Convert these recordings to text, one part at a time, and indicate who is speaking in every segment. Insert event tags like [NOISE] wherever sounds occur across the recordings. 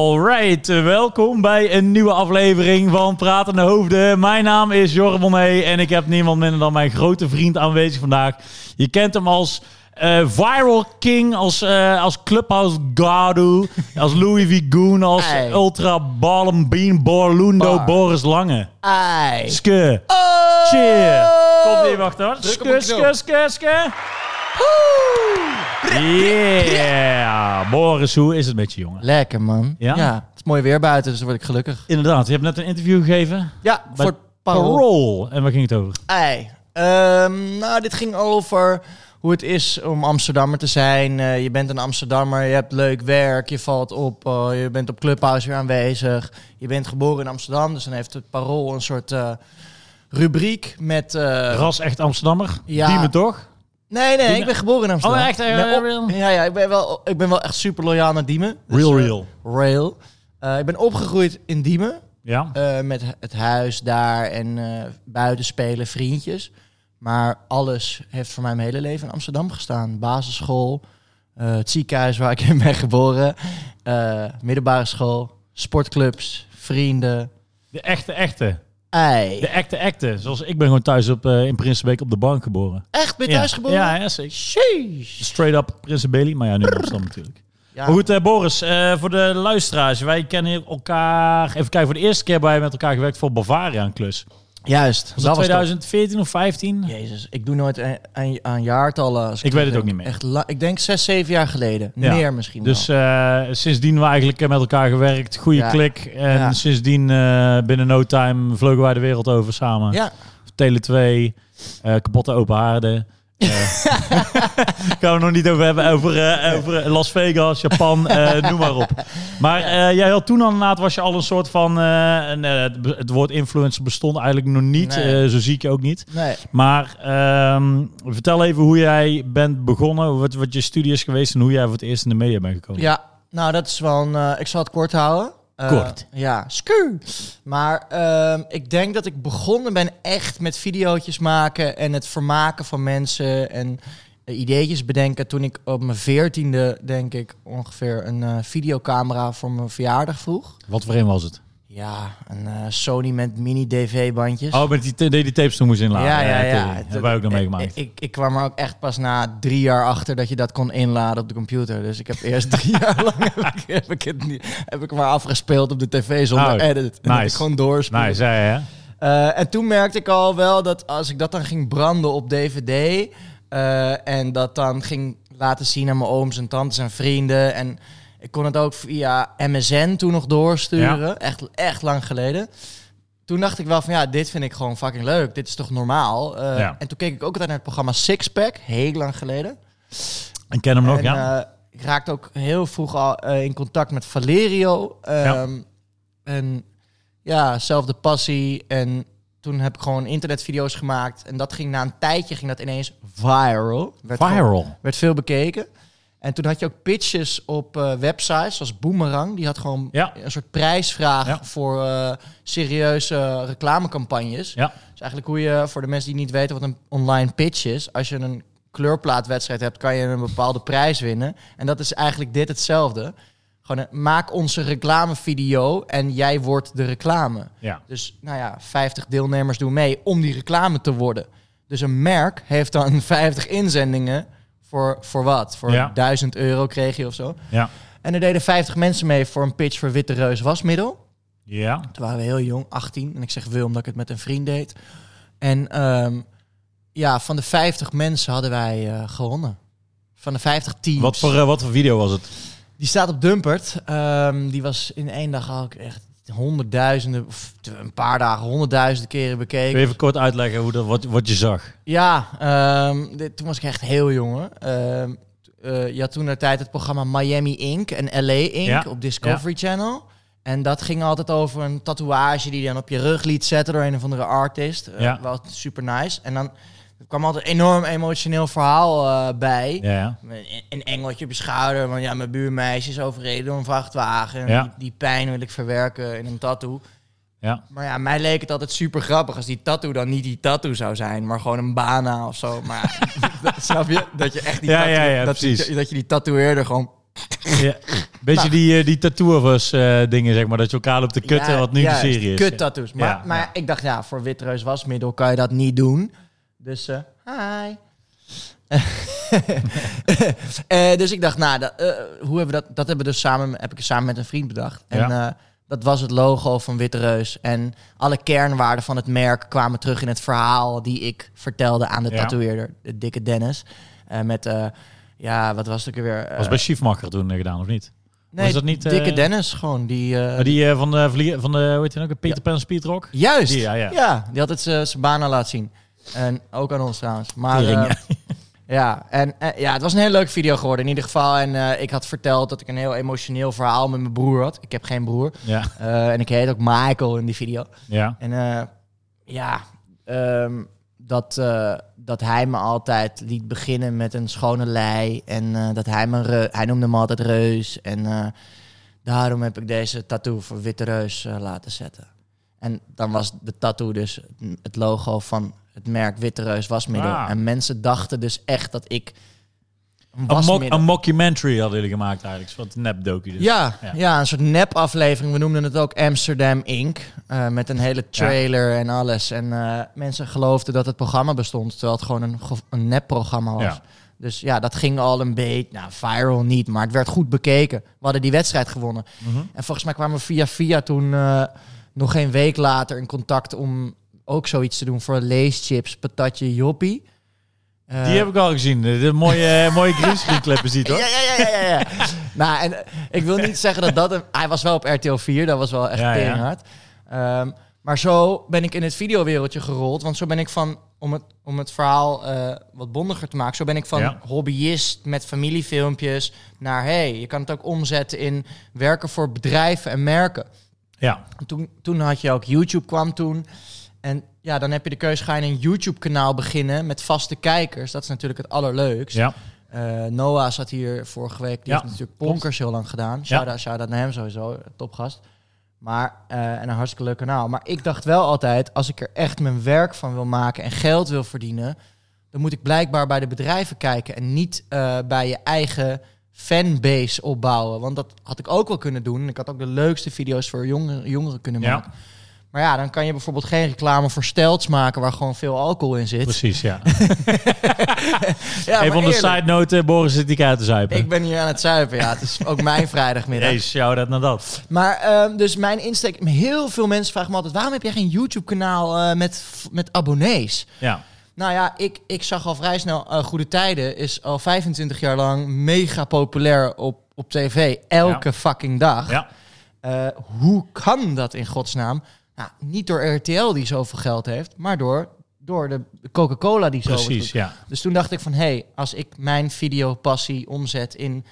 Speaker 1: Alright, eh, welkom bij een nieuwe aflevering van Pratende Hoofden. Mijn naam is Jorre Bonnet en ik heb niemand minder dan mijn grote vriend aanwezig vandaag. Je kent hem als eh, Viral King, als, eh, als Clubhouse
Speaker 2: [LAUGHS]
Speaker 1: Gadu, als Louis Vigoon, als
Speaker 2: Hey.
Speaker 1: Ultra Ballum Bean Borlundo
Speaker 2: Bar.
Speaker 1: Boris Lange.
Speaker 2: Ai.
Speaker 1: Ske,
Speaker 2: Oh!
Speaker 1: cheer. Kom hier, wacht hoor.
Speaker 2: Druk op een
Speaker 1: Ske, ske,
Speaker 2: knop.
Speaker 1: ske, ske.
Speaker 2: Woe!
Speaker 1: Yeah. Boris, hoe is het met je, jongen?
Speaker 2: Lekker, man.
Speaker 1: Ja?
Speaker 2: het is mooi weer buiten, dus dan word ik gelukkig.
Speaker 1: Inderdaad, je hebt net een interview gegeven.
Speaker 2: Ja,
Speaker 1: Bij
Speaker 2: voor het parool.
Speaker 1: Parool. En waar ging het over?
Speaker 2: Ei. Ehm, nou, dit ging over hoe het is om Amsterdammer te zijn. Eh, je bent een Amsterdammer, je hebt leuk werk, je valt op, eh, je bent op Clubhouse weer aanwezig. Je bent geboren in Amsterdam, dus dan heeft het parool een soort eh, rubriek met... eh,
Speaker 1: Ras echt Amsterdammer.
Speaker 2: ja.
Speaker 1: Die me toch?
Speaker 2: nee, nee,
Speaker 1: Diemen.
Speaker 2: ik ben geboren in Amsterdam.
Speaker 1: Oh, echt? Eh,
Speaker 2: Ik ben op-
Speaker 1: real?
Speaker 2: ja, ja ik, ben wel, ik ben wel echt super loyaal naar Diemen. Dus,
Speaker 1: Real,
Speaker 2: eh,
Speaker 1: real.
Speaker 2: Rail. Eh, ik ben opgegroeid in Diemen.
Speaker 1: Ja.
Speaker 2: eh, met het huis daar en eh buiten spelen, vriendjes. Maar alles heeft voor mij mijn hele leven in Amsterdam gestaan. Basisschool, eh, het ziekenhuis waar ik in ben geboren, eh, middelbare school, sportclubs, vrienden.
Speaker 1: De echte, echte.
Speaker 2: Ei.
Speaker 1: De echte, echte. Zoals ik ben gewoon thuis op, eh, in Prinsenbeek op de bank geboren.
Speaker 2: Echt, ben je
Speaker 1: Ja.
Speaker 2: thuis geboren?
Speaker 1: Ja, ja, zeker.
Speaker 2: Jeez.
Speaker 1: Straight up Prinsenbelie. Maar ja, nu in Amsterdam natuurlijk.
Speaker 2: Ja.
Speaker 1: Maar goed, eh, Boris, eh, voor de luisteraars. Wij kennen elkaar... Even kijken, voor de eerste keer hebben wij met elkaar gewerkt voor Bavaria een klus.
Speaker 2: Juist.
Speaker 1: Was dat
Speaker 2: was top.
Speaker 1: 2014 of 15?
Speaker 2: Jeez, ik doe nooit aan, aan, aan jaartallen. als
Speaker 1: Ik weet het
Speaker 2: terugdenk.
Speaker 1: ook niet meer.
Speaker 2: Echt la- ik denk zes, zeven jaar geleden.
Speaker 1: Ja.
Speaker 2: Meer misschien wel.
Speaker 1: Dus eh, sindsdien we eigenlijk eh, met elkaar gewerkt, goede
Speaker 2: Ja.
Speaker 1: klik. En
Speaker 2: Ja.
Speaker 1: sindsdien eh, binnen no time vlogen wij de wereld over samen.
Speaker 2: Ja,
Speaker 1: Tele 2, eh, kapotte open haarden. Eh,
Speaker 2: [LAUGHS]
Speaker 1: gaan we nog niet over hebben, over, eh, over eh, Las Vegas, Japan, eh, noem maar op. Maar eh, jij had toen al inderdaad, was je al een soort van, eh, een, eh, het be- het woord influencer bestond eigenlijk nog niet,
Speaker 2: Nee.
Speaker 1: eh, zo zie ik je ook niet.
Speaker 2: nee.
Speaker 1: Maar ehm, vertel even hoe jij bent begonnen, wat, wat je studie is geweest en hoe jij voor het eerst in de media bent gekomen.
Speaker 2: Ja, nou dat is wel een... eh, ik zal het kort houden. Eh,
Speaker 1: Kort.
Speaker 2: Ja, sku. Maar ehm, ik denk dat ik begonnen ben echt met videootjes maken en het vermaken van mensen en eh, ideetjes bedenken toen ik op mijn veertiende, denk ik, ongeveer een eh, videocamera voor mijn verjaardag vroeg.
Speaker 1: Wat voor een was het?
Speaker 2: Ja, een eh, Sony met mini-DV-bandjes.
Speaker 1: Oh, met die, ta- die die tapes toen moest inladen.
Speaker 2: Ja, ja, ja.
Speaker 1: Dat hebben wij ook nog
Speaker 2: Ik-
Speaker 1: meegemaakt.
Speaker 2: Ik, ik, ik kwam er ook echt pas na drie jaar achter dat je dat kon inladen op de computer. Dus ik heb eerst [LAUGHS] drie jaar lang heb ik, heb ik het niet, heb ik maar afgespeeld op de tv zonder
Speaker 1: Oh,
Speaker 2: edit. En dat ik
Speaker 1: nice.
Speaker 2: gewoon doorspelen.
Speaker 1: Nice, ja, ja.
Speaker 2: Eh, en toen merkte ik al wel dat als ik dat dan ging branden op DVD eh, en dat dan ging laten zien aan mijn ooms en tantes en vrienden. En ik kon het ook via MSN toen nog doorsturen, echt, echt lang geleden. Toen dacht ik wel van ja, dit vind ik gewoon fucking leuk. Dit is toch normaal? Eh,
Speaker 1: Ja.
Speaker 2: En toen keek ik ook altijd naar het programma Sixpack, heel lang geleden.
Speaker 1: Ik ken hem nog,
Speaker 2: en,
Speaker 1: ja.
Speaker 2: eh, ik raakte ook heel vroeg al eh, in contact met Valerio. ehm, En ja, zelfde passie. En toen heb ik gewoon internetvideo's gemaakt. En dat ging na een tijdje ging dat ineens viral. Werd gewoon-
Speaker 1: Viral.
Speaker 2: werd veel bekeken. En toen had je ook pitches op eh, websites zoals Boomerang. Die had gewoon
Speaker 1: Ja.
Speaker 2: een soort prijsvraag
Speaker 1: Ja.
Speaker 2: voor eh, serieuze reclamecampagnes.
Speaker 1: Ja.
Speaker 2: Dus eigenlijk hoe je, voor de mensen die niet weten wat een online pitch is, als je een kleurplaatwedstrijd hebt, kan je een bepaalde prijs winnen. En dat is eigenlijk dit hetzelfde. Gewoon een, maak onze reclamevideo en jij wordt de reclame.
Speaker 1: ja.
Speaker 2: Dus nou ja, 50 deelnemers doen mee om die reclame te worden. Dus een merk heeft dan [LAUGHS] 50 inzendingen voor, voor wat? Voor
Speaker 1: Ja.
Speaker 2: 1000 euro kreeg je of zo.
Speaker 1: Ja.
Speaker 2: En er deden 50 mensen mee voor een pitch voor Witte Reus wasmiddel.
Speaker 1: Ja.
Speaker 2: Toen waren we heel jong, 18. En ik zeg we omdat ik het met een vriend deed. En ehm, ja, van de 50 mensen hadden wij eh, gewonnen. Van de 50 teams.
Speaker 1: Wat voor, eh, wat voor video was het?
Speaker 2: Die staat op Dumpert. Ehm, die was in één dag al echt honderdduizenden, of een paar dagen, honderdduizenden keren
Speaker 1: Kun
Speaker 2: bekeken.
Speaker 1: je even kort uitleggen hoe dat, wat, wat je zag?
Speaker 2: Ja, ehm, dit- toen was ik echt heel jong. hoor. Ehm, t- eh, je had toen de tijd het programma Miami Inc. en LA Inc.
Speaker 1: Ja,
Speaker 2: op Discovery Channel. En dat ging altijd over een tatoeage die je dan op je rug liet zetten door een of andere artist. Eh,
Speaker 1: Ja.
Speaker 2: Wel super nice. En dan er kwam altijd een enorm emotioneel verhaal eh, bij.
Speaker 1: Ja, ja.
Speaker 2: Een, een engeltje op je schouder. Want ja, mijn buurmeisje is overreden door een vrachtwagen.
Speaker 1: Ja.
Speaker 2: Die, die pijn wil ik verwerken in een tattoo.
Speaker 1: ja.
Speaker 2: Maar ja, mij leek het altijd super grappig als die tattoo dan niet die tattoo zou zijn, maar gewoon een bana of zo. Maar ja, [LAUGHS] dat- snap je? Dat je echt die
Speaker 1: Ja,
Speaker 2: tattoo,
Speaker 1: ja, ja,
Speaker 2: dat, die-
Speaker 1: precies.
Speaker 2: dat je die tatoeëerder gewoon
Speaker 1: Ja. Beetje
Speaker 2: Nou.
Speaker 1: die, eh, die tattooers eh dingen, zeg maar. Dat je elkaar op de kut,
Speaker 2: Ja,
Speaker 1: en wat nu
Speaker 2: juist,
Speaker 1: de serie is.
Speaker 2: Kut tattoos. Maar,
Speaker 1: Ja,
Speaker 2: maar
Speaker 1: ja.
Speaker 2: ik dacht, ja, voor witreus wasmiddel kan je dat niet doen. Dus, eh, hi. [LAUGHS] Eh, dus ik dacht, nou, dat, eh, hoe hebben we dat? Dat hebben we dus samen, heb ik samen met een vriend bedacht. En
Speaker 1: Ja.
Speaker 2: eh, dat was het logo van Witte Reus. En alle kernwaarden van het merk kwamen terug in het verhaal die ik vertelde aan de
Speaker 1: Ja.
Speaker 2: tatoeëerder, de dikke Dennis. Eh, met, eh, ja, wat was het ook weer?
Speaker 1: Was bij Schiefmacher toen eh, gedaan, of niet?
Speaker 2: nee,
Speaker 1: was dat niet, eh,
Speaker 2: dikke Dennis gewoon. Die, eh,
Speaker 1: Maar die eh, van de, vlie- van de hoe heet die nou ook, Peter Pan Speedrock?
Speaker 2: Juist.
Speaker 1: Die, ja,
Speaker 2: ja,
Speaker 1: ja.
Speaker 2: die had het eh, zijn banen laten zien. En ook aan ons trouwens. Maar
Speaker 1: Tering,
Speaker 2: eh, ja, en, eh, ja, het was een hele leuke video geworden in ieder geval. En eh, ik had verteld dat ik een heel emotioneel verhaal met mijn broer had. Ik heb geen broer.
Speaker 1: Ja,
Speaker 2: Eh, en ik heet ook Michael in die video.
Speaker 1: ja.
Speaker 2: En eh, ja, ehm, dat, eh, dat hij me altijd liet beginnen met een schone lei. En eh, dat hij me, reu- hij noemde me altijd reus. En eh, daarom heb ik deze tattoo voor witte reus eh, laten zetten. En dan was de tattoo dus het logo van het merk Witte Reus wasmiddel.
Speaker 1: Ah.
Speaker 2: En mensen dachten dus echt dat ik
Speaker 1: Een,
Speaker 2: een
Speaker 1: mock,
Speaker 2: wasmiddel...
Speaker 1: een mockumentary hadden jullie gemaakt eigenlijk. Een soort nep docu dus.
Speaker 2: Ja,
Speaker 1: Ja.
Speaker 2: ja. een soort nep-aflevering. We noemden het ook Amsterdam Inc. eh, met een hele trailer en alles. En eh, mensen geloofden dat het programma bestond, terwijl het gewoon een, ge- een nep-programma was.
Speaker 1: Ja.
Speaker 2: Dus ja, dat ging al een beetje, nou viral niet, maar het werd goed bekeken. We hadden die wedstrijd gewonnen.
Speaker 1: Mhm.
Speaker 2: En volgens mij kwamen we via via toen eh, nog geen week later in contact om ook zoiets te doen voor leeschips, patatje, joppie. Eh,
Speaker 1: Die heb ik al gezien. De, de mooie, eh, mooie greenscreen clippen ziet hoor.
Speaker 2: ja, ja, ja, ja, ja. ja. [LAUGHS] nou, en eh, ik wil niet zeggen dat dat... Een, hij was wel op RTL 4, dat was wel echt
Speaker 1: Ja, ja.
Speaker 2: teringhard. Ehm, maar zo ben ik in het videowereldje gerold. Want zo ben ik van, om het, om het verhaal eh, wat bondiger te maken... zo ben ik van
Speaker 1: Ja.
Speaker 2: hobbyist met familiefilmpjes naar... hey, je kan het ook omzetten in werken voor bedrijven en merken.
Speaker 1: Ja,
Speaker 2: En Toen, toen had je ook YouTube kwam toen. En ja, dan heb je de keuze, ga je een YouTube-kanaal beginnen met vaste kijkers. Dat is natuurlijk het allerleukst. [LAUGHS]
Speaker 1: ja.
Speaker 2: Eh, Noah zat hier vorige week.
Speaker 1: Ja,
Speaker 2: Die heeft natuurlijk Ponkers heel lang gedaan. Shout-out shout-out naar hem sowieso. Topgast. Maar, eh, en een hartstikke leuk kanaal. Maar ik dacht wel altijd, als ik er echt mijn werk van wil maken en geld wil verdienen, dan moet ik blijkbaar bij de bedrijven kijken en niet eh, bij je eigen fanbase opbouwen. Want dat had ik ook wel kunnen doen. Ik had ook de leukste video's voor jongeren, jongeren kunnen
Speaker 1: Ja.
Speaker 2: maken. Maar ja, dan kan je bijvoorbeeld geen reclame voor stelts maken waar gewoon veel alcohol in zit.
Speaker 1: precies. Ja.
Speaker 2: Ja, maar
Speaker 1: Even onder
Speaker 2: eerlijk.
Speaker 1: side note, eh, Boris zit die kaart te zuipen.
Speaker 2: Ik ben hier aan het zuipen, ja. Het is
Speaker 1: [LAUGHS]
Speaker 2: ook mijn vrijdagmiddag.
Speaker 1: Hey, shout out naar dat.
Speaker 2: Maar ehm, dus mijn insteek... Heel veel mensen vragen me altijd... waarom heb jij geen YouTube-kanaal eh, met, met abonnees?
Speaker 1: Ja,
Speaker 2: Nou ja, ik, ik zag al vrij snel... eh, Goede Tijden is al 25 jaar lang mega populair op, op tv. Elke fucking dag.
Speaker 1: ja.
Speaker 2: Eh, hoe kan dat in godsnaam? Nou, niet door RTL die zoveel geld heeft... maar door, door de Coca-Cola die zoveel
Speaker 1: precies. Ja.
Speaker 2: dus toen dacht ik van, hé, hey, als ik mijn videopassie omzet in...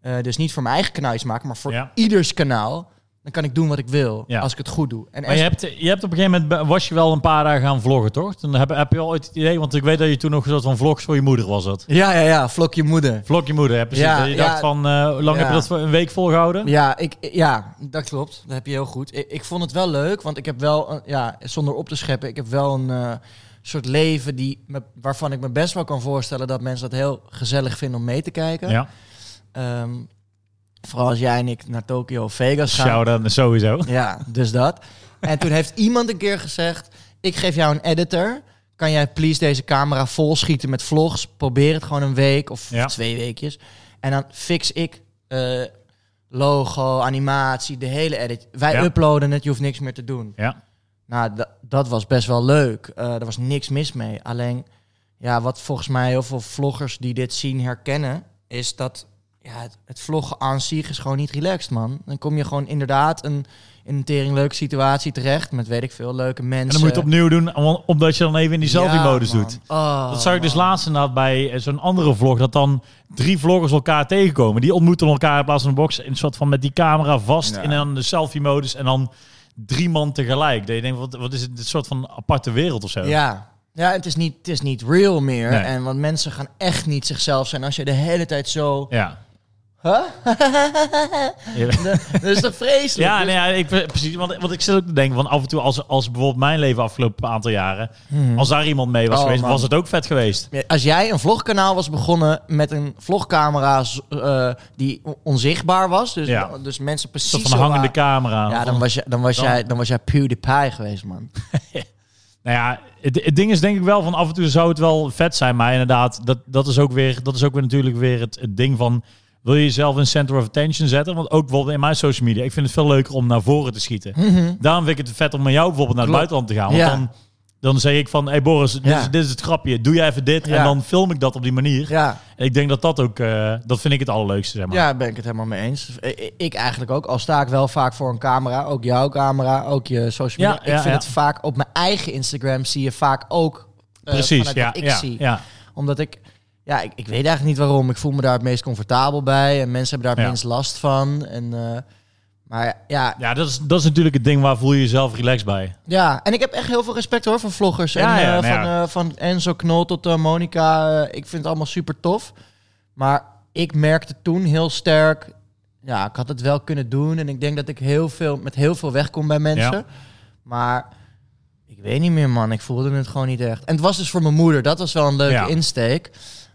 Speaker 2: eh, dus niet voor mijn eigen kanaal iets maken, maar voor
Speaker 1: Ja.
Speaker 2: ieders kanaal... dan kan ik doen wat ik wil,
Speaker 1: Ja.
Speaker 2: als ik het goed doe. En
Speaker 1: Maar je
Speaker 2: echt-
Speaker 1: hebt, je hebt op een gegeven moment was je wel een paar dagen gaan vloggen, toch? Dan heb, heb je al ooit het idee, want ik weet dat je toen nog een soort van vlogs voor je moeder was dat.
Speaker 2: Ja, ja, ja, vlok je moeder.
Speaker 1: Vlog je moeder, hè? precies.
Speaker 2: Ja,
Speaker 1: Dat je dacht
Speaker 2: ja.
Speaker 1: van, eh, hoe lang
Speaker 2: Ja.
Speaker 1: heb je dat voor een week volgehouden?
Speaker 2: Ja, ik, ja, dat klopt. Dat heb je heel goed. Ik, ik vond het wel leuk, want ik heb wel, een- ja, zonder op te scheppen... ik heb wel een eh, soort leven die, me- waarvan ik me best wel kan voorstellen... dat mensen dat heel gezellig vinden om mee te kijken.
Speaker 1: Ja,
Speaker 2: Ehm, vooral als jij en ik naar Tokio of Vegas gaan.
Speaker 1: shout out sowieso. [LAUGHS]
Speaker 2: Ja, dus dat. En toen heeft iemand een keer gezegd: Ik geef jou een editor. Kan jij please deze camera vol schieten met vlogs? Probeer het gewoon een week of
Speaker 1: Ja.
Speaker 2: twee weekjes. En dan fix ik eh, logo, animatie, de hele edit. Wij
Speaker 1: Ja.
Speaker 2: uploaden het, je hoeft niks meer te doen.
Speaker 1: Ja,
Speaker 2: Nou, da- dat was best wel leuk. Eh er was niks mis mee. Alleen, ja, wat volgens mij heel veel vloggers die dit zien herkennen, is dat ja, het, het vloggen aan zich is gewoon niet relaxed, man. Dan kom je gewoon inderdaad een, in een tering leuke situatie terecht met, weet ik veel, leuke mensen.
Speaker 1: en dan moet je het opnieuw doen, om- omdat je dan even in die selfie-modus doet.
Speaker 2: Oh,
Speaker 1: Dat zag ik dus
Speaker 2: later.
Speaker 1: laatst inderdaad bij eh, zo'n andere vlog. Dat dan drie vloggers elkaar tegenkomen. Die ontmoeten elkaar in plaats van een box. In een soort van met die camera vast.
Speaker 2: Ja.
Speaker 1: En dan de selfie-modus. En dan drie man tegelijk. Dat je denkt, wat, wat is het? Een soort van aparte wereld of zo.
Speaker 2: Ja. Ja, het is niet, het is niet real meer.
Speaker 1: Nee.
Speaker 2: [LAUGHS] En want mensen gaan echt niet zichzelf zijn als je de hele tijd zo
Speaker 1: Ja.
Speaker 2: Huh?
Speaker 1: Ja.
Speaker 2: Dat is toch vreselijk? Dus
Speaker 1: Ja, nee, ja, ik, eh, precies. Want, want ik zit ook te denken, van af en toe als, als bijvoorbeeld mijn leven afgelopen aantal jaren, als daar iemand mee was
Speaker 2: Mhm. Oh,
Speaker 1: geweest,
Speaker 2: man.
Speaker 1: was het ook vet geweest.
Speaker 2: Ja, Als jij een vlogkanaal was begonnen met een vlogcamera z- eh, die on- onzichtbaar was, dus,
Speaker 1: Ja.
Speaker 2: dus mensen precies
Speaker 1: Tot van
Speaker 2: zo
Speaker 1: een hangende
Speaker 2: waren-
Speaker 1: camera.
Speaker 2: Ja, dan was, jij, dan, was
Speaker 1: Dan-
Speaker 2: Jij, dan was jij PewDiePie
Speaker 1: [LAUGHS]
Speaker 2: geweest, man.
Speaker 1: Nou ja, het, het ding is denk ik wel van af en toe zou het wel vet zijn, maar inderdaad, dat, dat is ook weer, dat is ook weer natuurlijk weer het, het ding van, wil je jezelf een center of attention zetten? Want ook bijvoorbeeld in mijn social media, ik vind het veel leuker om naar voren te schieten. Daarom vind ik het vet om met jou bijvoorbeeld naar het
Speaker 2: Mhm. Klopt.
Speaker 1: buitenland te gaan. Want
Speaker 2: Ja.
Speaker 1: dan, dan zeg ik van, hey Boris, dit,
Speaker 2: Ja.
Speaker 1: is, dit is het grapje, doe jij even dit en
Speaker 2: Ja.
Speaker 1: dan film ik dat op die manier.
Speaker 2: Ja,
Speaker 1: En ik denk dat dat ook, eh, dat vind ik het allerleukste, zeg maar.
Speaker 2: ja, ben ik het helemaal mee eens. I- i- Ik eigenlijk ook, al sta ik wel vaak voor een camera, ook jouw camera, ook je social
Speaker 1: Ja,
Speaker 2: media.
Speaker 1: ja,
Speaker 2: ik vind
Speaker 1: ja.
Speaker 2: het vaak op mijn eigen Instagram zie je vaak ook eh,
Speaker 1: Precies,
Speaker 2: vanuit
Speaker 1: ja,
Speaker 2: wat ik
Speaker 1: ja,
Speaker 2: zie.
Speaker 1: ja.
Speaker 2: Omdat ik, ja, ik, ik weet eigenlijk niet waarom. Ik voel me daar het meest comfortabel bij en mensen hebben daar het
Speaker 1: Ja.
Speaker 2: minst last van. En, eh, maar ja,
Speaker 1: Ja, dat is, dat is natuurlijk het ding waar voel je jezelf relaxed bij.
Speaker 2: Ja, en ik heb echt heel veel respect hoor voor vloggers.
Speaker 1: Ja,
Speaker 2: en,
Speaker 1: ja,
Speaker 2: eh,
Speaker 1: nou
Speaker 2: van,
Speaker 1: ja.
Speaker 2: eh, van Enzo Knol tot eh, Monica. eh, ik vind het allemaal super tof. Maar ik merkte toen heel sterk. Ja, ik had het wel kunnen doen. En ik denk dat ik heel veel, met heel veel wegkom bij mensen.
Speaker 1: Ja.
Speaker 2: Maar ik weet niet meer, man. Ik voelde het gewoon niet echt. En het was dus voor mijn moeder. Dat was wel een leuke
Speaker 1: Ja.
Speaker 2: insteek.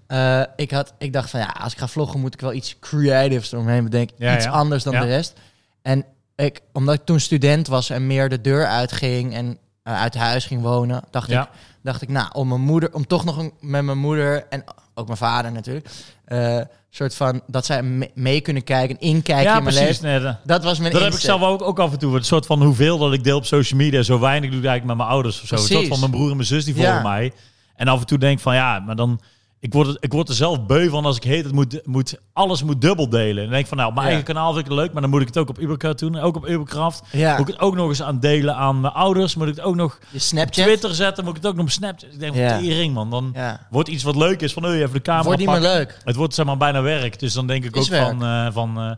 Speaker 2: Eh, ik, had, ik dacht van ja, als ik ga vloggen moet ik wel iets creatives eromheen bedenken.
Speaker 1: Ja,
Speaker 2: iets
Speaker 1: ja.
Speaker 2: anders dan
Speaker 1: Ja.
Speaker 2: de rest. En ik, omdat ik toen student was en meer de deur uitging en eh, uit huis ging wonen, dacht,
Speaker 1: Ja.
Speaker 2: ik, dacht ik, nou, om mijn moeder, om toch nog een, met mijn moeder en ook mijn vader natuurlijk, eh, soort van dat zij me- mee kunnen kijken, een inkijken
Speaker 1: ja,
Speaker 2: in mijn
Speaker 1: precies.
Speaker 2: leven.
Speaker 1: Nee, dat-
Speaker 2: Dat was mijn
Speaker 1: Dat heb ik
Speaker 2: insteek.
Speaker 1: zelf ook, ook af en toe. Het soort van hoeveel dat ik deel op social media, zo weinig doe ik eigenlijk met mijn ouders of zo. Het soort
Speaker 2: Precies.
Speaker 1: van mijn broer en mijn zus die volgen
Speaker 2: Ja.
Speaker 1: mij. En af en toe denk ik van ja, maar dan. Ik word, het- ik word er zelf beu van als ik heet het moet, moet alles moet dubbel delen. En dan denk ik van nou, op mijn
Speaker 2: Ja.
Speaker 1: eigen kanaal vind ik het leuk, maar dan moet ik het ook op Ubercraft doen, en ook op Ubercraft.
Speaker 2: Ja,
Speaker 1: Moet ik het ook nog eens aan delen aan mijn ouders? Moet ik het ook nog
Speaker 2: je
Speaker 1: op
Speaker 2: Snapchat.
Speaker 1: Twitter zetten? Moet ik het ook nog op Snapchat? Ik denk van
Speaker 2: Ja.
Speaker 1: tering man, dan
Speaker 2: Ja.
Speaker 1: wordt iets wat leuk is van hey, even de camera
Speaker 2: Wordt niet meer
Speaker 1: pakken.
Speaker 2: leuk.
Speaker 1: Het wordt zeg maar bijna werk. Dus dan denk ik
Speaker 2: Is
Speaker 1: ook van, eh, van eh,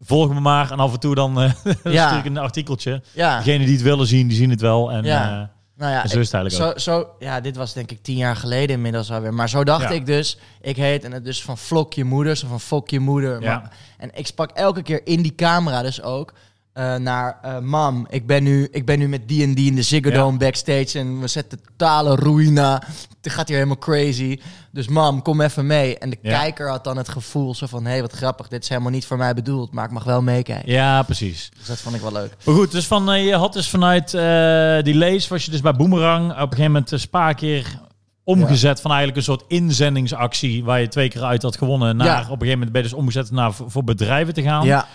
Speaker 1: volg me maar. En af en toe dan eh [LAUGHS]
Speaker 2: Ja.
Speaker 1: stuur ik een artikeltje.
Speaker 2: Ja,
Speaker 1: Degenen die het willen zien, die zien het wel. En,
Speaker 2: Ja.
Speaker 1: eh,
Speaker 2: nou ja,
Speaker 1: en zo is het eigenlijk ook.
Speaker 2: Zo, zo, ja, dit was denk ik tien jaar geleden inmiddels alweer. Maar zo dacht
Speaker 1: Ja.
Speaker 2: ik dus. Ik heet en het dus van flok je moeder, zo van fok je moeder.
Speaker 1: Ja.
Speaker 2: Maar- en ik sprak elke keer in die camera dus ook eh, naar eh, mam. Ik ben, nu, ik ben nu met die en die in de Ziggo
Speaker 1: Ja.
Speaker 2: Dome backstage en we zetten totale ruïna. Het gaat hier helemaal crazy. Dus mam, kom even mee. En de
Speaker 1: Ja.
Speaker 2: kijker had dan het gevoel zo van, hé, hey, wat grappig. Dit is helemaal niet voor mij bedoeld, maar ik mag wel meekijken.
Speaker 1: Ja, precies.
Speaker 2: Dus dat vond ik wel leuk.
Speaker 1: Maar goed, dus van, eh, je had dus vanuit eh, die lees, was je dus bij Boomerang op een gegeven moment een paar keer omgezet van eigenlijk een soort inzendingsactie waar je twee keer uit had gewonnen. Naar,
Speaker 2: Ja.
Speaker 1: Op een gegeven moment ben je dus omgezet naar voor, voor bedrijven te gaan.
Speaker 2: Ja,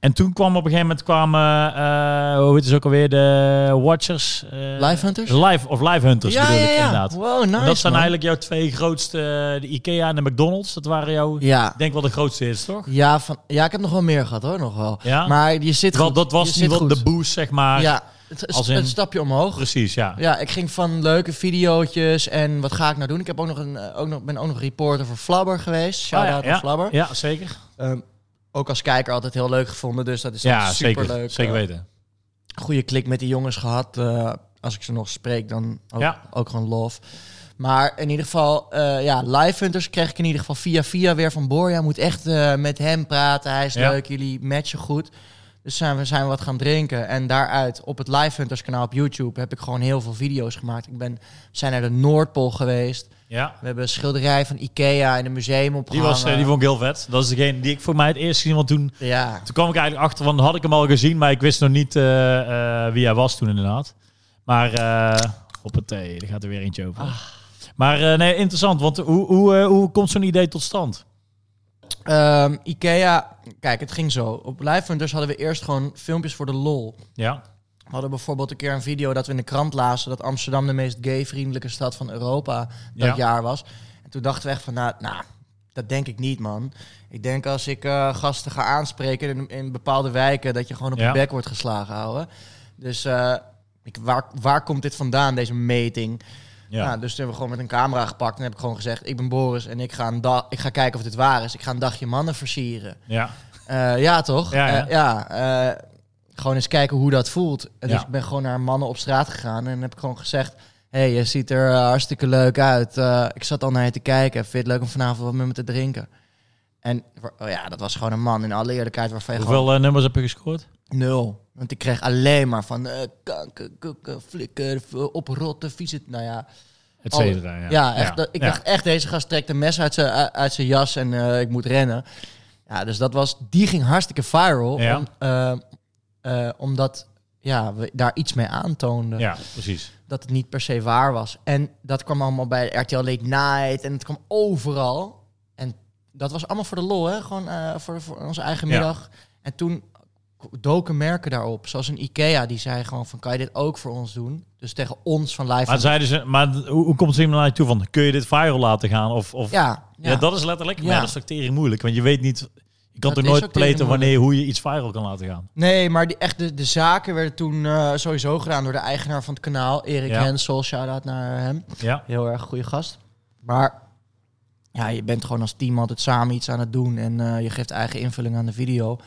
Speaker 1: En toen kwam op een gegeven moment kwamen, eh, hoe heet het ook alweer, de Watchers. eh,
Speaker 2: Live Hunters?
Speaker 1: Live, of Live Hunters
Speaker 2: ja,
Speaker 1: bedoel
Speaker 2: ja,
Speaker 1: ik
Speaker 2: ja.
Speaker 1: inderdaad.
Speaker 2: Wow, nice,
Speaker 1: En dat zijn
Speaker 2: man.
Speaker 1: eigenlijk jouw twee grootste, eh, de Ikea en de McDonald's. Dat waren jouw,
Speaker 2: Ja,
Speaker 1: ik denk wel de grootste hits, toch?
Speaker 2: Ja, van, ja, ik heb nog wel meer gehad hoor, nog wel.
Speaker 1: Ja?
Speaker 2: Maar je zit
Speaker 1: Wel,
Speaker 2: goed.
Speaker 1: dat was
Speaker 2: Je
Speaker 1: niet
Speaker 2: zit
Speaker 1: wat
Speaker 2: goed.
Speaker 1: de boost, zeg maar.
Speaker 2: Ja, het,
Speaker 1: Als in-
Speaker 2: het stapje omhoog.
Speaker 1: Precies, ja.
Speaker 2: Ja, ik ging van leuke videootjes en wat ga ik nou doen? Ik heb ook nog een, eh, ook nog, ben ook nog reporter voor Flabber geweest. Shout-out
Speaker 1: Ah, ja,
Speaker 2: aan
Speaker 1: ja,
Speaker 2: Flabber.
Speaker 1: Ja, zeker.
Speaker 2: Ehm, ook als kijker altijd heel leuk gevonden, dus dat is eh,
Speaker 1: Ja,
Speaker 2: super
Speaker 1: zeker.
Speaker 2: leuk.
Speaker 1: Zeker weten.
Speaker 2: goede klik met die jongens gehad. eh, als ik ze nog spreek, dan ook,
Speaker 1: Ja.
Speaker 2: ook gewoon love. Maar in ieder geval, eh ja, Live Hunters kreeg ik in ieder geval via via weer van Borja. Moet echt eh, met hem praten. Hij is
Speaker 1: Ja.
Speaker 2: leuk, jullie matchen goed. Dus zijn we, zijn we wat gaan drinken. En daaruit op het Live Hunters kanaal op YouTube heb ik gewoon heel veel video's gemaakt. Ik ben, we zijn naar de Noordpool geweest.
Speaker 1: Ja.
Speaker 2: We hebben een schilderij van Ikea in een museum
Speaker 1: Die,
Speaker 2: opgehangen.
Speaker 1: was, eh, die vond ik heel vet. Dat is degene die ik voor mij het eerst gezien, want toen,
Speaker 2: Ja,
Speaker 1: toen kwam ik eigenlijk achter, want had ik hem al gezien, maar ik wist nog niet eh, eh, wie hij was toen inderdaad. Maar, eh hoppatee, er gaat er weer eentje over.
Speaker 2: Ah.
Speaker 1: Maar eh, nee, interessant, want hoe, hoe, eh, hoe komt zo'n idee tot stand?
Speaker 2: Ehm, Ikea, kijk, het ging zo. Op Live Hunters hadden we eerst gewoon filmpjes voor de lol.
Speaker 1: Ja,
Speaker 2: We hadden bijvoorbeeld een keer een video dat we in de krant lazen dat Amsterdam de meest gay-vriendelijke stad van Europa
Speaker 1: Ja.
Speaker 2: dat jaar was. En toen dachten we echt van, nou, nou, dat denk ik niet, man. Ik denk als ik eh, gasten ga aanspreken in, in bepaalde wijken, dat je gewoon op
Speaker 1: Ja.
Speaker 2: je bek wordt geslagen, ouwe. Dus eh, ik, waar, waar komt dit vandaan, deze meting?
Speaker 1: ja.
Speaker 2: Nou, dus toen hebben we gewoon met een camera gepakt en heb ik gewoon gezegd, ik ben Boris en ik ga, een dag, ik ga kijken of dit waar is. Ik ga een dagje mannen versieren.
Speaker 1: ja.
Speaker 2: Eh, ja, toch?
Speaker 1: Ja, ja.
Speaker 2: Eh, eh, gewoon eens kijken hoe dat voelt. En Dus
Speaker 1: Ja.
Speaker 2: ik ben gewoon naar mannen op straat gegaan en heb ik gewoon gezegd... Hé, hey, je ziet er eh, hartstikke leuk uit. Eh, ik zat al naar je te kijken. Vind je het leuk om vanavond wat meer met me te drinken? En oh ja, dat was gewoon een man in alle eerlijkheid waarvan je
Speaker 1: Hoeveel eh, nummers heb je gescoord?
Speaker 2: gewoon nul. Want ik kreeg alleen maar van eh kanker, kukken, flikker, v- oprotten, vieze... Nou ja,
Speaker 1: Et
Speaker 2: Alle-
Speaker 1: cetera. Ja,
Speaker 2: ja, echt, dat- ik
Speaker 1: Ja.
Speaker 2: dacht echt, deze gast trekt een mes uit zijn uit zijn jas en eh, ik moet rennen. Ja, dus dat was, die ging hartstikke viral.
Speaker 1: Ja.
Speaker 2: om- eh, eh, omdat ja, we daar iets mee aantoonden.
Speaker 1: Ja, precies.
Speaker 2: Dat het niet per se waar was. En dat kwam allemaal bij RTL Late Night en het kwam overal. En dat was allemaal voor de lol, hè? Gewoon eh, voor, voor onze eigen
Speaker 1: Ja.
Speaker 2: middag. En toen doken merken daarop. Zoals een Ikea, die zei gewoon van, kan je dit ook voor ons doen? Dus tegen ons van live.
Speaker 1: Maar, zeiden ze, maar d- hoe, hoe komt ze iemand naar je toe van, kun je dit viral laten gaan? Of, of, ja,
Speaker 2: ja,
Speaker 1: dat is letterlijk, maar
Speaker 2: Ja.
Speaker 1: ja, dat is toch tering moeilijk. Want je weet niet, je kan
Speaker 2: Dat
Speaker 1: toch
Speaker 2: is
Speaker 1: nooit
Speaker 2: ook tering
Speaker 1: pleten wanneer, hoe je iets viral kan laten gaan.
Speaker 2: Nee, maar die, echt de, de zaken werden toen eh, sowieso gedaan door de eigenaar van het kanaal, Erik
Speaker 1: Ja.
Speaker 2: Hensel. Shout-out naar eh, hem.
Speaker 1: Ja,
Speaker 2: Heel erg goede gast. Maar ja, je bent gewoon als team altijd samen iets aan het doen en eh, je geeft eigen invulling aan de video.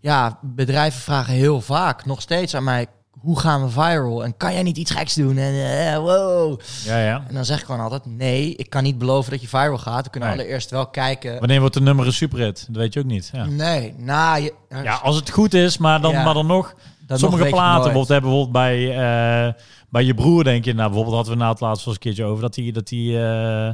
Speaker 2: Ja, bedrijven vragen heel vaak nog steeds aan mij, hoe gaan we viral? En kan jij niet iets geks doen? En eh, wow.
Speaker 1: ja, ja.
Speaker 2: En dan zeg ik gewoon altijd, nee, ik kan niet beloven dat je viral gaat. We kunnen
Speaker 1: Nee.
Speaker 2: allereerst wel kijken.
Speaker 1: Wanneer wordt de nummer een superhit? Dat weet je ook niet. Ja.
Speaker 2: Nee, nou, je,
Speaker 1: Ja, als het goed is, maar dan,
Speaker 2: Ja.
Speaker 1: maar dan nog.
Speaker 2: dan nog
Speaker 1: sommige
Speaker 2: weet je
Speaker 1: platen, bijvoorbeeld,
Speaker 2: nooit.
Speaker 1: hebben bijvoorbeeld bij, eh, bij je broer, denk je. Nou, bijvoorbeeld hadden we na het laatst wel eens een keertje over dat die, dat die eh,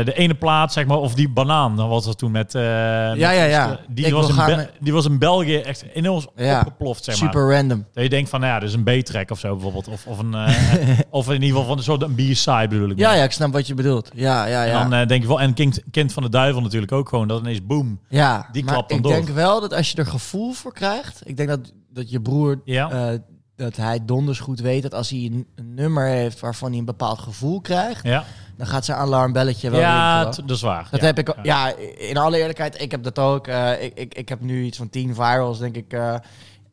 Speaker 1: eh, de ene plaat, zeg maar, of die banaan, dan was dat toen met. eh, met-
Speaker 2: ja, ja.
Speaker 1: Die,
Speaker 2: Ik
Speaker 1: was
Speaker 2: wil
Speaker 1: in
Speaker 2: graag
Speaker 1: Bel-
Speaker 2: met-
Speaker 1: die was in België echt enorm
Speaker 2: Ja.
Speaker 1: opgeploft, zeg maar.
Speaker 2: Super random.
Speaker 1: Dat je denkt van, nou ja, dus een B-track of zo bijvoorbeeld. Of, of, een,
Speaker 2: [LAUGHS]
Speaker 1: eh, of in ieder geval van een soort een B-side bedoel ik.
Speaker 2: Ja,
Speaker 1: maar.
Speaker 2: ja, ik snap wat je bedoelt. Ja, ja, ja.
Speaker 1: En dan eh, denk je wel, en kind, kind van de Duivel natuurlijk ook gewoon, dat ineens boom.
Speaker 2: ja.
Speaker 1: die
Speaker 2: maar
Speaker 1: klapt dan
Speaker 2: ik
Speaker 1: door.
Speaker 2: denk wel dat als je er gevoel voor krijgt... Ik denk dat, dat je broer,
Speaker 1: Ja.
Speaker 2: eh, dat hij donders goed weet... dat als hij een, een nummer heeft waarvan hij een bepaald gevoel krijgt...
Speaker 1: Ja,
Speaker 2: dan gaat zijn alarmbelletje wel
Speaker 1: ja
Speaker 2: rinkelen.
Speaker 1: t- dat is waar.
Speaker 2: Dat
Speaker 1: ja.
Speaker 2: heb ik, al- ja, in alle eerlijkheid, ik heb dat ook. eh, ik, ik, ik heb nu iets van tien virals, denk ik, eh,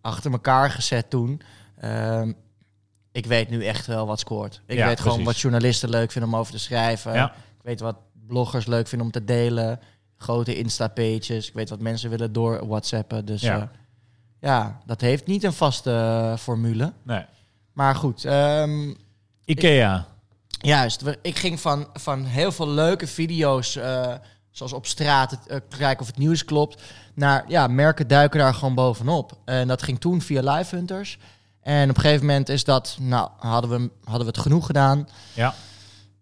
Speaker 2: achter elkaar gezet toen. Ehm, ik weet nu echt wel wat scoort. Ik
Speaker 1: Ja,
Speaker 2: weet gewoon
Speaker 1: precies.
Speaker 2: wat journalisten leuk vinden om over te schrijven.
Speaker 1: Ja.
Speaker 2: Ik weet wat bloggers leuk vinden om te delen. Grote Insta-pages. Ik weet wat mensen willen door WhatsAppen. Dus
Speaker 1: Ja.
Speaker 2: ja, ja dat heeft niet een vaste eh, formule.
Speaker 1: Nee.
Speaker 2: Maar goed, ehm,
Speaker 1: Ikea.
Speaker 2: Juist, we- ik ging van, van heel veel leuke video's, eh, zoals op straat, het, eh, kijken of het nieuws klopt, naar ja, merken duiken daar gewoon bovenop. En dat ging toen via Live Hunters. En op een gegeven moment is dat, nou, hadden we, hadden we het genoeg gedaan.
Speaker 1: Ja.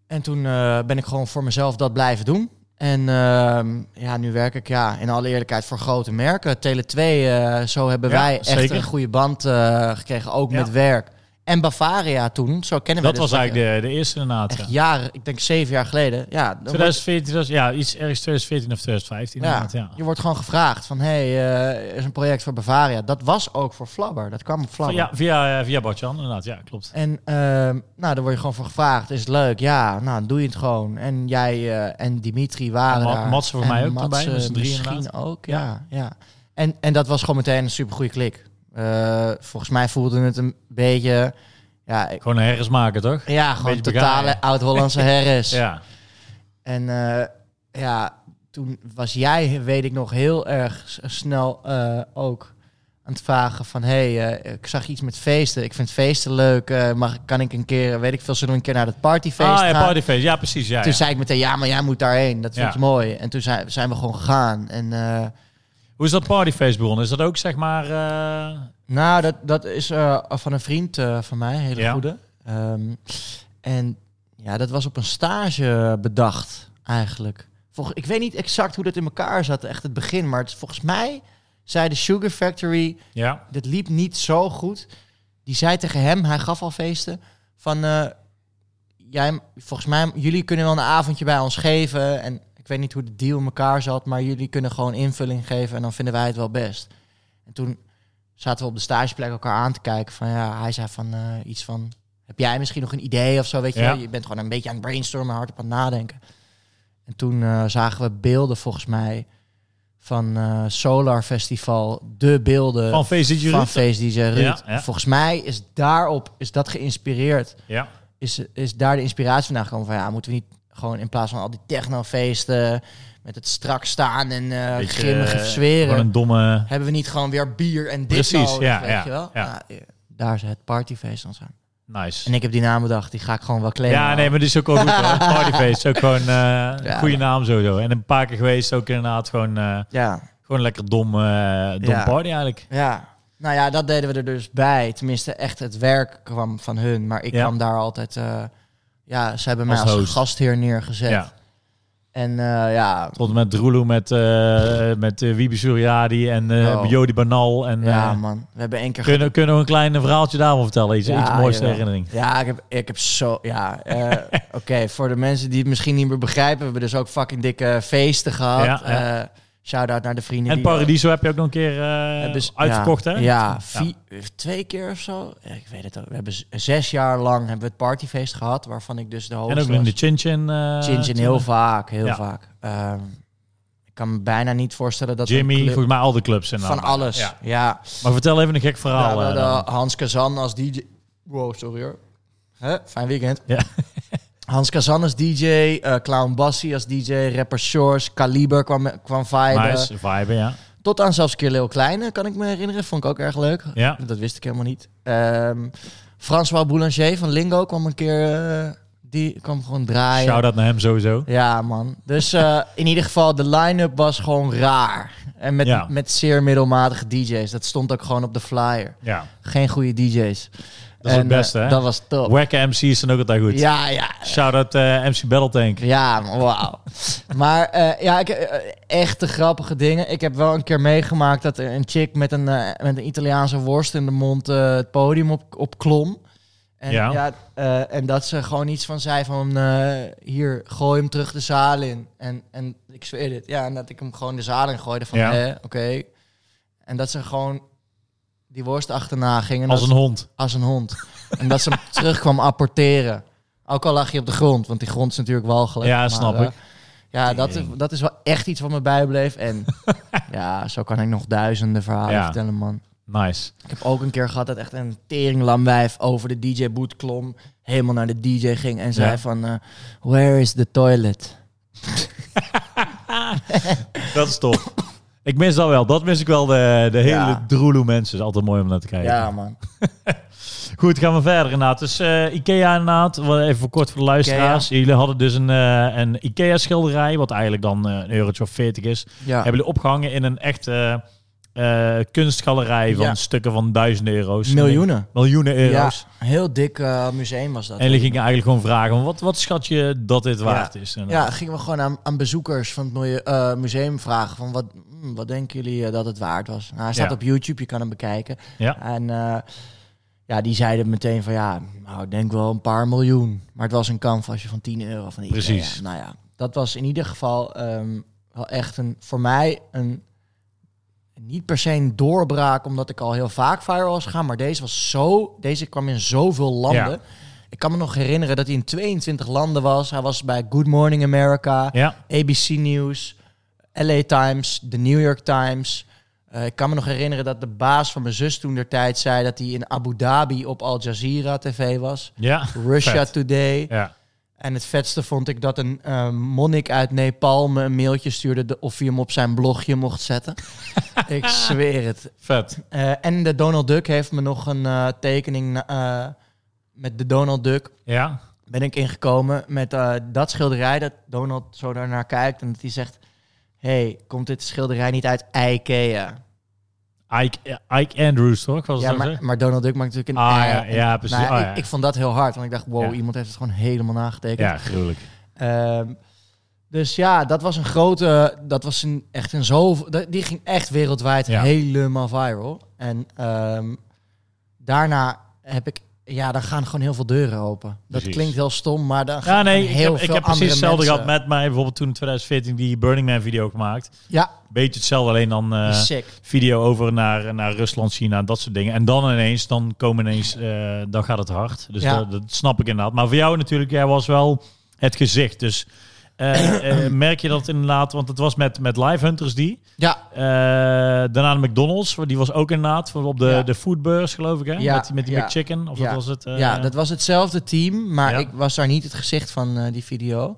Speaker 2: En toen eh, ben ik gewoon voor mezelf dat blijven doen. En ehm, ja, nu werk ik ja, in alle eerlijkheid voor grote merken. Tele2, eh, zo hebben
Speaker 1: Ja,
Speaker 2: wij echt
Speaker 1: zeker.
Speaker 2: een goede band eh, gekregen, ook
Speaker 1: Ja.
Speaker 2: met werk. En Bavaria toen, zo kennen dus we
Speaker 1: Dat was eigenlijk de, de eerste inderdaad. ja.
Speaker 2: Echt jaren, ik denk zeven jaar geleden. Ja, dan word-
Speaker 1: 2014, was- ja, iets ergens 2014 of 2015
Speaker 2: ja,
Speaker 1: inderdaad, ja.
Speaker 2: je wordt gewoon gevraagd van, hey, eh, er is een project voor Bavaria. Dat was ook voor Flabber, dat kwam op Flabber.
Speaker 1: Ja, via, eh, via Bartjan inderdaad, ja, klopt.
Speaker 2: En ehm, nou, daar word je gewoon voor gevraagd. Is het leuk? Ja, nou, dan doe je het gewoon. En jij eh, en Dimitri waren
Speaker 1: En Ma-
Speaker 2: daar.
Speaker 1: Matze voor
Speaker 2: En
Speaker 1: mij ook erbij,
Speaker 2: Matze
Speaker 1: met z'n drieën
Speaker 2: misschien
Speaker 1: inderdaad.
Speaker 2: ook, ja. ja. En, en dat was gewoon meteen een supergoeie klik. Eh, volgens mij voelde het een beetje... Ja, ik-
Speaker 1: Gewoon een herres maken, toch?
Speaker 2: ja gewoon
Speaker 1: Beetje
Speaker 2: totale
Speaker 1: begaaien.
Speaker 2: oud-Hollandse
Speaker 1: [LAUGHS]
Speaker 2: herres.
Speaker 1: Ja,
Speaker 2: En eh, ja, toen was jij, weet ik nog, heel erg s- snel eh, ook aan het vragen van... hé, hey, eh, ik zag iets met feesten. Ik vind feesten leuk. eh, mag, kan ik een keer, weet ik veel, zullen we een keer naar dat partyfeest
Speaker 1: ah,
Speaker 2: gaan?
Speaker 1: ja, partyfeest, ja, precies, ja.
Speaker 2: Toen
Speaker 1: ja.
Speaker 2: zei ik meteen, ja, maar jij moet daarheen. Dat vind
Speaker 1: Ja.
Speaker 2: ik mooi. En toen zijn, zijn we gewoon gegaan. En eh,
Speaker 1: Hoe is dat partyfeest begonnen? Is dat ook, zeg maar... eh,
Speaker 2: nou, dat, dat is eh, van een vriend eh, van mij, een hele
Speaker 1: Ja.
Speaker 2: goede. Ehm, en ja, dat was op een stage bedacht eigenlijk. Volg, ik weet niet exact hoe dat in elkaar zat, echt het begin. Maar het, volgens mij zei de Sugar Factory,
Speaker 1: ja,
Speaker 2: dit liep niet zo goed. Die zei tegen hem, hij gaf al feesten, van eh, jij, volgens mij, jullie kunnen wel een avondje bij ons geven. En ik weet niet hoe de deal in elkaar zat, maar jullie kunnen gewoon invulling geven en dan vinden wij het wel best. En toen zaten we op de stageplek elkaar aan te kijken van ja, hij zei van eh, iets van, heb jij misschien nog een idee of zo, weet je
Speaker 1: Ja.
Speaker 2: wel? Je bent gewoon een beetje aan het brainstormen, hard op aan het nadenken. En toen eh, zagen we beelden volgens mij van eh, Solar Festival, de beelden
Speaker 1: van feest dat je
Speaker 2: Eh, van
Speaker 1: roept?
Speaker 2: Face DJ Ruud.
Speaker 1: Ja, ja.
Speaker 2: Volgens mij is daarop, is dat geïnspireerd,
Speaker 1: Ja,
Speaker 2: is, is daar de inspiratie vandaan gekomen van ja, moeten we niet gewoon in plaats van al die technofeesten met het strak staan en eh
Speaker 1: Beetje,
Speaker 2: grimmige
Speaker 1: eh,
Speaker 2: zweren,
Speaker 1: gewoon een domme...
Speaker 2: hebben we niet gewoon weer bier en dit
Speaker 1: Precies,
Speaker 2: nodig,
Speaker 1: ja,
Speaker 2: weet
Speaker 1: ja,
Speaker 2: je wel?
Speaker 1: ja.
Speaker 2: Nou, eh, daar is het partyfeest dan aan.
Speaker 1: Nice.
Speaker 2: En ik heb die naam bedacht, die ga ik gewoon wel claimen.
Speaker 1: Ja, nee, maar dit is ook wel goed hoor.
Speaker 2: [LAUGHS]
Speaker 1: Partyface, ook gewoon eh, een goede naam sowieso. En een paar keer geweest ook inderdaad gewoon, eh,
Speaker 2: Ja,
Speaker 1: gewoon lekker dom, eh, dom
Speaker 2: Ja.
Speaker 1: party eigenlijk.
Speaker 2: ja. Nou ja, dat deden we er dus bij. Tenminste, echt het werk kwam van hun. Maar ik
Speaker 1: Ja.
Speaker 2: kwam daar altijd... eh, ja, ze hebben mij
Speaker 1: Als
Speaker 2: als,
Speaker 1: host.
Speaker 2: gastheer neergezet.
Speaker 1: Ja.
Speaker 2: En eh, ja,
Speaker 1: Tot en met Droeloe, met, eh met eh, Wiebe Suriadi en eh
Speaker 2: Oh.
Speaker 1: Jody Banal. En,
Speaker 2: ja
Speaker 1: eh
Speaker 2: man, we hebben één keer... ge-
Speaker 1: kunnen, kunnen we een klein verhaaltje daarvan vertellen? Iets,
Speaker 2: Ja,
Speaker 1: iets moois ter
Speaker 2: jawel.
Speaker 1: herinnering.
Speaker 2: Ja, ik heb, ik heb zo... Ja, eh,
Speaker 1: [LAUGHS]
Speaker 2: oké, voor de mensen die het misschien niet meer begrijpen... We hebben dus ook fucking dikke feesten gehad.
Speaker 1: Ja, ja.
Speaker 2: Eh, Shout-out naar de vrienden
Speaker 1: En
Speaker 2: die... eh,
Speaker 1: Paradiso heb je ook nog een keer eh,
Speaker 2: Hebben ze-
Speaker 1: uitverkocht,
Speaker 2: ja,
Speaker 1: hè?
Speaker 2: Ja, vi- twee keer of zo. Ja, Ik weet het ook. We hebben z- zes jaar lang hebben we het partyfeest gehad, waarvan ik dus de hoogste
Speaker 1: En ook nog in de
Speaker 2: was.
Speaker 1: Chin Chin. eh,
Speaker 2: Chin Chin heel vaak, heel
Speaker 1: Ja.
Speaker 2: vaak. Ehm, ik kan me bijna niet voorstellen dat... een
Speaker 1: Jimmy,
Speaker 2: club-
Speaker 1: volgens mij al de clubs. en
Speaker 2: van alles,
Speaker 1: Ja.
Speaker 2: ja.
Speaker 1: Maar vertel even een gek verhaal.
Speaker 2: Ja, we
Speaker 1: eh,
Speaker 2: hadden
Speaker 1: dan.
Speaker 2: Hans Kazan als DJ. Wow, sorry hoor. Hè? Fijn weekend.
Speaker 1: Ja.
Speaker 2: [LAUGHS] Hans Kazan als DJ, eh, Clown Bassie als DJ, rapper Shores, Kaliber kwam, kwam viben.
Speaker 1: nice, vibe, ja.
Speaker 2: Tot aan zelfs een keer Leo Kleine, kan ik me herinneren. Vond ik ook erg leuk.
Speaker 1: Ja.
Speaker 2: Dat wist ik helemaal niet. Ehm, François Boulanger van Lingo kwam een keer... eh, die kwam gewoon draaien.
Speaker 1: Shout-out naar hem sowieso.
Speaker 2: Ja, man.
Speaker 1: [LAUGHS]
Speaker 2: Dus eh, in ieder geval, de line-up was gewoon raar. En met,
Speaker 1: Ja.
Speaker 2: met zeer middelmatige DJ's. Dat stond ook gewoon op de flyer.
Speaker 1: Ja.
Speaker 2: Geen goede DJ's.
Speaker 1: Dat is het
Speaker 2: En, eh,
Speaker 1: beste, hè?
Speaker 2: Dat was top.
Speaker 1: Wacke MC's zijn ook altijd goed.
Speaker 2: Ja, ja.
Speaker 1: Shout-out eh, MC Battletank.
Speaker 2: Ja, man, wauw. maar eh, ja, ik, eh, echt de grappige dingen. Ik heb wel een keer meegemaakt dat er een chick met een, eh, met een Italiaanse worst in de mond eh, het podium op, op klom. En,
Speaker 1: Ja.
Speaker 2: ja. eh, en dat ze gewoon iets van zei van, eh, hier, gooi hem terug de zaal in. En, en ik zweer dit. Ja, en dat ik hem gewoon de zaal in gooide van,
Speaker 1: Ja.
Speaker 2: eh, oké. En dat ze gewoon die worst achterna ging. En
Speaker 1: Als
Speaker 2: dat
Speaker 1: een hond.
Speaker 2: als een hond. En
Speaker 1: [LAUGHS]
Speaker 2: dat ze hem terug kwam apporteren. Ook al lag je op de grond, want die grond is natuurlijk walgelijk.
Speaker 1: Ja, snap
Speaker 2: eh,
Speaker 1: ik.
Speaker 2: ja, dat is,
Speaker 1: Tering.
Speaker 2: dat is wel echt iets wat me
Speaker 1: [LAUGHS]
Speaker 2: bijbleef. En ja, zo kan ik nog duizenden verhalen
Speaker 1: Ja.
Speaker 2: vertellen, man.
Speaker 1: Nice.
Speaker 2: Ik heb ook een keer gehad dat echt een teringlamwijf over de DJ-boot klom. Helemaal naar de DJ ging en zei
Speaker 1: Ja.
Speaker 2: van... eh, Where is the toilet?
Speaker 1: Dat is top. ik mis dat wel. Dat mis ik wel. De, de hele
Speaker 2: Ja.
Speaker 1: droeloe mensen. is altijd mooi om naar te
Speaker 2: Ja,
Speaker 1: kijken.
Speaker 2: man.
Speaker 1: Goed, gaan we verder inderdaad. Dus eh, Ikea inderdaad, wel even voor kort voor de luisteraars. Jullie hadden dus een, eh, een Ikea schilderij, wat eigenlijk dan eh, een eurotje of 40 is.
Speaker 2: Ja.
Speaker 1: Hebben jullie opgehangen in een echte eh, eh, kunstgalerij van
Speaker 2: Ja.
Speaker 1: stukken van duizenden euro's.
Speaker 2: Miljoenen.
Speaker 1: Miljoenen
Speaker 2: Ja,
Speaker 1: euro's.
Speaker 2: heel dik eh, museum was dat.
Speaker 1: En jullie gingen eigenlijk gewoon vragen, wat, wat schat je dat dit waard is?
Speaker 2: Ja,
Speaker 1: inderdaad?
Speaker 2: gingen we gewoon aan, aan bezoekers van het milieu- eh, museum vragen van wat, hmm, wat denken jullie eh, dat het waard was? Nou, hij staat
Speaker 1: Ja.
Speaker 2: op YouTube, je kan hem bekijken.
Speaker 1: Ja.
Speaker 2: En eh, ja, die zeiden meteen van ja, nou ik denk wel een paar miljoen. Maar het was een canvasje van 10 euro van de Ikea.
Speaker 1: Precies.
Speaker 2: Nou ja, dat was in ieder geval ehm, wel echt een, voor mij een, niet per se een doorbraak, omdat ik al heel vaak viral was gegaan. Maar deze was zo, deze kwam in zoveel landen.
Speaker 1: Ja.
Speaker 2: Ik kan me nog herinneren dat hij in 22 landen was. Hij was bij Good Morning America,
Speaker 1: Ja.
Speaker 2: ABC News, LA Times, The New York Times. Eh, ik kan me nog herinneren dat de baas van mijn zus toen der tijd zei dat hij in Abu Dhabi op Al Jazeera TV was.
Speaker 1: Ja.
Speaker 2: Russia
Speaker 1: Vet.
Speaker 2: Today.
Speaker 1: Ja.
Speaker 2: En het vetste vond ik dat een eh, monnik uit Nepal me een mailtje stuurde de- of hij hem op zijn blogje mocht
Speaker 1: [LAUGHS]
Speaker 2: zetten. ik zweer het.
Speaker 1: Vet.
Speaker 2: Eh, en de Donald Duck heeft me nog een eh, tekening eh, met de Donald Duck
Speaker 1: Ja.
Speaker 2: ben ik ingekomen met eh, dat schilderij dat Donald zo daarnaar kijkt en dat hij zegt: hey, komt dit schilderij niet uit IKEA?
Speaker 1: Ike, Ike Andrews, toch? Was
Speaker 2: Ja,
Speaker 1: het
Speaker 2: maar,
Speaker 1: zo?
Speaker 2: maar Donald Duck maakt natuurlijk een
Speaker 1: Ah,
Speaker 2: ei.
Speaker 1: ja,
Speaker 2: En-
Speaker 1: ja, precies.
Speaker 2: nou ja,
Speaker 1: Ah,
Speaker 2: ik,
Speaker 1: ja.
Speaker 2: ik vond dat heel hard, want ik dacht: wow,
Speaker 1: Ja.
Speaker 2: iemand heeft het gewoon helemaal nagetekend.
Speaker 1: ja, gruwelijk.
Speaker 2: Ehm, dus ja, dat was een grote. Dat was een, echt een zo. Die ging echt wereldwijd
Speaker 1: Ja.
Speaker 2: helemaal viral. En ehm, daarna heb ik. Ja, dan gaan gewoon heel veel deuren open. Dat
Speaker 1: Precies.
Speaker 2: klinkt heel stom, maar dan gaan
Speaker 1: Ja, nee, ik
Speaker 2: heel
Speaker 1: heb, ik
Speaker 2: veel
Speaker 1: heb precies
Speaker 2: andere
Speaker 1: hetzelfde
Speaker 2: mensen.
Speaker 1: gehad met mij. Bijvoorbeeld toen in 2014 die Burning Man video gemaakt.
Speaker 2: Ja,
Speaker 1: Beetje hetzelfde, alleen dan eh,
Speaker 2: die is sick.
Speaker 1: video over naar, naar Rusland, China, dat soort dingen. En dan ineens, dan komen ineens, eh, dan gaat het hard. Dus
Speaker 2: Ja.
Speaker 1: dat, dat snap ik inderdaad. Maar voor jou natuurlijk, jij was wel het gezicht. Dus
Speaker 2: [COUGHS]
Speaker 1: eh, eh, merk je dat inderdaad, want het was met, met Live Hunters die.
Speaker 2: Ja,
Speaker 1: Eh, daarna de McDonald's, die was ook inderdaad voor op de,
Speaker 2: Ja.
Speaker 1: de foodbeurs geloof ik hè?
Speaker 2: Ja,
Speaker 1: Met, die- met die
Speaker 2: ja.
Speaker 1: McChicken, of
Speaker 2: Ja.
Speaker 1: dat was het? eh,
Speaker 2: ja, dat was hetzelfde team, maar
Speaker 1: Ja.
Speaker 2: ik was daar niet het gezicht van eh, die video.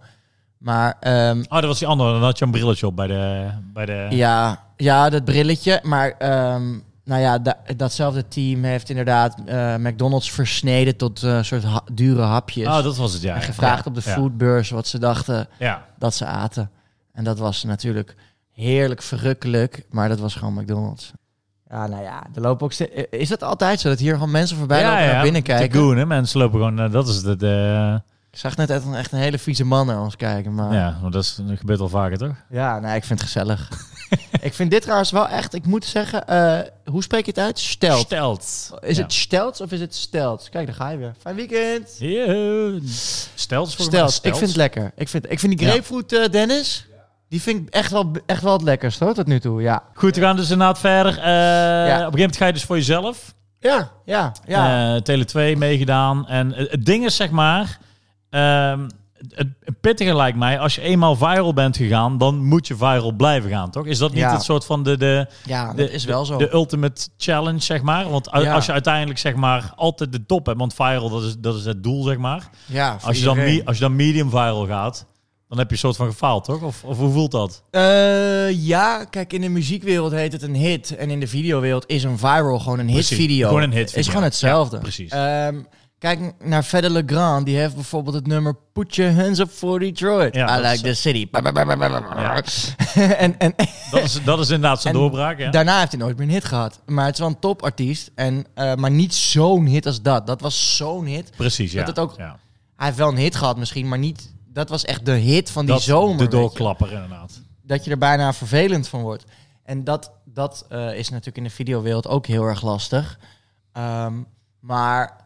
Speaker 2: Maar ehm,
Speaker 1: Oh, dat was die andere. Dan had je een brilletje op bij de... Bij de...
Speaker 2: ja, ja, dat brilletje. Maar ehm, Nou ja, da- datzelfde team heeft inderdaad eh, McDonald's versneden tot eh, soort ha- dure hapjes.
Speaker 1: Oh, dat was het, ja.
Speaker 2: en gevraagd
Speaker 1: Ja.
Speaker 2: op de
Speaker 1: Ja.
Speaker 2: foodbeurs wat ze dachten
Speaker 1: Ja.
Speaker 2: dat ze aten. En dat was natuurlijk heerlijk verrukkelijk, maar dat was gewoon McDonald's. Ja, nou ja, er lopen ook ste- Is dat altijd zo, dat hier gewoon mensen voorbij
Speaker 1: ja,
Speaker 2: lopen en naar binnen kijken?
Speaker 1: Te goen, hè. Mensen lopen gewoon... eh, dat is het... eh,
Speaker 2: Ik zag net echt een, echt een hele vieze man naar ons kijken, maar...
Speaker 1: Ja, want dat, is, dat gebeurt al vaker, toch?
Speaker 2: Ja, nee, ik vind het gezellig. [LAUGHS] ik vind dit trouwens wel echt, ik moet zeggen, eh, hoe spreek je het uit? Stelt.
Speaker 1: Stelt.
Speaker 2: Is
Speaker 1: Ja.
Speaker 2: het stelts of is het stelt? Kijk, daar ga je weer. Fijn weekend.
Speaker 1: Yeah. Stelt is volgens mij
Speaker 2: Stelt. Ik
Speaker 1: stelt.
Speaker 2: vind het lekker. Ik vind, ik vind die grapefruit, eh, Dennis, die vind ik echt wel, echt wel het lekkerst hoor, tot nu toe. Ja.
Speaker 1: Goed, we gaan dus inderdaad verder. Eh, Op een gegeven moment ga je dus voor jezelf.
Speaker 2: Ja, ja, ja.
Speaker 1: eh Tele 2 meegedaan. En eh, het ding is, zeg maar... ehm, het het pittige lijkt mij, als je eenmaal viral bent gegaan, dan moet je viral blijven gaan, toch? Is dat niet
Speaker 2: Ja.
Speaker 1: het soort van de, de,
Speaker 2: ja, dat
Speaker 1: de-
Speaker 2: is wel zo.
Speaker 1: de ultimate challenge, zeg maar? Want u-
Speaker 2: Ja.
Speaker 1: als je uiteindelijk, zeg maar, altijd de top hebt, want viral, dat is, dat is het doel, zeg maar.
Speaker 2: ja, voor
Speaker 1: Als je, dan,
Speaker 2: iedereen.
Speaker 1: me- als je dan medium viral gaat, dan heb je een soort van gefaald, toch? Of, of hoe voelt dat?
Speaker 2: Eh, ja, kijk, in de muziekwereld heet het een hit. En in de videowereld is een viral gewoon een
Speaker 1: Precies,
Speaker 2: hitvideo.
Speaker 1: gewoon een hitvideo.
Speaker 2: Is gewoon hetzelfde.
Speaker 1: Ja, precies.
Speaker 2: Ehm, kijk n- naar Fede Legrand. Die heeft bijvoorbeeld het nummer Put Your Hands Up for Detroit.
Speaker 1: Ja,
Speaker 2: I
Speaker 1: dat
Speaker 2: like the city.
Speaker 1: Ja.
Speaker 2: [LAUGHS] en en
Speaker 1: Dat is, dat is inderdaad zijn
Speaker 2: En
Speaker 1: doorbraak, ja.
Speaker 2: daarna heeft hij nooit meer een hit gehad. Maar het is wel een topartiest. En, eh, maar niet zo'n hit als dat. Dat was zo'n hit.
Speaker 1: Precies, ja.
Speaker 2: dat het ook
Speaker 1: ja.
Speaker 2: Hij heeft wel een hit gehad misschien, maar niet... Dat was echt de hit van die
Speaker 1: dat,
Speaker 2: zomer.
Speaker 1: De
Speaker 2: weet je.
Speaker 1: doorklapper, inderdaad.
Speaker 2: dat je er bijna vervelend van wordt. En dat, dat eh, is natuurlijk in de videowereld ook heel erg lastig. Ehm, maar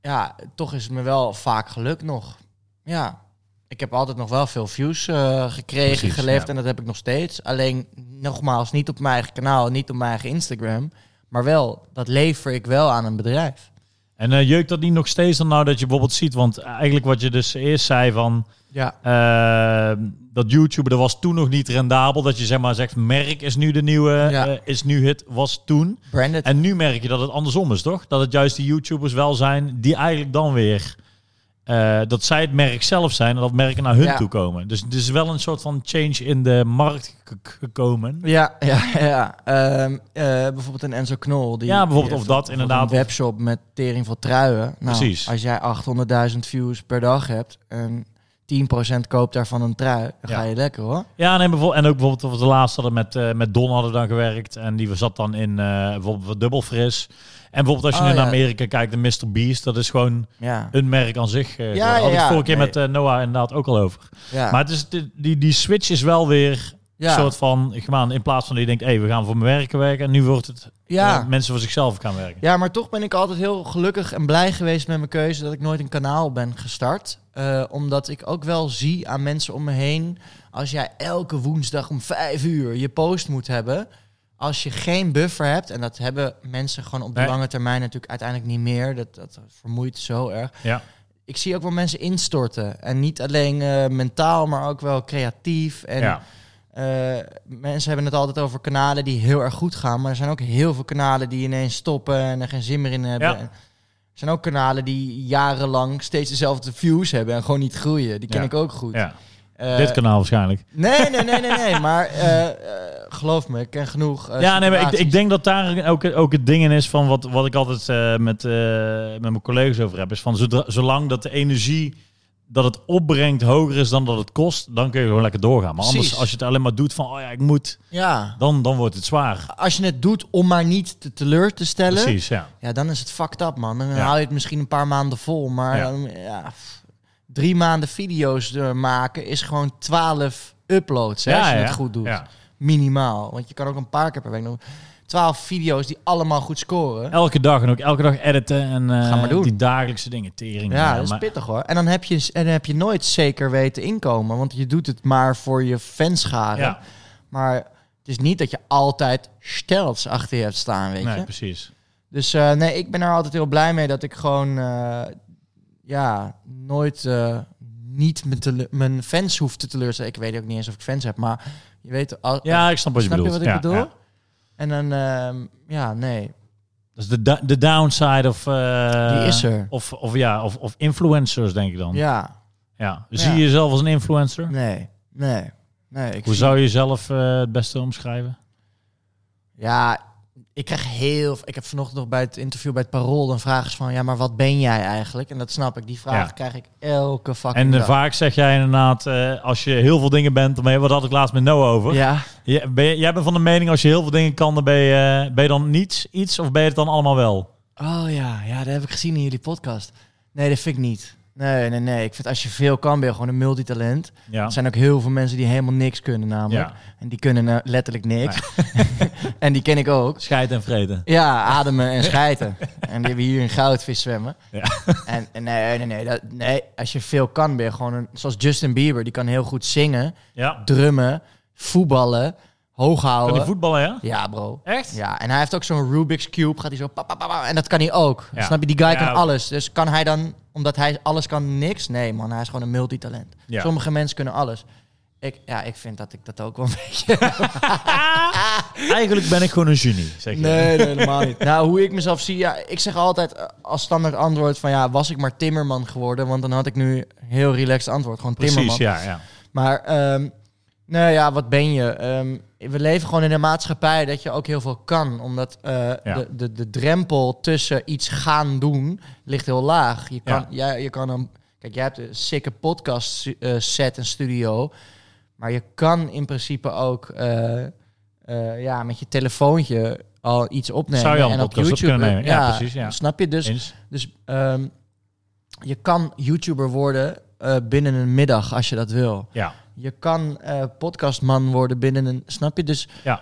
Speaker 2: ja, toch is het me wel vaak geluk nog. Ja, ik heb altijd nog wel veel views eh, gekregen,
Speaker 1: Precies,
Speaker 2: geleefd
Speaker 1: ja.
Speaker 2: en dat heb ik nog steeds. Alleen nogmaals, niet op mijn eigen kanaal, niet op mijn eigen Instagram. Maar wel, dat lever ik wel aan een bedrijf.
Speaker 1: En eh, jeukt dat niet nog steeds dan nou dat je bijvoorbeeld ziet? Want eigenlijk wat je dus eerst zei van...
Speaker 2: Ja,
Speaker 1: eh, dat YouTube, dat was toen nog niet rendabel. Dat je zeg maar zegt, merk is nu de nieuwe,
Speaker 2: Ja.
Speaker 1: eh, is nu het, was toen.
Speaker 2: branded.
Speaker 1: En nu merk je dat het andersom is, toch? Dat het juist de YouTubers wel zijn die eigenlijk dan weer... eh, dat zij het merk zelf zijn en dat merken naar hun
Speaker 2: Ja.
Speaker 1: toe komen. Dus het is wel een soort van change in de markt ge- gekomen.
Speaker 2: Ja, [LAUGHS] ja, ja. Ehm, eh, bijvoorbeeld een Enzo Knol. Die,
Speaker 1: Ja, bijvoorbeeld, of
Speaker 2: die heeft
Speaker 1: dat
Speaker 2: bijvoorbeeld
Speaker 1: inderdaad.
Speaker 2: Een webshop met tering van truien. Nou,
Speaker 1: Precies.
Speaker 2: Als jij 800.000 views per dag hebt en 10% koopt daarvan een trui, dan
Speaker 1: Ja.
Speaker 2: ga je lekker hoor.
Speaker 1: Ja, nee, bijvoorbeeld, en ook bijvoorbeeld wat we de laatste hadden met, eh, met Don hadden dan gewerkt. En die zat dan in eh bijvoorbeeld Dubbel Fris. En bijvoorbeeld als je
Speaker 2: Oh,
Speaker 1: naar
Speaker 2: ja.
Speaker 1: Amerika kijkt, de Mr. Beast, dat is gewoon
Speaker 2: Ja.
Speaker 1: een merk aan zich. eh
Speaker 2: Ja,
Speaker 1: daar had
Speaker 2: ja,
Speaker 1: ik
Speaker 2: ja,
Speaker 1: vorige keer
Speaker 2: nee.
Speaker 1: met eh, Noah inderdaad ook al over.
Speaker 2: ja.
Speaker 1: Maar het is, die, die, die switch is wel weer
Speaker 2: ja.
Speaker 1: een soort van gemaan. In plaats van dat je denkt, hé, we gaan voor mijn werken werken. En nu wordt het
Speaker 2: ja.
Speaker 1: eh, mensen voor zichzelf gaan werken.
Speaker 2: Ja, maar toch ben ik altijd heel gelukkig en blij geweest met mijn keuze dat ik nooit een kanaal ben gestart. Eh, omdat ik ook wel zie aan mensen om me heen, als jij elke woensdag om vijf uur je post moet hebben, als je geen buffer hebt, en dat hebben mensen gewoon op de
Speaker 1: Nee.
Speaker 2: lange termijn natuurlijk uiteindelijk niet meer, dat, dat vermoeit zo erg.
Speaker 1: Ja.
Speaker 2: Ik zie ook wel mensen instorten. En niet alleen eh, mentaal, maar ook wel creatief. En
Speaker 1: ja.
Speaker 2: eh, mensen hebben het altijd over kanalen die heel erg goed gaan. Maar er zijn ook heel veel kanalen die ineens stoppen en er geen zin meer in hebben.
Speaker 1: Ja.
Speaker 2: En er zijn ook kanalen die jarenlang steeds dezelfde views hebben en gewoon niet groeien. Die ken
Speaker 1: Ja.
Speaker 2: ik ook goed.
Speaker 1: ja.
Speaker 2: Eh,
Speaker 1: Dit kanaal waarschijnlijk.
Speaker 2: Nee, nee, nee, nee, nee. maar eh, eh, geloof me, ik ken genoeg. eh,
Speaker 1: Ja, nee, maar ik, ik
Speaker 2: situaties.
Speaker 1: denk dat daar ook, ook het ding in is van wat, wat ik altijd eh, met, eh, met mijn collega's over heb. Is van zodra- zolang dat de energie dat het opbrengt hoger is dan dat het kost, dan kun je gewoon lekker doorgaan. Maar anders,
Speaker 2: Precies.
Speaker 1: als je het alleen maar doet van, oh ja, ik moet,
Speaker 2: Ja,
Speaker 1: dan, dan wordt het zwaar.
Speaker 2: als je het doet om maar niet te teleur te stellen.
Speaker 1: Precies, ja.
Speaker 2: Ja, dan is het fucked up, man. Dan
Speaker 1: Ja.
Speaker 2: haal je het misschien een paar maanden vol. Maar
Speaker 1: Ja.
Speaker 2: dan, ja, pff, drie maanden video's eh, maken is gewoon twaalf uploads. Hè,
Speaker 1: ja,
Speaker 2: als je
Speaker 1: ja.
Speaker 2: het goed doet.
Speaker 1: Ja.
Speaker 2: Minimaal. Want je kan ook een paar keer per week doen. Twaalf video's die allemaal goed scoren.
Speaker 1: Elke dag en ook elke dag editen en eh,
Speaker 2: Ga maar doen.
Speaker 1: die dagelijkse dingen, tering.
Speaker 2: Ja, dat is
Speaker 1: maar,
Speaker 2: pittig hoor. En dan, heb je, en dan heb je nooit zeker weten inkomen. Want je doet het maar voor je fanscharen.
Speaker 1: ja,
Speaker 2: Maar het is niet dat je altijd stels achter je hebt staan, weet
Speaker 1: nee,
Speaker 2: je.
Speaker 1: precies.
Speaker 2: Dus eh, nee, ik ben er altijd heel blij mee dat ik gewoon eh, ja, nooit eh, niet mijn, tele- mijn fans hoef te teleurstellen. Ik weet ook niet eens of ik fans heb, maar je weet... Al,
Speaker 1: Ja, ik snap wat je
Speaker 2: snap je
Speaker 1: bedoelt.
Speaker 2: wat ik
Speaker 1: Ja,
Speaker 2: bedoel?
Speaker 1: ja.
Speaker 2: En dan, ehm, ja, nee.
Speaker 1: Dat is Dus de, da- de downside of... eh,
Speaker 2: Die is er.
Speaker 1: Of, of, ja, of, of influencers, denk ik dan.
Speaker 2: Ja,
Speaker 1: Ja. Dus
Speaker 2: Ja.
Speaker 1: Zie je jezelf als een influencer?
Speaker 2: nee, nee, nee.
Speaker 1: Hoe
Speaker 2: Ik zie-
Speaker 1: zou je jezelf eh, het beste omschrijven?
Speaker 2: Ja, ik krijg heel... Ik heb vanochtend nog bij het interview bij het Parool... dan vraag is van, ja, maar wat ben jij eigenlijk? En dat snap ik. Die vraag
Speaker 1: Ja.
Speaker 2: krijg ik elke fucking
Speaker 1: En eh,
Speaker 2: dag.
Speaker 1: vaak zeg jij inderdaad, eh, als je heel veel dingen bent, dan ben je, wat had ik laatst met Noah over.
Speaker 2: Ja,
Speaker 1: Je- ben je- jij bent van de mening, als je heel veel dingen kan, dan ben je, eh, ben je dan niets, iets, of ben je het dan allemaal wel?
Speaker 2: Oh ja, ja, dat heb ik gezien in jullie podcast. Nee, dat vind ik niet. Nee, nee, nee. Ik vind als je veel kan, ben je gewoon een multitalent.
Speaker 1: Ja.
Speaker 2: Er zijn ook heel veel mensen die helemaal niks kunnen namelijk.
Speaker 1: ja.
Speaker 2: En die kunnen eh, letterlijk niks. [LAUGHS] en die ken ik ook.
Speaker 1: Scheid en vrede.
Speaker 2: Ja, ademen en schijten. en die hebben hier een goudvis zwemmen.
Speaker 1: Ja.
Speaker 2: En, en nee, nee, nee, dat, nee. Als je veel kan, ben je gewoon een... Zoals Justin Bieber, die kan heel goed zingen,
Speaker 1: Ja.
Speaker 2: drummen, voetballen, hoog
Speaker 1: Kan die
Speaker 2: houden.
Speaker 1: voetballen, ja?
Speaker 2: Ja, bro.
Speaker 1: Echt?
Speaker 2: Ja, en hij heeft ook zo'n Rubik's Cube. Gaat hij zo. pa, pa, pa, pa, en dat kan hij ook.
Speaker 1: Ja.
Speaker 2: Snap je? Die guy
Speaker 1: Ja.
Speaker 2: kan alles. Dus kan hij dan, omdat hij alles kan, niks? Nee, man. Hij is gewoon een multitalent.
Speaker 1: Ja.
Speaker 2: Sommige mensen kunnen alles. Ik, ja, ik vind dat ik dat ook wel [LAUGHS] een beetje.
Speaker 1: Eigenlijk ben ik gewoon een genie, zeg je.
Speaker 2: helemaal niet. [LAUGHS] Nou, hoe ik mezelf zie, ja, ik zeg altijd eh, als standaard antwoord van ja, was ik maar Timmerman geworden, want dan had ik nu een heel relaxed antwoord. Gewoon
Speaker 1: Precies,
Speaker 2: Timmerman.
Speaker 1: ja, ja.
Speaker 2: Maar ehm nou ja, wat ben je? Ehm, we leven gewoon in een maatschappij dat je ook heel veel kan. Omdat eh, de, de, de drempel tussen iets gaan doen ligt heel laag. Je kan,
Speaker 1: Ja.
Speaker 2: jij, je kan een, kijk, jij hebt een sikke podcast stu- eh, set en studio. Maar je kan in principe ook eh, eh, ja, met je telefoontje al iets opnemen.
Speaker 1: Zou je al een
Speaker 2: en op
Speaker 1: podcast op
Speaker 2: YouTube,
Speaker 1: kunnen nemen? Ja,
Speaker 2: ja,
Speaker 1: precies, ja.
Speaker 2: Snap je? Dus
Speaker 1: Eens.
Speaker 2: dus ehm, je kan YouTuber worden eh, binnen een middag als je dat wil.
Speaker 1: Ja.
Speaker 2: Je kan eh, podcastman worden binnen een. Snap je? Dus
Speaker 1: Ja.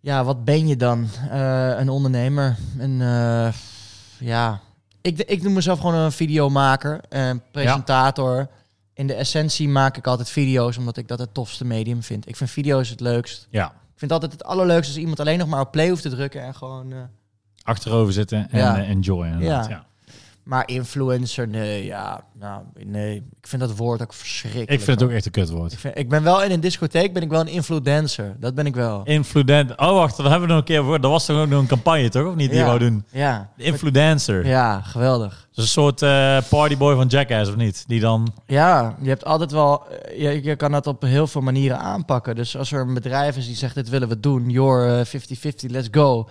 Speaker 2: ja wat ben je dan? Eh, een ondernemer. Een, eh, ja. Ik, ik noem mezelf gewoon een videomaker, een presentator. In de essentie maak ik altijd video's, omdat ik dat het tofste medium vind. Ik vind video's het leukst.
Speaker 1: Ja.
Speaker 2: Ik vind altijd het allerleukste als iemand alleen nog maar op play hoeft te drukken en gewoon. eh,
Speaker 1: Achterover zitten en
Speaker 2: Ja.
Speaker 1: eh, enjoy inderdaad,
Speaker 2: Ja.
Speaker 1: ja.
Speaker 2: Maar influencer, nee, ja. Nou, nee. Ik vind dat woord ook verschrikkelijk.
Speaker 1: Ik vind het ook
Speaker 2: hoor.
Speaker 1: echt een kutwoord.
Speaker 2: Ik, vind- ik ben wel in een discotheek, ben ik wel een influencer. Dat ben ik wel.
Speaker 1: Influent. Oh, wacht, dat hebben we nog een keer voor. Dat was toch ook nog een campagne, toch? Of niet? Die
Speaker 2: Ja.
Speaker 1: wou doen.
Speaker 2: Ja.
Speaker 1: De influencer.
Speaker 2: Ja, geweldig.
Speaker 1: Dat is een soort eh, partyboy van Jackass, of niet? Die dan...
Speaker 2: Ja, je hebt altijd wel... eh, Je, je kan dat op heel veel manieren aanpakken. Dus als er een bedrijf is die zegt, dit willen we doen. Your eh, 50-50, let's go.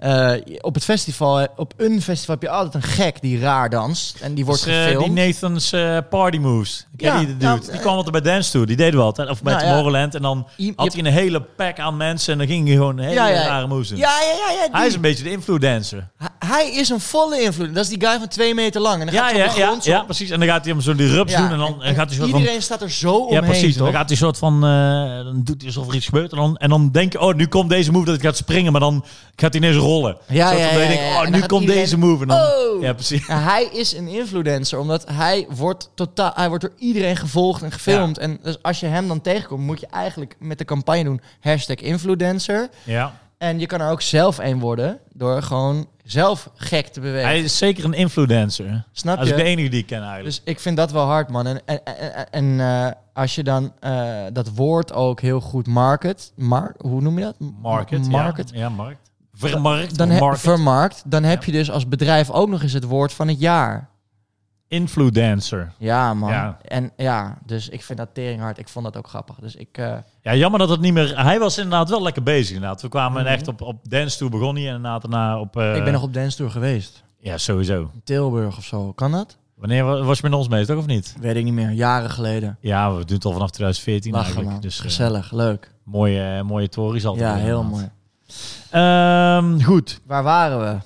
Speaker 2: Eh, je- op het festival, eh, op een festival heb je altijd een gek die raar danst. En die wordt
Speaker 1: Dus, eh,
Speaker 2: gefilmd.
Speaker 1: die Nathan's eh, party moves. Ik
Speaker 2: Ja,
Speaker 1: ken die, de dude.
Speaker 2: nou,
Speaker 1: die
Speaker 2: eh,
Speaker 1: kwam altijd bij Dance toe. Die deden we altijd. Of bij
Speaker 2: Nou, ja.
Speaker 1: Tomorrowland. En dan
Speaker 2: I- je
Speaker 1: had
Speaker 2: hebt-
Speaker 1: hij een hele pack aan mensen. En dan ging hij gewoon hele
Speaker 2: Ja, ja.
Speaker 1: rare moves doen.
Speaker 2: ja, ja, ja, ja. die.
Speaker 1: Hij is een beetje de influencer.
Speaker 2: Hij- Hij is een volle invloed. Dat is die guy van twee meter lang. En dan
Speaker 1: Ja,
Speaker 2: gaat hij
Speaker 1: ja,
Speaker 2: op de
Speaker 1: ja,
Speaker 2: grond zo.
Speaker 1: ja, precies. En dan gaat hij hem zo die rups
Speaker 2: Ja,
Speaker 1: doen. En dan en gaat hij zo van...
Speaker 2: Iedereen staat er zo omheen,
Speaker 1: Ja, precies.
Speaker 2: toch?
Speaker 1: Dan gaat hij soort van... eh, dan doet hij alsof er iets gebeurt. En dan, en dan denk je... Oh, nu komt deze move dat ik ga springen. Maar dan gaat hij ineens rollen.
Speaker 2: Ja,
Speaker 1: Soort
Speaker 2: ja,
Speaker 1: van dat je
Speaker 2: ja,
Speaker 1: denkt,
Speaker 2: ja, ja.
Speaker 1: Oh,
Speaker 2: En dan
Speaker 1: nu
Speaker 2: gaat
Speaker 1: komt
Speaker 2: iedereen-
Speaker 1: deze move. En dan,
Speaker 2: Oh!
Speaker 1: Ja, precies.
Speaker 2: Ja, hij is een influencer, omdat hij wordt, totaal, hij wordt door iedereen gevolgd en gefilmd. En dus als je hem dan tegenkomt, moet je eigenlijk met de campagne doen... hashtag influencer.
Speaker 1: Ja.
Speaker 2: En je kan er ook zelf een worden door gewoon zelf gek te bewegen.
Speaker 1: Hij is zeker een influencer.
Speaker 2: Snap
Speaker 1: Als ik de
Speaker 2: je?
Speaker 1: enige die ik ken eigenlijk.
Speaker 2: Dus ik vind dat wel hard, man. En, en, en, en- en eh, als je dan eh, dat woord ook heel goed market... Mar hoe noem je dat?
Speaker 1: Market.
Speaker 2: Market.
Speaker 1: Ja, ja markt. Vermarkt.
Speaker 2: Dan heb,
Speaker 1: market.
Speaker 2: vermarkt, dan heb
Speaker 1: Ja.
Speaker 2: je dus als bedrijf ook nog eens het woord van het jaar.
Speaker 1: Influencer.
Speaker 2: Ja, man.
Speaker 1: Ja.
Speaker 2: En ja, dus ik vind dat teringhard. Ik vond dat ook grappig. Dus ik... eh,
Speaker 1: Ja, jammer dat het niet meer... Hij was inderdaad wel lekker bezig inderdaad. We kwamen
Speaker 2: Mhm.
Speaker 1: echt op, op dance toe begon hij. En inderdaad daarna op... eh,
Speaker 2: ik ben nog op dance tour geweest.
Speaker 1: Ja, sowieso.
Speaker 2: In Tilburg of zo. Kan dat?
Speaker 1: Wanneer wa- was je met ons mee, toch of niet?
Speaker 2: Weet ik niet meer. Jaren geleden.
Speaker 1: Ja, we doen het al vanaf 2014
Speaker 2: Lachen,
Speaker 1: eigenlijk.
Speaker 2: man.
Speaker 1: Dus eh,
Speaker 2: Gezellig. Leuk.
Speaker 1: mooie, eh, mooie tories altijd.
Speaker 2: Ja,
Speaker 1: weer,
Speaker 2: heel
Speaker 1: inderdaad.
Speaker 2: mooi.
Speaker 1: Ehm, goed.
Speaker 2: Waar waren we?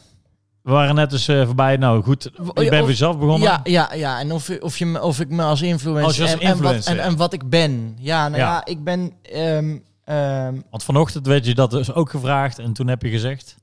Speaker 1: We waren net dus eh, voorbij. Nou, goed. Je
Speaker 2: oh,
Speaker 1: bent voor zelf begonnen.
Speaker 2: Ja, ja, ja. En of, je- of, je, me- of ik me als influencer...
Speaker 1: Oh, Als je als
Speaker 2: en, en wat-
Speaker 1: influencer,
Speaker 2: en,
Speaker 1: ja.
Speaker 2: en, wat ik ben. Ja, nou
Speaker 1: Ja.
Speaker 2: ja. ik ben... ehm, ehm,
Speaker 1: Want vanochtend werd je dat dus ook gevraagd. En toen heb je gezegd...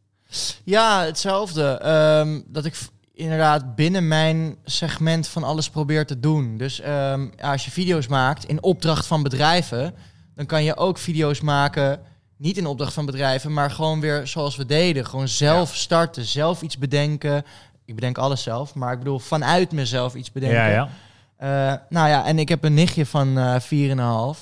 Speaker 2: ja, hetzelfde. Ehm, dat ik v- inderdaad binnen mijn segment van alles probeer te doen. Dus ehm, ja, als je video's maakt in opdracht van bedrijven, dan kan je ook video's maken. Niet in opdracht van bedrijven, maar gewoon weer zoals we deden. Gewoon zelf starten, zelf iets bedenken. Ik bedenk alles zelf, maar ik bedoel vanuit mezelf iets bedenken.
Speaker 1: Ja, ja.
Speaker 2: Eh, nou ja, en ik heb een nichtje van eh 4,5.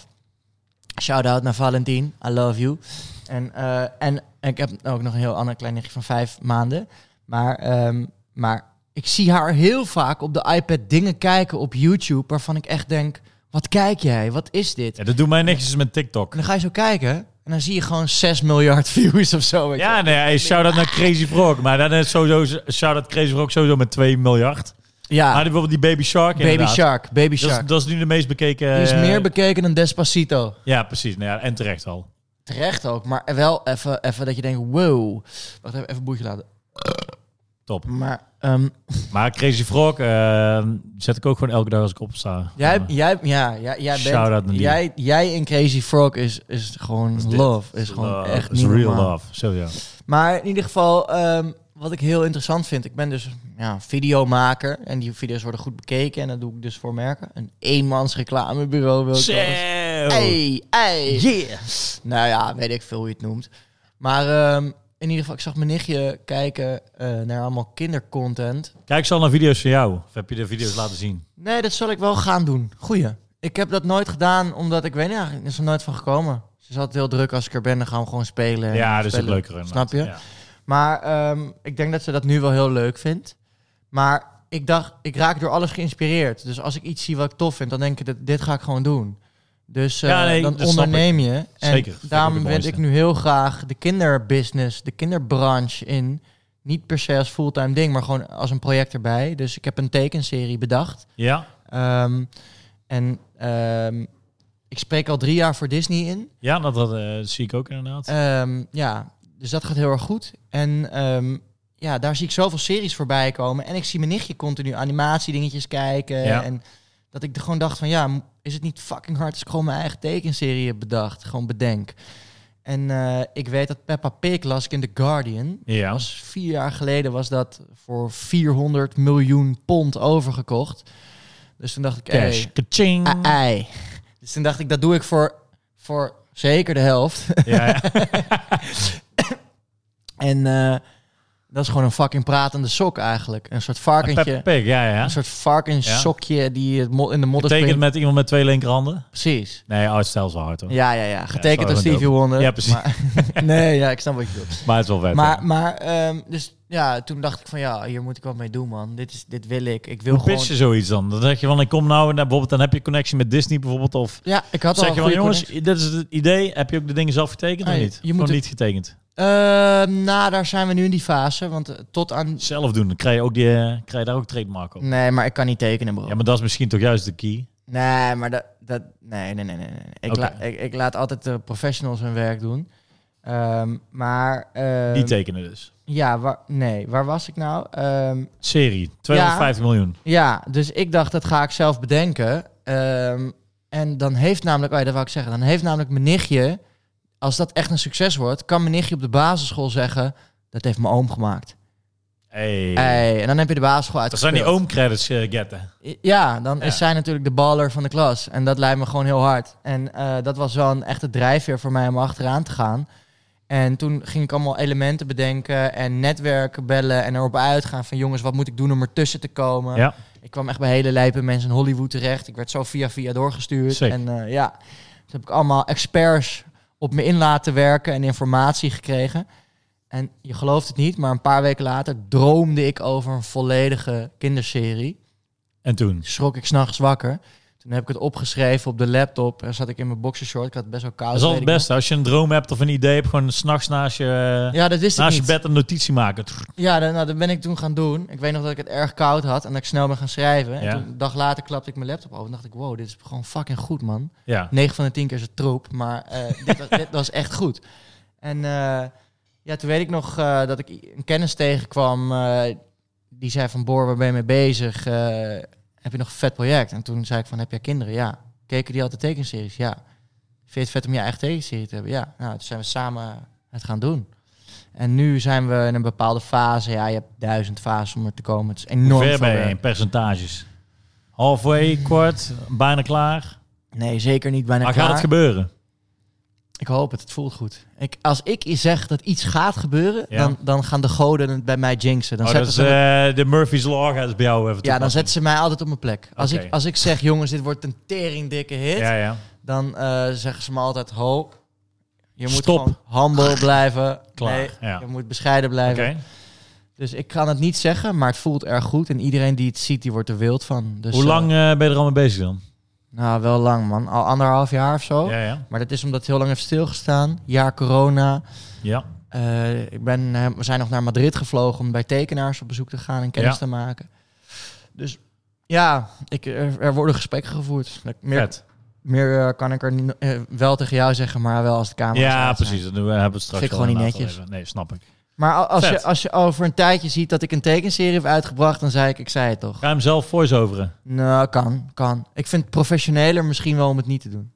Speaker 2: Shout-out naar Valentine. I love you. En, eh, en ik heb ook nog een heel ander klein nichtje van vijf maanden. Maar, ehm, maar ik zie haar heel vaak op de iPad dingen kijken op YouTube... waarvan ik echt denk, wat kijk jij? Wat is dit?
Speaker 1: ja dat doen mijn nichtjes met
Speaker 2: En
Speaker 1: TikTok.
Speaker 2: dan ga je zo kijken En dan zie je gewoon 6 miljard [LAUGHS] views of zo. Weet je.
Speaker 1: Ja, nee, hey, shout-out naar Crazy Frog. Maar dan is sowieso, shout-out Crazy Frog sowieso met 2 miljard.
Speaker 2: ja.
Speaker 1: Maar bijvoorbeeld die Baby Shark
Speaker 2: Ah. Baby
Speaker 1: inderdaad.
Speaker 2: Shark, Baby
Speaker 1: Dat is,
Speaker 2: Shark.
Speaker 1: dat is nu de meest bekeken...
Speaker 2: Die is
Speaker 1: eh,
Speaker 2: meer bekeken dan Despacito.
Speaker 1: Ja, precies. Nou ja, en terecht al.
Speaker 2: Terecht ook, maar wel even, even dat je denkt, wow. Wacht even, even boetje laten.
Speaker 1: Top.
Speaker 2: Maar ehm,
Speaker 1: Maar Crazy Frog eh, zet ik ook gewoon elke dag als ik opsta.
Speaker 2: jij,
Speaker 1: Ja.
Speaker 2: jij, ja, jij, jij
Speaker 1: Shout-out Ah. naar
Speaker 2: bent,
Speaker 1: die.
Speaker 2: jij, jij in Crazy Frog is, is gewoon
Speaker 1: dit.
Speaker 2: love. Is gewoon
Speaker 1: Love.
Speaker 2: echt
Speaker 1: It's
Speaker 2: niet
Speaker 1: real
Speaker 2: normaal.
Speaker 1: love. Zo ja.
Speaker 2: Maar in ieder geval, ehm, wat ik heel interessant vind, ik ben dus ja, videomaker en die video's worden goed bekeken en dat doe ik dus voor merken. Een eenmans reclamebureau wil ik
Speaker 1: Zo.
Speaker 2: wel eens- Ey, ey.
Speaker 1: Yeah.
Speaker 2: Oh. Nou ja, weet ik veel hoe je het noemt. Maar ehm, in ieder geval, ik zag mijn nichtje kijken eh, naar allemaal kindercontent.
Speaker 1: Kijk ze al naar video's van jou? Of heb je de video's laten zien?
Speaker 2: Nee, dat zal ik wel gaan doen. Goeie. Ik heb dat nooit gedaan, omdat ik weet niet, eigenlijk is er nooit van gekomen. Ze is altijd heel druk als ik er ben, dan gaan we gewoon spelen. en
Speaker 1: ja, dat is het
Speaker 2: spelen.
Speaker 1: leuker. inderdaad.
Speaker 2: Snap je?
Speaker 1: Ja.
Speaker 2: Maar ehm, ik denk dat ze dat nu wel heel leuk vindt. Maar ik dacht, ik raak door alles geïnspireerd. Dus als ik iets zie wat ik tof vind, dan denk ik, dit, dit ga ik gewoon doen. Dus eh,
Speaker 1: Ja, nee,
Speaker 2: dan
Speaker 1: dat snap
Speaker 2: onderneem je. En
Speaker 1: Zeker, vind ik
Speaker 2: daarom
Speaker 1: het
Speaker 2: wil
Speaker 1: mooiste.
Speaker 2: ik nu heel graag de kinderbusiness, de kinderbranche in. Niet per se als fulltime ding, maar gewoon als een project erbij. Dus ik heb een tekenserie bedacht.
Speaker 1: Ja.
Speaker 2: Ehm, en ehm, ik spreek al drie jaar voor Disney in.
Speaker 1: Ja, dat, dat eh, zie ik ook inderdaad.
Speaker 2: Ehm, ja, dus dat gaat heel erg goed. En ehm, ja, daar zie ik zoveel series voorbij komen. En ik zie mijn nichtje continu animatiedingetjes kijken.
Speaker 1: Ja.
Speaker 2: En dat ik er gewoon dacht van ja, m- is het niet fucking hard als ik gewoon mijn eigen tekenserie heb bedacht. Gewoon bedenk. En eh, ik weet dat Peppa Pig las ik in The Guardian.
Speaker 1: ja.
Speaker 2: Was vier jaar geleden was dat voor 400 miljoen pond overgekocht. Dus toen dacht ik,
Speaker 1: Cash.
Speaker 2: hey,
Speaker 1: Kaching.
Speaker 2: ah, ei. Dus toen dacht ik, dat doe ik voor, voor zeker de helft.
Speaker 1: Ja,
Speaker 2: [LAUGHS]
Speaker 1: ja.
Speaker 2: En eh, dat is gewoon een fucking pratende sok eigenlijk. Een soort varkentje.
Speaker 1: Peppa Pig, ja, ja.
Speaker 2: Een soort varkenssokje die het mo- in de modder
Speaker 1: Getekend
Speaker 2: springt.
Speaker 1: met iemand met twee linkerhanden?
Speaker 2: Precies.
Speaker 1: Nee, oh, stel zo hard hoor.
Speaker 2: Ja, ja, ja. Getekend
Speaker 1: is
Speaker 2: door
Speaker 1: wel
Speaker 2: Stevie Wonder.
Speaker 1: Ja, precies.
Speaker 2: Maar- [LAUGHS] nee, ja, ik snap wat je bedoelt.
Speaker 1: Maar het is wel vet.
Speaker 2: Maar,
Speaker 1: ja.
Speaker 2: maar ehm, dus ja, toen dacht ik van ja, hier moet ik wat mee doen, man. Dit, is, dit wil ik. Ik wil
Speaker 1: Hoe
Speaker 2: gewoon...
Speaker 1: pitch je zoiets dan? Dan zeg je van, ik kom nou, en dan bijvoorbeeld, dan heb je connectie met Disney bijvoorbeeld. Of
Speaker 2: Ja, ik had al
Speaker 1: zeg
Speaker 2: een
Speaker 1: je van,
Speaker 2: goede
Speaker 1: jongens,
Speaker 2: connectie.
Speaker 1: dit is het idee. Heb je ook de dingen zelf getekend
Speaker 2: Nee,
Speaker 1: of niet?
Speaker 2: je
Speaker 1: Je
Speaker 2: moet het-
Speaker 1: niet getekend.
Speaker 2: Ehm, nou, daar zijn we nu in die fase. Want eh, tot aan...
Speaker 1: Zelf doen, dan krijg je, ook die, eh, krijg je daar ook trademark op.
Speaker 2: Nee, maar ik kan niet tekenen, bro.
Speaker 1: Ja, maar dat is misschien toch juist de key.
Speaker 2: Nee, maar dat... dat nee, nee, nee, nee. nee. Ik,
Speaker 1: Oké.
Speaker 2: la- ik, ik laat altijd de professionals hun werk doen. Ehm, maar... ehm,
Speaker 1: Die tekenen dus.
Speaker 2: ja, waar, nee. Waar was ik nou? Ehm,
Speaker 1: Serie, 250 miljoen.
Speaker 2: ja, dus ik dacht, dat ga ik zelf bedenken. Ehm, en dan heeft namelijk... Oh ja, dat wou ik zeggen. Dan heeft namelijk mijn nichtje... Als dat echt een succes wordt, kan mijn nichtje op de basisschool zeggen... Dat heeft mijn oom gemaakt.
Speaker 1: Hey.
Speaker 2: Hey, en dan heb je de basisschool
Speaker 1: Dat
Speaker 2: uit.
Speaker 1: zijn die oom-credits eh, getten.
Speaker 2: Ja, dan
Speaker 1: Ja.
Speaker 2: is zij natuurlijk de baller van de klas. En dat lijkt me gewoon heel hard. En eh, dat was wel een echte drijfveer voor mij om achteraan te gaan. En toen ging ik allemaal elementen bedenken en netwerken bellen en erop uitgaan van jongens, wat moet ik doen om ertussen te komen?
Speaker 1: Ja.
Speaker 2: Ik kwam echt bij hele lijpe mensen in Hollywood terecht. Ik werd zo via via doorgestuurd.
Speaker 1: Sick.
Speaker 2: En eh, ja, toen heb ik allemaal experts op me in laten werken en informatie gekregen. En je gelooft het niet, maar een paar weken later droomde ik over een volledige kinderserie
Speaker 1: En toen?
Speaker 2: schrok ik s'nachts wakker. Toen heb ik het opgeschreven op de laptop. En zat ik in mijn boxershort. Ik had het best wel koud.
Speaker 1: Dat is al
Speaker 2: weet
Speaker 1: het
Speaker 2: ik
Speaker 1: beste. Als je een droom hebt of een idee hebt, gewoon s'nachts naast je, eh,
Speaker 2: nog. Ja, dat wist ik
Speaker 1: naast je
Speaker 2: niet.
Speaker 1: bed een notitie maken.
Speaker 2: Ja, dat, nou, dat ben ik toen gaan doen. Ik weet nog dat ik het erg koud had en dat ik snel ben gaan schrijven. En
Speaker 1: Ja.
Speaker 2: toen, een dag later klapte ik mijn laptop open en dacht ik... Wow, dit is gewoon fucking goed, man.
Speaker 1: Ja.
Speaker 2: 9 van de 10 keer is het troep,
Speaker 1: [LAUGHS]
Speaker 2: maar eh, dit, was, dit was echt goed. En eh, ja, toen weet ik nog eh, dat ik i- een kennis tegenkwam. eh, die zei van, Boor, waar ben je mee bezig? Eh, heb je nog een vet project? En toen zei ik van, heb jij kinderen? Ja. Keken die altijd tekenseries? Ja. Vind je het vet om je eigen tekenserie te hebben? Ja. Nou, toen zijn we samen het gaan doen. En nu zijn we in een bepaalde fase. Ja, je hebt duizend fases om er te komen. Het is
Speaker 1: Hoe
Speaker 2: enorm
Speaker 1: ver
Speaker 2: veel
Speaker 1: ben je
Speaker 2: werk.
Speaker 1: in percentages? Halfway, kwart, bijna klaar.
Speaker 2: Nee, zeker niet bijna
Speaker 1: Maar
Speaker 2: klaar.
Speaker 1: gaat het gebeuren?
Speaker 2: Ik hoop het, het voelt goed. Ik, als ik zeg dat iets gaat gebeuren,
Speaker 1: Ja.
Speaker 2: dan, dan gaan de goden het bij mij jinxen. Dan
Speaker 1: Oh, dat
Speaker 2: zetten
Speaker 1: is
Speaker 2: ze,
Speaker 1: eh, de Murphy's Law gaat het bij jou even
Speaker 2: ja, dan
Speaker 1: toepassen.
Speaker 2: zetten ze mij altijd op mijn plek. Als,
Speaker 1: Oké.
Speaker 2: ik, als ik zeg, jongens, dit wordt een teringdikke hit,
Speaker 1: Ja, ja.
Speaker 2: dan eh, zeggen ze me altijd, ho, je moet
Speaker 1: Stop.
Speaker 2: gewoon humble blijven.
Speaker 1: Klaar,
Speaker 2: Nee,
Speaker 1: ja.
Speaker 2: Je moet bescheiden blijven.
Speaker 1: Oké.
Speaker 2: Dus ik kan het niet zeggen, maar het voelt erg goed. En iedereen die het ziet, die wordt er wild van. Dus,
Speaker 1: Hoe
Speaker 2: eh,
Speaker 1: lang eh, ben je er al mee bezig dan?
Speaker 2: Nou, wel lang man. Al anderhalf jaar of zo.
Speaker 1: Ja, ja.
Speaker 2: Maar dat is omdat het heel lang heeft stilgestaan. Jaar corona.
Speaker 1: ja.
Speaker 2: Eh, ik ben, eh, we zijn nog naar Madrid gevlogen om bij tekenaars op bezoek te gaan en kennis
Speaker 1: Ja.
Speaker 2: te maken. Dus ja, ik, er, er worden gesprekken gevoerd. Meer,
Speaker 1: Vet.
Speaker 2: meer eh, kan ik er niet, eh, wel tegen jou zeggen, maar wel als de camera.
Speaker 1: Ja, precies. Dat doen we- hebben we het straks
Speaker 2: Vind ik gewoon
Speaker 1: wel
Speaker 2: niet
Speaker 1: inderdaad
Speaker 2: netjes.
Speaker 1: al even. Nee, snap ik.
Speaker 2: Maar al- als
Speaker 1: Vet.
Speaker 2: je, als je over een tijdje ziet dat ik een tekenserie heb uitgebracht, dan zei ik, ik zei het toch.
Speaker 1: Ga hem zelf voice-overen.
Speaker 2: Nou, kan, kan. Ik vind het professioneler misschien wel om het niet te doen.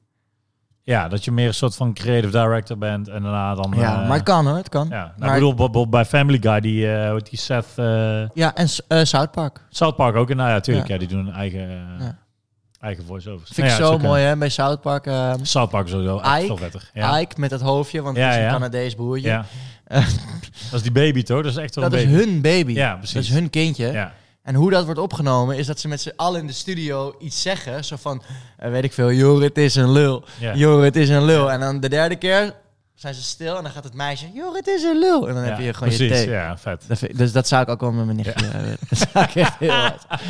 Speaker 1: Ja, dat je meer een soort van creative director bent en daarna dan...
Speaker 2: ja,
Speaker 1: eh,
Speaker 2: maar het kan hoor, het kan.
Speaker 1: Ja,
Speaker 2: Ja,
Speaker 1: nou,
Speaker 2: maar-
Speaker 1: ik bedoel, bijvoorbeeld bij Family Guy, die, eh, hoe heet die Seth... eh
Speaker 2: en s- eh South Park.
Speaker 1: South Park ook. En nou ja, tuurlijk, ja.
Speaker 2: Ja.
Speaker 1: die doen een eigen, eh,
Speaker 2: Ja.
Speaker 1: eigen voice-overs.
Speaker 2: Vind ik
Speaker 1: Nou ja,
Speaker 2: zo
Speaker 1: is ook,
Speaker 2: mooi hè, bij South Park. eh,
Speaker 1: eh, South Park is sowieso echt
Speaker 2: Ike.
Speaker 1: veel vetter. Ja.
Speaker 2: Ike met dat hoofdje, want
Speaker 1: Ja,
Speaker 2: dat is een
Speaker 1: ja.
Speaker 2: Canadees boertje.
Speaker 1: ja.
Speaker 2: Eh,
Speaker 1: [LAUGHS] Dat is die baby, toch? Dat is echt wel
Speaker 2: dat
Speaker 1: een
Speaker 2: is
Speaker 1: baby.
Speaker 2: hun baby.
Speaker 1: Ja, precies.
Speaker 2: Dat is hun kindje.
Speaker 1: Ja.
Speaker 2: En hoe dat wordt opgenomen is dat ze met z'n allen in de studio iets zeggen. Zo van, eh, weet ik veel, joh, het is een lul.
Speaker 1: Ja.
Speaker 2: Joh, het is een lul. En dan de derde keer zijn ze stil en dan gaat het meisje, joh, het is een lul. En dan heb
Speaker 1: Ja,
Speaker 2: je gewoon
Speaker 1: precies,
Speaker 2: je thee.
Speaker 1: ja, vet.
Speaker 2: Dat vind- dus dat zou ik ook wel met mijn nichtje eh, willen. Dat zou ik echt heel hard.
Speaker 1: [LAUGHS]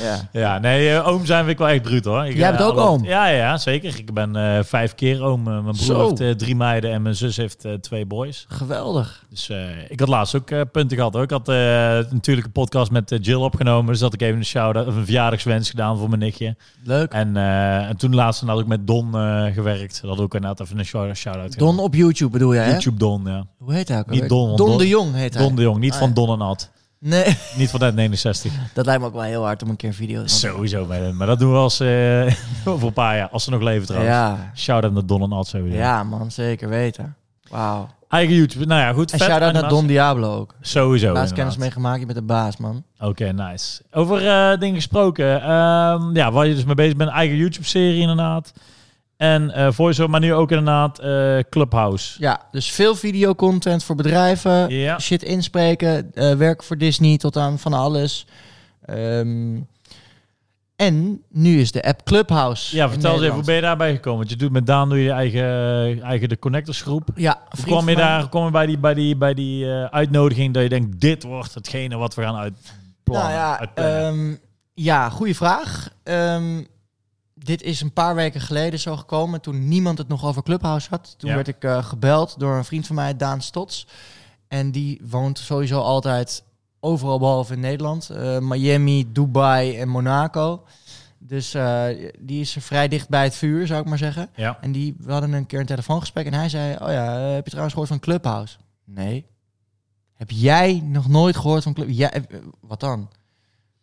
Speaker 2: Ja.
Speaker 1: Ja, nee, eh, oom zijn vind ik wel echt bruut hoor. Ik,
Speaker 2: Jij
Speaker 1: eh,
Speaker 2: bent ook
Speaker 1: alle-
Speaker 2: oom?
Speaker 1: Ja, ja, ja, zeker. Ik ben eh, vijf keer oom. Eh, mijn broer
Speaker 2: Zo.
Speaker 1: heeft eh, drie meiden en mijn zus heeft eh, twee boys.
Speaker 2: Geweldig.
Speaker 1: Dus eh, ik had laatst ook eh, punten gehad. Hoor. Ik had eh, natuurlijk een podcast met eh, Jill opgenomen. Dus had ik even een shout-out of een verjaardagswens gedaan voor mijn nichtje.
Speaker 2: Leuk.
Speaker 1: En, eh, en toen laatst had ik met Don eh, gewerkt. Dat had ook inderdaad even een shout- shout-out gedaan.
Speaker 2: Don op YouTube bedoel jij, hè?
Speaker 1: YouTube Don, ja.
Speaker 2: Hoe heet hij ook
Speaker 1: Niet
Speaker 2: alweer?
Speaker 1: Don, want Don-
Speaker 2: de Jong heet hij.
Speaker 1: Don de Jong, niet
Speaker 2: Ah,
Speaker 1: van
Speaker 2: ja.
Speaker 1: Don en Nat.
Speaker 2: Nee, [LAUGHS]
Speaker 1: Niet van net 69.
Speaker 2: dat lijkt me ook wel heel hard om een keer een video te maken.
Speaker 1: Sowieso bij hem. Maar dat doen we als, eh, [LAUGHS] over een paar jaar. Als ze nog leven trouwens.
Speaker 2: Ja.
Speaker 1: Shout-out naar Don en Nat sowieso.
Speaker 2: ja, man, zeker weten. Wauw.
Speaker 1: Eigen YouTube. Nou ja, goed.
Speaker 2: En
Speaker 1: vet.
Speaker 2: shout-out naar Don
Speaker 1: naast-
Speaker 2: Diablo ook.
Speaker 1: Sowieso.
Speaker 2: Laatst
Speaker 1: inderdaad.
Speaker 2: kennis meegemaakt je met de baas, man.
Speaker 1: Oké, nice. Over eh, dingen gesproken. ehm, ja, waar je dus mee bezig bent. Eigen YouTube-serie inderdaad. En eh voice-over, maar nu ook inderdaad eh, Clubhouse.
Speaker 2: Ja, dus veel videocontent voor bedrijven.
Speaker 1: Ja.
Speaker 2: Shit inspreken, eh, werken voor Disney tot aan van alles. Ehm, en nu is de app Clubhouse.
Speaker 1: Ja,
Speaker 2: in
Speaker 1: vertel eens even, hoe
Speaker 2: Nederland.
Speaker 1: ben je daarbij gekomen? Want je doet met Daan doe je je eigen, eh, eigen de connectorsgroep.
Speaker 2: Ja,
Speaker 1: Hoe
Speaker 2: vriend
Speaker 1: kwam je
Speaker 2: van mij.
Speaker 1: daar, hoe kwam je bij die, bij die, bij die eh, uitnodiging dat je denkt, dit wordt hetgene wat we gaan uitplannen?
Speaker 2: Nou ja,
Speaker 1: uitplannen?
Speaker 2: ehm, ja goede vraag. Ehm, dit is een paar weken geleden zo gekomen toen niemand het nog over Clubhouse had. Toen
Speaker 1: Ja.
Speaker 2: werd ik eh, gebeld door een vriend van mij, Daan Stots. En die woont sowieso altijd overal behalve in Nederland. Eh, Miami, Dubai en Monaco. Dus eh, die is vrij dicht bij het vuur, zou ik maar zeggen.
Speaker 1: ja.
Speaker 2: En die, we hadden een keer een telefoongesprek en hij zei... Oh ja, eh, heb je trouwens gehoord van Clubhouse? Nee. Heb jij nog nooit gehoord van Clubhouse? Ja, eh, eh, wat dan?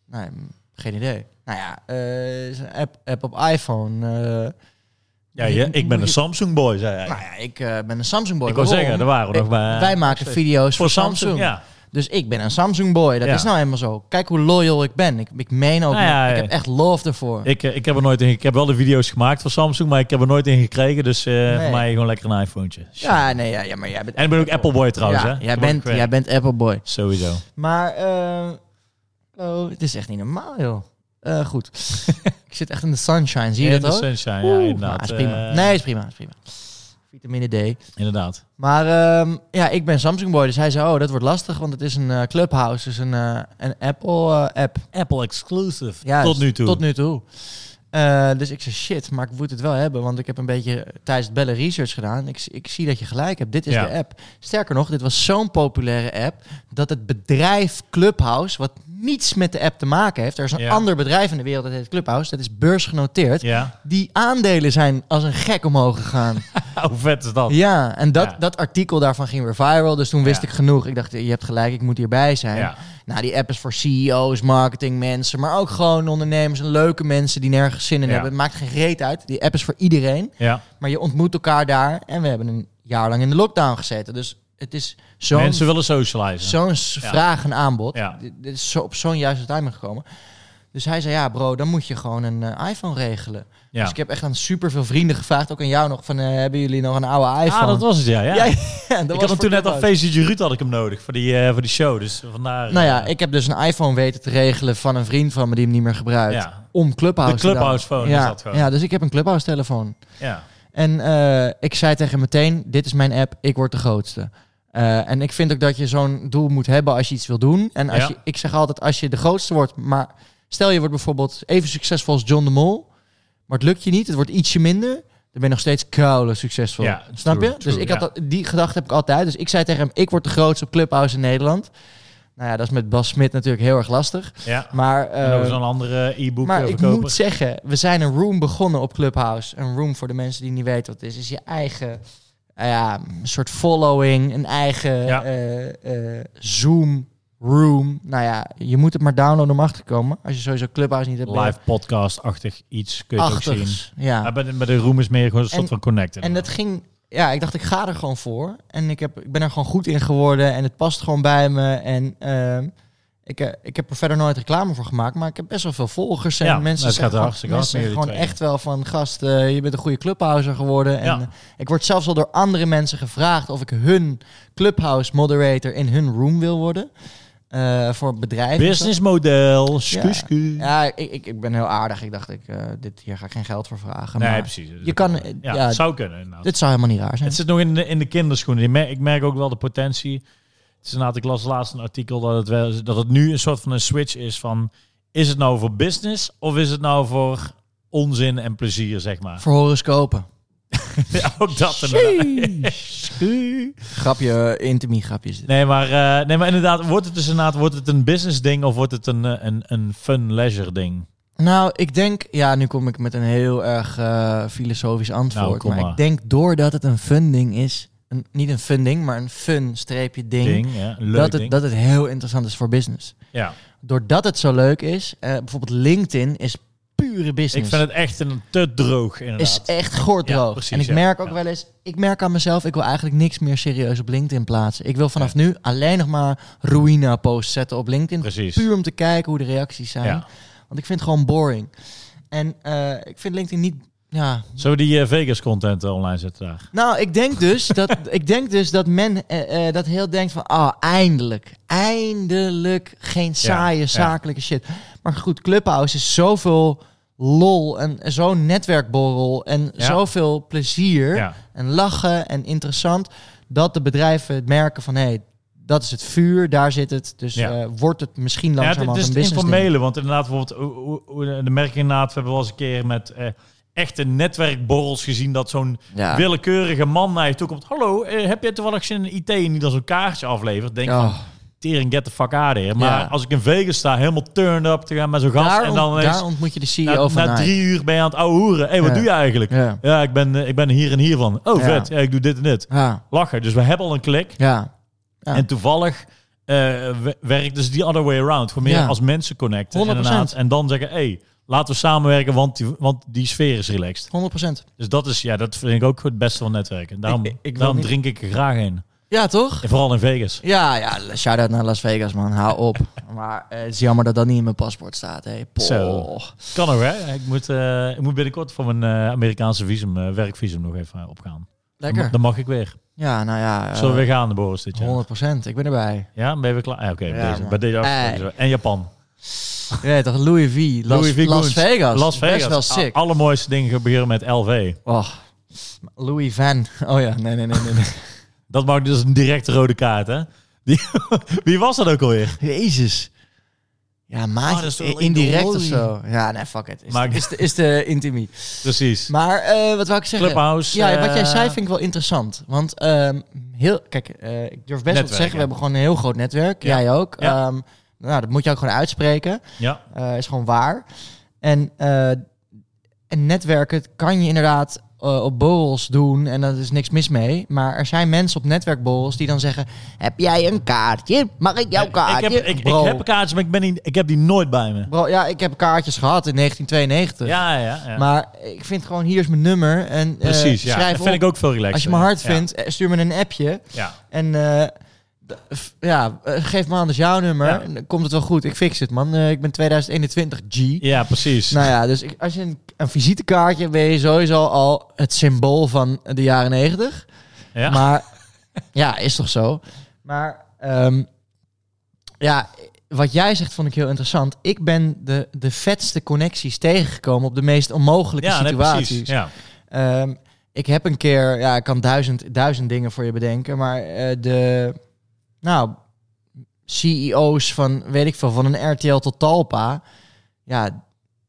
Speaker 2: Nee, mm, geen idee. Nou ja, eh, is een app, app op iPhone. eh.
Speaker 1: ja, je- ik ben
Speaker 2: Moet
Speaker 1: een
Speaker 2: je-
Speaker 1: Samsung boy, zei hij.
Speaker 2: Nou ja, ik eh, ben een Samsung boy.
Speaker 1: ik wil
Speaker 2: Waarom?
Speaker 1: zeggen, er waren we nog
Speaker 2: Ik-
Speaker 1: bij.
Speaker 2: Wij maken
Speaker 1: Voor
Speaker 2: video's voor, Samsung.
Speaker 1: ja.
Speaker 2: Dus ik ben een Samsung boy. Dat
Speaker 1: Ja.
Speaker 2: is nou helemaal zo. Kijk hoe loyal ik ben. Ik, ik meen ook.
Speaker 1: Nou ja,
Speaker 2: ik
Speaker 1: ja.
Speaker 2: heb echt love ervoor.
Speaker 1: Ik, eh, ik heb er nooit in. Ik heb wel de video's gemaakt voor Samsung, maar ik heb er nooit in gekregen. Dus eh, voor mij gewoon lekker een iPhone.
Speaker 2: ja, nee, ja, ja, maar jij bent.
Speaker 1: En ik ben ook Apple Boy trouwens.
Speaker 2: Ja,
Speaker 1: hè?
Speaker 2: jij
Speaker 1: Ik ben
Speaker 2: bent,
Speaker 1: ook, eh,
Speaker 2: jij bent Apple boy.
Speaker 1: Sowieso.
Speaker 2: Maar eh, oh, het is echt niet normaal, joh. Eh, goed. [LAUGHS] ik zit echt in de sunshine, zie je
Speaker 1: In
Speaker 2: dat
Speaker 1: de
Speaker 2: ook?
Speaker 1: Sunshine, ja,
Speaker 2: Oeh,
Speaker 1: inderdaad.
Speaker 2: maar is prima.
Speaker 1: Eh,
Speaker 2: nee, is prima, is prima. Vitamine D.
Speaker 1: Inderdaad.
Speaker 2: Maar ehm, ja, ik ben Samsung boy, dus hij zei, oh, dat wordt lastig, want het is een eh, Clubhouse, dus een, eh, een eh, Apple-app.
Speaker 1: Apple exclusive.
Speaker 2: Ja,
Speaker 1: tot
Speaker 2: dus
Speaker 1: nu toe.
Speaker 2: Tot nu toe. Eh, dus ik zei, shit, maar ik moet het wel hebben, want ik heb een beetje tijdens het bellen research gedaan. Ik, ik zie dat je gelijk hebt, dit is
Speaker 1: Ja.
Speaker 2: de app. Sterker nog, dit was zo'n populaire app, dat het bedrijf Clubhouse, wat niets met de app te maken heeft, er is een
Speaker 1: Ja.
Speaker 2: ander bedrijf in de wereld dat heet Clubhouse, dat is beursgenoteerd,
Speaker 1: Ja.
Speaker 2: die aandelen zijn als een gek omhoog
Speaker 1: [LAUGHS]
Speaker 2: gegaan.
Speaker 1: Hoe vet is dat?
Speaker 2: ja, en dat,
Speaker 1: Oh. Ja.
Speaker 2: dat artikel daarvan ging weer viral, dus toen wist
Speaker 1: Ja.
Speaker 2: ik genoeg. Ik dacht, je hebt gelijk, ik moet hierbij zijn.
Speaker 1: Ja.
Speaker 2: Nou, die app is voor CEO's, marketingmensen, maar ook gewoon ondernemers en leuke mensen die nergens zin in
Speaker 1: Ja.
Speaker 2: hebben. Het maakt geen reet uit. Die app is voor iedereen.
Speaker 1: ja.
Speaker 2: Maar je ontmoet elkaar daar en we hebben een jaar lang in de lockdown gezeten. Dus het is zo'n
Speaker 1: Mensen willen socializen.
Speaker 2: zo'n s-
Speaker 1: Ja.
Speaker 2: vraag en aanbod.
Speaker 1: Ja.
Speaker 2: Dit dit is zo, op zo'n juiste timing gekomen. Dus hij zei, ja bro, dan moet je gewoon een eh, iPhone regelen.
Speaker 1: ja.
Speaker 2: Dus ik heb echt aan superveel vrienden gevraagd, ook aan jou nog, van eh, hebben jullie nog een oude iPhone?
Speaker 1: Ah, dat was het, ja. ja.
Speaker 2: [LAUGHS] Ja, ja, dat
Speaker 1: ik had hem
Speaker 2: was voor
Speaker 1: toen net al
Speaker 2: Clubhouse.
Speaker 1: Feestje Ruud had ik hem nodig voor die, eh, voor die show. Dus vandaar...
Speaker 2: Nou ja,
Speaker 1: eh,
Speaker 2: ik heb dus een iPhone weten te regelen van een vriend van me die hem niet meer gebruikt.
Speaker 1: Ja.
Speaker 2: Om Clubhouse
Speaker 1: De
Speaker 2: te downloaden.
Speaker 1: Clubhouse phone
Speaker 2: ja,
Speaker 1: is dat gewoon.
Speaker 2: Ja, dus ik heb een Clubhouse telefoon.
Speaker 1: ja.
Speaker 2: En eh, ik zei tegen hem meteen, dit is mijn app, ik word de grootste. Eh, en ik vind ook dat je zo'n doel moet hebben als je iets wil doen. En als
Speaker 1: Ja.
Speaker 2: je, ik zeg altijd, als je de grootste wordt, maar stel je wordt bijvoorbeeld even succesvol als John de Mol, Maar het lukt je niet. Het wordt ietsje minder. Dan ben je nog steeds koude succesvol.
Speaker 1: Ja,
Speaker 2: Snap
Speaker 1: true,
Speaker 2: je?
Speaker 1: true,
Speaker 2: dus ik
Speaker 1: ja.
Speaker 2: had dat- die gedachte heb ik altijd. Dus ik zei tegen hem, ik word de grootste op Clubhouse in Nederland. Nou ja, dat is met Bas Smit natuurlijk heel erg lastig.
Speaker 1: Ja.
Speaker 2: Maar,
Speaker 1: En
Speaker 2: eh,
Speaker 1: over zo'n andere e-book
Speaker 2: maar
Speaker 1: eh,
Speaker 2: ik
Speaker 1: verkoper.
Speaker 2: moet zeggen, we zijn een room begonnen op Clubhouse. Een room voor de mensen die niet weten wat het is. Is je eigen nou ja, een soort following, een eigen
Speaker 1: Ja.
Speaker 2: eh, eh, Zoom room. Nou ja, je moet het maar downloaden om achter te komen. Als je sowieso Clubhouse niet hebt. ben je
Speaker 1: Live podcast-achtig iets kun je het ook zien. Ah,
Speaker 2: achtigs. Ja.
Speaker 1: Maar bij de, bij de room is meer gewoon een soort
Speaker 2: En-
Speaker 1: van connecten.
Speaker 2: En dat ging, ja, ik dacht, ik ga er gewoon voor. En ik, heb, ik ben er gewoon goed in geworden en het past gewoon bij me. En ehm, ik, eh, ik heb er verder nooit reclame voor gemaakt, maar ik heb best wel veel volgers. En
Speaker 1: Ja,
Speaker 2: mensen
Speaker 1: het
Speaker 2: zeggen
Speaker 1: gaat
Speaker 2: gewoon,
Speaker 1: hartstikke hard
Speaker 2: mensen
Speaker 1: met jullie
Speaker 2: gewoon
Speaker 1: tweeën.
Speaker 2: echt wel van, gast, eh, je bent een goede clubhouser geworden. En
Speaker 1: Ja.
Speaker 2: eh, ik word zelfs al door andere mensen gevraagd of ik hun clubhouse moderator in hun room wil worden. eh, voor bedrijven. en zo.
Speaker 1: Businessmodel.
Speaker 2: Ja.
Speaker 1: Sku, sku.
Speaker 2: Ja, ik, ik, ik ben heel aardig. Ik dacht, ik, eh, dit, hier ga ik geen geld voor vragen.
Speaker 1: Nee,
Speaker 2: maar
Speaker 1: precies.
Speaker 2: je kan,
Speaker 1: Ja,
Speaker 2: ja, Dus-
Speaker 1: het zou kunnen. inderdaad.
Speaker 2: dit zou helemaal niet raar zijn.
Speaker 1: Het zit nog in de, in de kinderschoenen. Je mer- Ik merk ook wel de potentie. Het is inderdaad, ik las laatst een artikel dat het, wel, dat het nu een soort van een switch is van... Is het nou voor business of is het nou voor onzin en plezier, zeg
Speaker 2: [LAUGHS]
Speaker 1: maar?
Speaker 2: Voor horoscopen.
Speaker 1: Ja, ook dat inderdaad.
Speaker 2: Sheesh. Grapje, eh, intimie grapjes.
Speaker 1: Nee maar, eh, nee, maar inderdaad, wordt het dus inderdaad wordt het een business ding of wordt het een, eh, een, een fun leisure ding?
Speaker 2: Nou, ik denk, ja, nu kom ik met een heel erg eh, filosofisch
Speaker 1: Nou,
Speaker 2: antwoord.
Speaker 1: kom
Speaker 2: maar,
Speaker 1: maar.
Speaker 2: ik denk doordat het een funding is, een, niet een funding, maar een fun streepje ding,
Speaker 1: Ding, ja, een leuk
Speaker 2: dat, het,
Speaker 1: ding.
Speaker 2: dat het heel interessant is voor business.
Speaker 1: ja.
Speaker 2: Doordat het zo leuk is, eh, bijvoorbeeld LinkedIn is pure
Speaker 1: Ik
Speaker 2: business.
Speaker 1: vind het echt een, te droog,
Speaker 2: is
Speaker 1: inderdaad.
Speaker 2: echt goordroog.
Speaker 1: Ja, precies,
Speaker 2: en ik
Speaker 1: ja.
Speaker 2: merk ook
Speaker 1: Ja.
Speaker 2: wel eens, ik merk aan mezelf, ik wil eigenlijk niks meer serieus op LinkedIn plaatsen. Ik wil vanaf nu alleen nog maar ruïna posts zetten op LinkedIn.
Speaker 1: Precies.
Speaker 2: Puur om te kijken hoe de reacties zijn.
Speaker 1: Ja.
Speaker 2: Want ik vind het gewoon boring. En eh, ik vind LinkedIn niet. Ja.
Speaker 1: Zullen we die eh, Vegas content eh, online zetten daar?
Speaker 2: Nou, ik denk
Speaker 1: [LAUGHS]
Speaker 2: dus dat, ik denk dus dat men eh, eh, dat heel denkt van, ah, eindelijk. Eindelijk geen saaie,
Speaker 1: ja.
Speaker 2: zakelijke shit. Maar goed, Clubhouse is zoveel lol en zo'n netwerkborrel en
Speaker 1: Ja.
Speaker 2: zoveel plezier
Speaker 1: Ja.
Speaker 2: en lachen en interessant. Dat de bedrijven het merken van, hé, hey, dat is het vuur, daar zit het. Dus
Speaker 1: Ja.
Speaker 2: eh, wordt het misschien langzaam
Speaker 1: ja, dit
Speaker 2: als
Speaker 1: is
Speaker 2: een
Speaker 1: het
Speaker 2: business
Speaker 1: informele, want inderdaad, bijvoorbeeld, hoe- hoe- hoe- de merk inderdaad, we hebben wel eens een keer met eh, echte netwerkborrels gezien dat zo'n
Speaker 2: Ja.
Speaker 1: willekeurige man naar je toe komt. Hallo, eh, heb je toevallig zin in IT en die dan zo'n kaartje aflevert? Denk van,
Speaker 2: Oh,
Speaker 1: tering, get the fuck out of here. Maar
Speaker 2: Ja.
Speaker 1: als ik in Vegas sta, helemaal turned up te gaan met zo'n gast
Speaker 2: daar,
Speaker 1: en dan
Speaker 2: ont-
Speaker 1: ineens
Speaker 2: daar ontmoet je de CEO
Speaker 1: na,
Speaker 2: van
Speaker 1: na
Speaker 2: Nike.
Speaker 1: drie uur ben je aan het ouwe hoeren. Hé, hey, wat
Speaker 2: Ja.
Speaker 1: doe je eigenlijk? Ja,
Speaker 2: Ja.
Speaker 1: ik, ben, eh, ik ben hier en hier van. Oh,
Speaker 2: Ja.
Speaker 1: vet. Ja, ik doe dit en dit.
Speaker 2: Ja.
Speaker 1: Lachen. Dus we hebben al een klik.
Speaker 2: Ja. Ja.
Speaker 1: En toevallig eh, we- werkt dus die other way around. Gewoon meer
Speaker 2: Ja.
Speaker 1: als mensen connecten.
Speaker 2: 100%.
Speaker 1: Inderdaad. En dan zeggen, hé, hey, laten we samenwerken, want die, want die sfeer is relaxed.
Speaker 2: 100%.
Speaker 1: Dus dat is, ja, dat vind ik ook het beste van netwerken. Daarom,
Speaker 2: Ik- ik wil
Speaker 1: daarom
Speaker 2: niet-
Speaker 1: drink ik er graag in.
Speaker 2: Ja, toch?
Speaker 1: En vooral in Vegas.
Speaker 2: Ja, ja, shout-out naar Las Vegas, man. Hou [LAUGHS] op. maar eh, het is jammer dat dat niet in mijn paspoort staat, hé. Poh.
Speaker 1: Zo. Kan nog, hè? Ik moet, eh, ik moet binnenkort voor mijn eh, Amerikaanse visum, eh, werkvisum nog even eh, opgaan. Dan,
Speaker 2: Lekker.
Speaker 1: dan mag ik weer.
Speaker 2: Ja, nou ja. eh,
Speaker 1: Zullen we weer gaan, Boris, dit jaar?
Speaker 2: 100%, ik ben erbij.
Speaker 1: Ja, ben je weer klaar? Ja, Oké, bij
Speaker 2: Ja,
Speaker 1: deze-
Speaker 2: man.
Speaker 1: bij deze
Speaker 2: Hey.
Speaker 1: afspraak. En Japan.
Speaker 2: Ja, toch, Louis V. Las,
Speaker 1: Louis V.
Speaker 2: Las
Speaker 1: Goons.
Speaker 2: Vegas.
Speaker 1: Las Vegas. Ah,
Speaker 2: Best wel sick.
Speaker 1: A- allermooiste dingen gebeuren met LV.
Speaker 2: Oh. Louis Van. [LAUGHS] Oh ja, nee, nee, nee,
Speaker 1: [LAUGHS]
Speaker 2: nee. nee.
Speaker 1: Dat maakt dus een directe rode kaart, hè? Die, [LAUGHS] wie was dat ook alweer?
Speaker 2: Jezus.
Speaker 1: Oh,
Speaker 2: Ja,
Speaker 1: dat is
Speaker 2: maatje,
Speaker 1: toch wel
Speaker 2: indirect of
Speaker 1: Louis.
Speaker 2: zo. Ja, nee, fuck it. Is,
Speaker 1: Maakt-
Speaker 2: is, de, is de intimie.
Speaker 1: Precies.
Speaker 2: Maar eh, wat wou ik zeggen?
Speaker 1: Clubhouse.
Speaker 2: Ja, wat jij
Speaker 1: eh,
Speaker 2: zei vind ik wel interessant. Want ehm, heel, kijk, eh, ik durf best wel
Speaker 1: Netwerk,
Speaker 2: te zeggen,
Speaker 1: ja.
Speaker 2: we hebben gewoon een heel groot netwerk.
Speaker 1: Ja.
Speaker 2: Jij ook.
Speaker 1: Ja.
Speaker 2: Ehm, nou, dat moet je ook gewoon uitspreken.
Speaker 1: Ja,
Speaker 2: Eh, is gewoon waar. En, eh, en netwerken kan je inderdaad eh, op borrels doen en daar is niks mis mee. Maar er zijn mensen op netwerkborrels die dan zeggen: Heb jij een kaartje? Mag ik jouw
Speaker 1: ik,
Speaker 2: kaartje?
Speaker 1: heb, ik, ik
Speaker 2: Bro.
Speaker 1: heb kaartjes, maar ik, ben niet, ik heb die nooit bij me.
Speaker 2: Bro, ja, ik heb kaartjes gehad in 1992.
Speaker 1: Ja, ja, ja.
Speaker 2: Dus- Maar ik vind gewoon, hier is mijn nummer. En, eh,
Speaker 1: Precies, ja.
Speaker 2: schrijf
Speaker 1: Dat vind
Speaker 2: op.
Speaker 1: ik ook veel relaxer.
Speaker 2: Als je me hard
Speaker 1: Ja,
Speaker 2: vindt, eh, stuur me een appje.
Speaker 1: Ja,
Speaker 2: En eh, d- f- ja, eh, geef me anders jouw nummer.
Speaker 1: Ja.
Speaker 2: En dan komt het wel goed. Ik fix het, man. Eh, ik ben 2021 G.
Speaker 1: ja precies.
Speaker 2: Nou ja, dus ik- als je een, een visitekaartje hebt, ben je sowieso al het symbool van de jaren 90.
Speaker 1: ja.
Speaker 2: Maar ja, is toch zo. Maar ehm, ja, wat jij zegt vond ik heel interessant. Ik ben de, de vetste connecties tegengekomen op de meest onmogelijke
Speaker 1: ja, nee,
Speaker 2: situaties.
Speaker 1: precies. Ja.
Speaker 2: Ehm, ik heb een keer, ja, ik kan duizend, duizend dingen voor je bedenken, maar eh, de, nou, E CEO's van, weet ik veel, van een RTL tot Talpa, ja,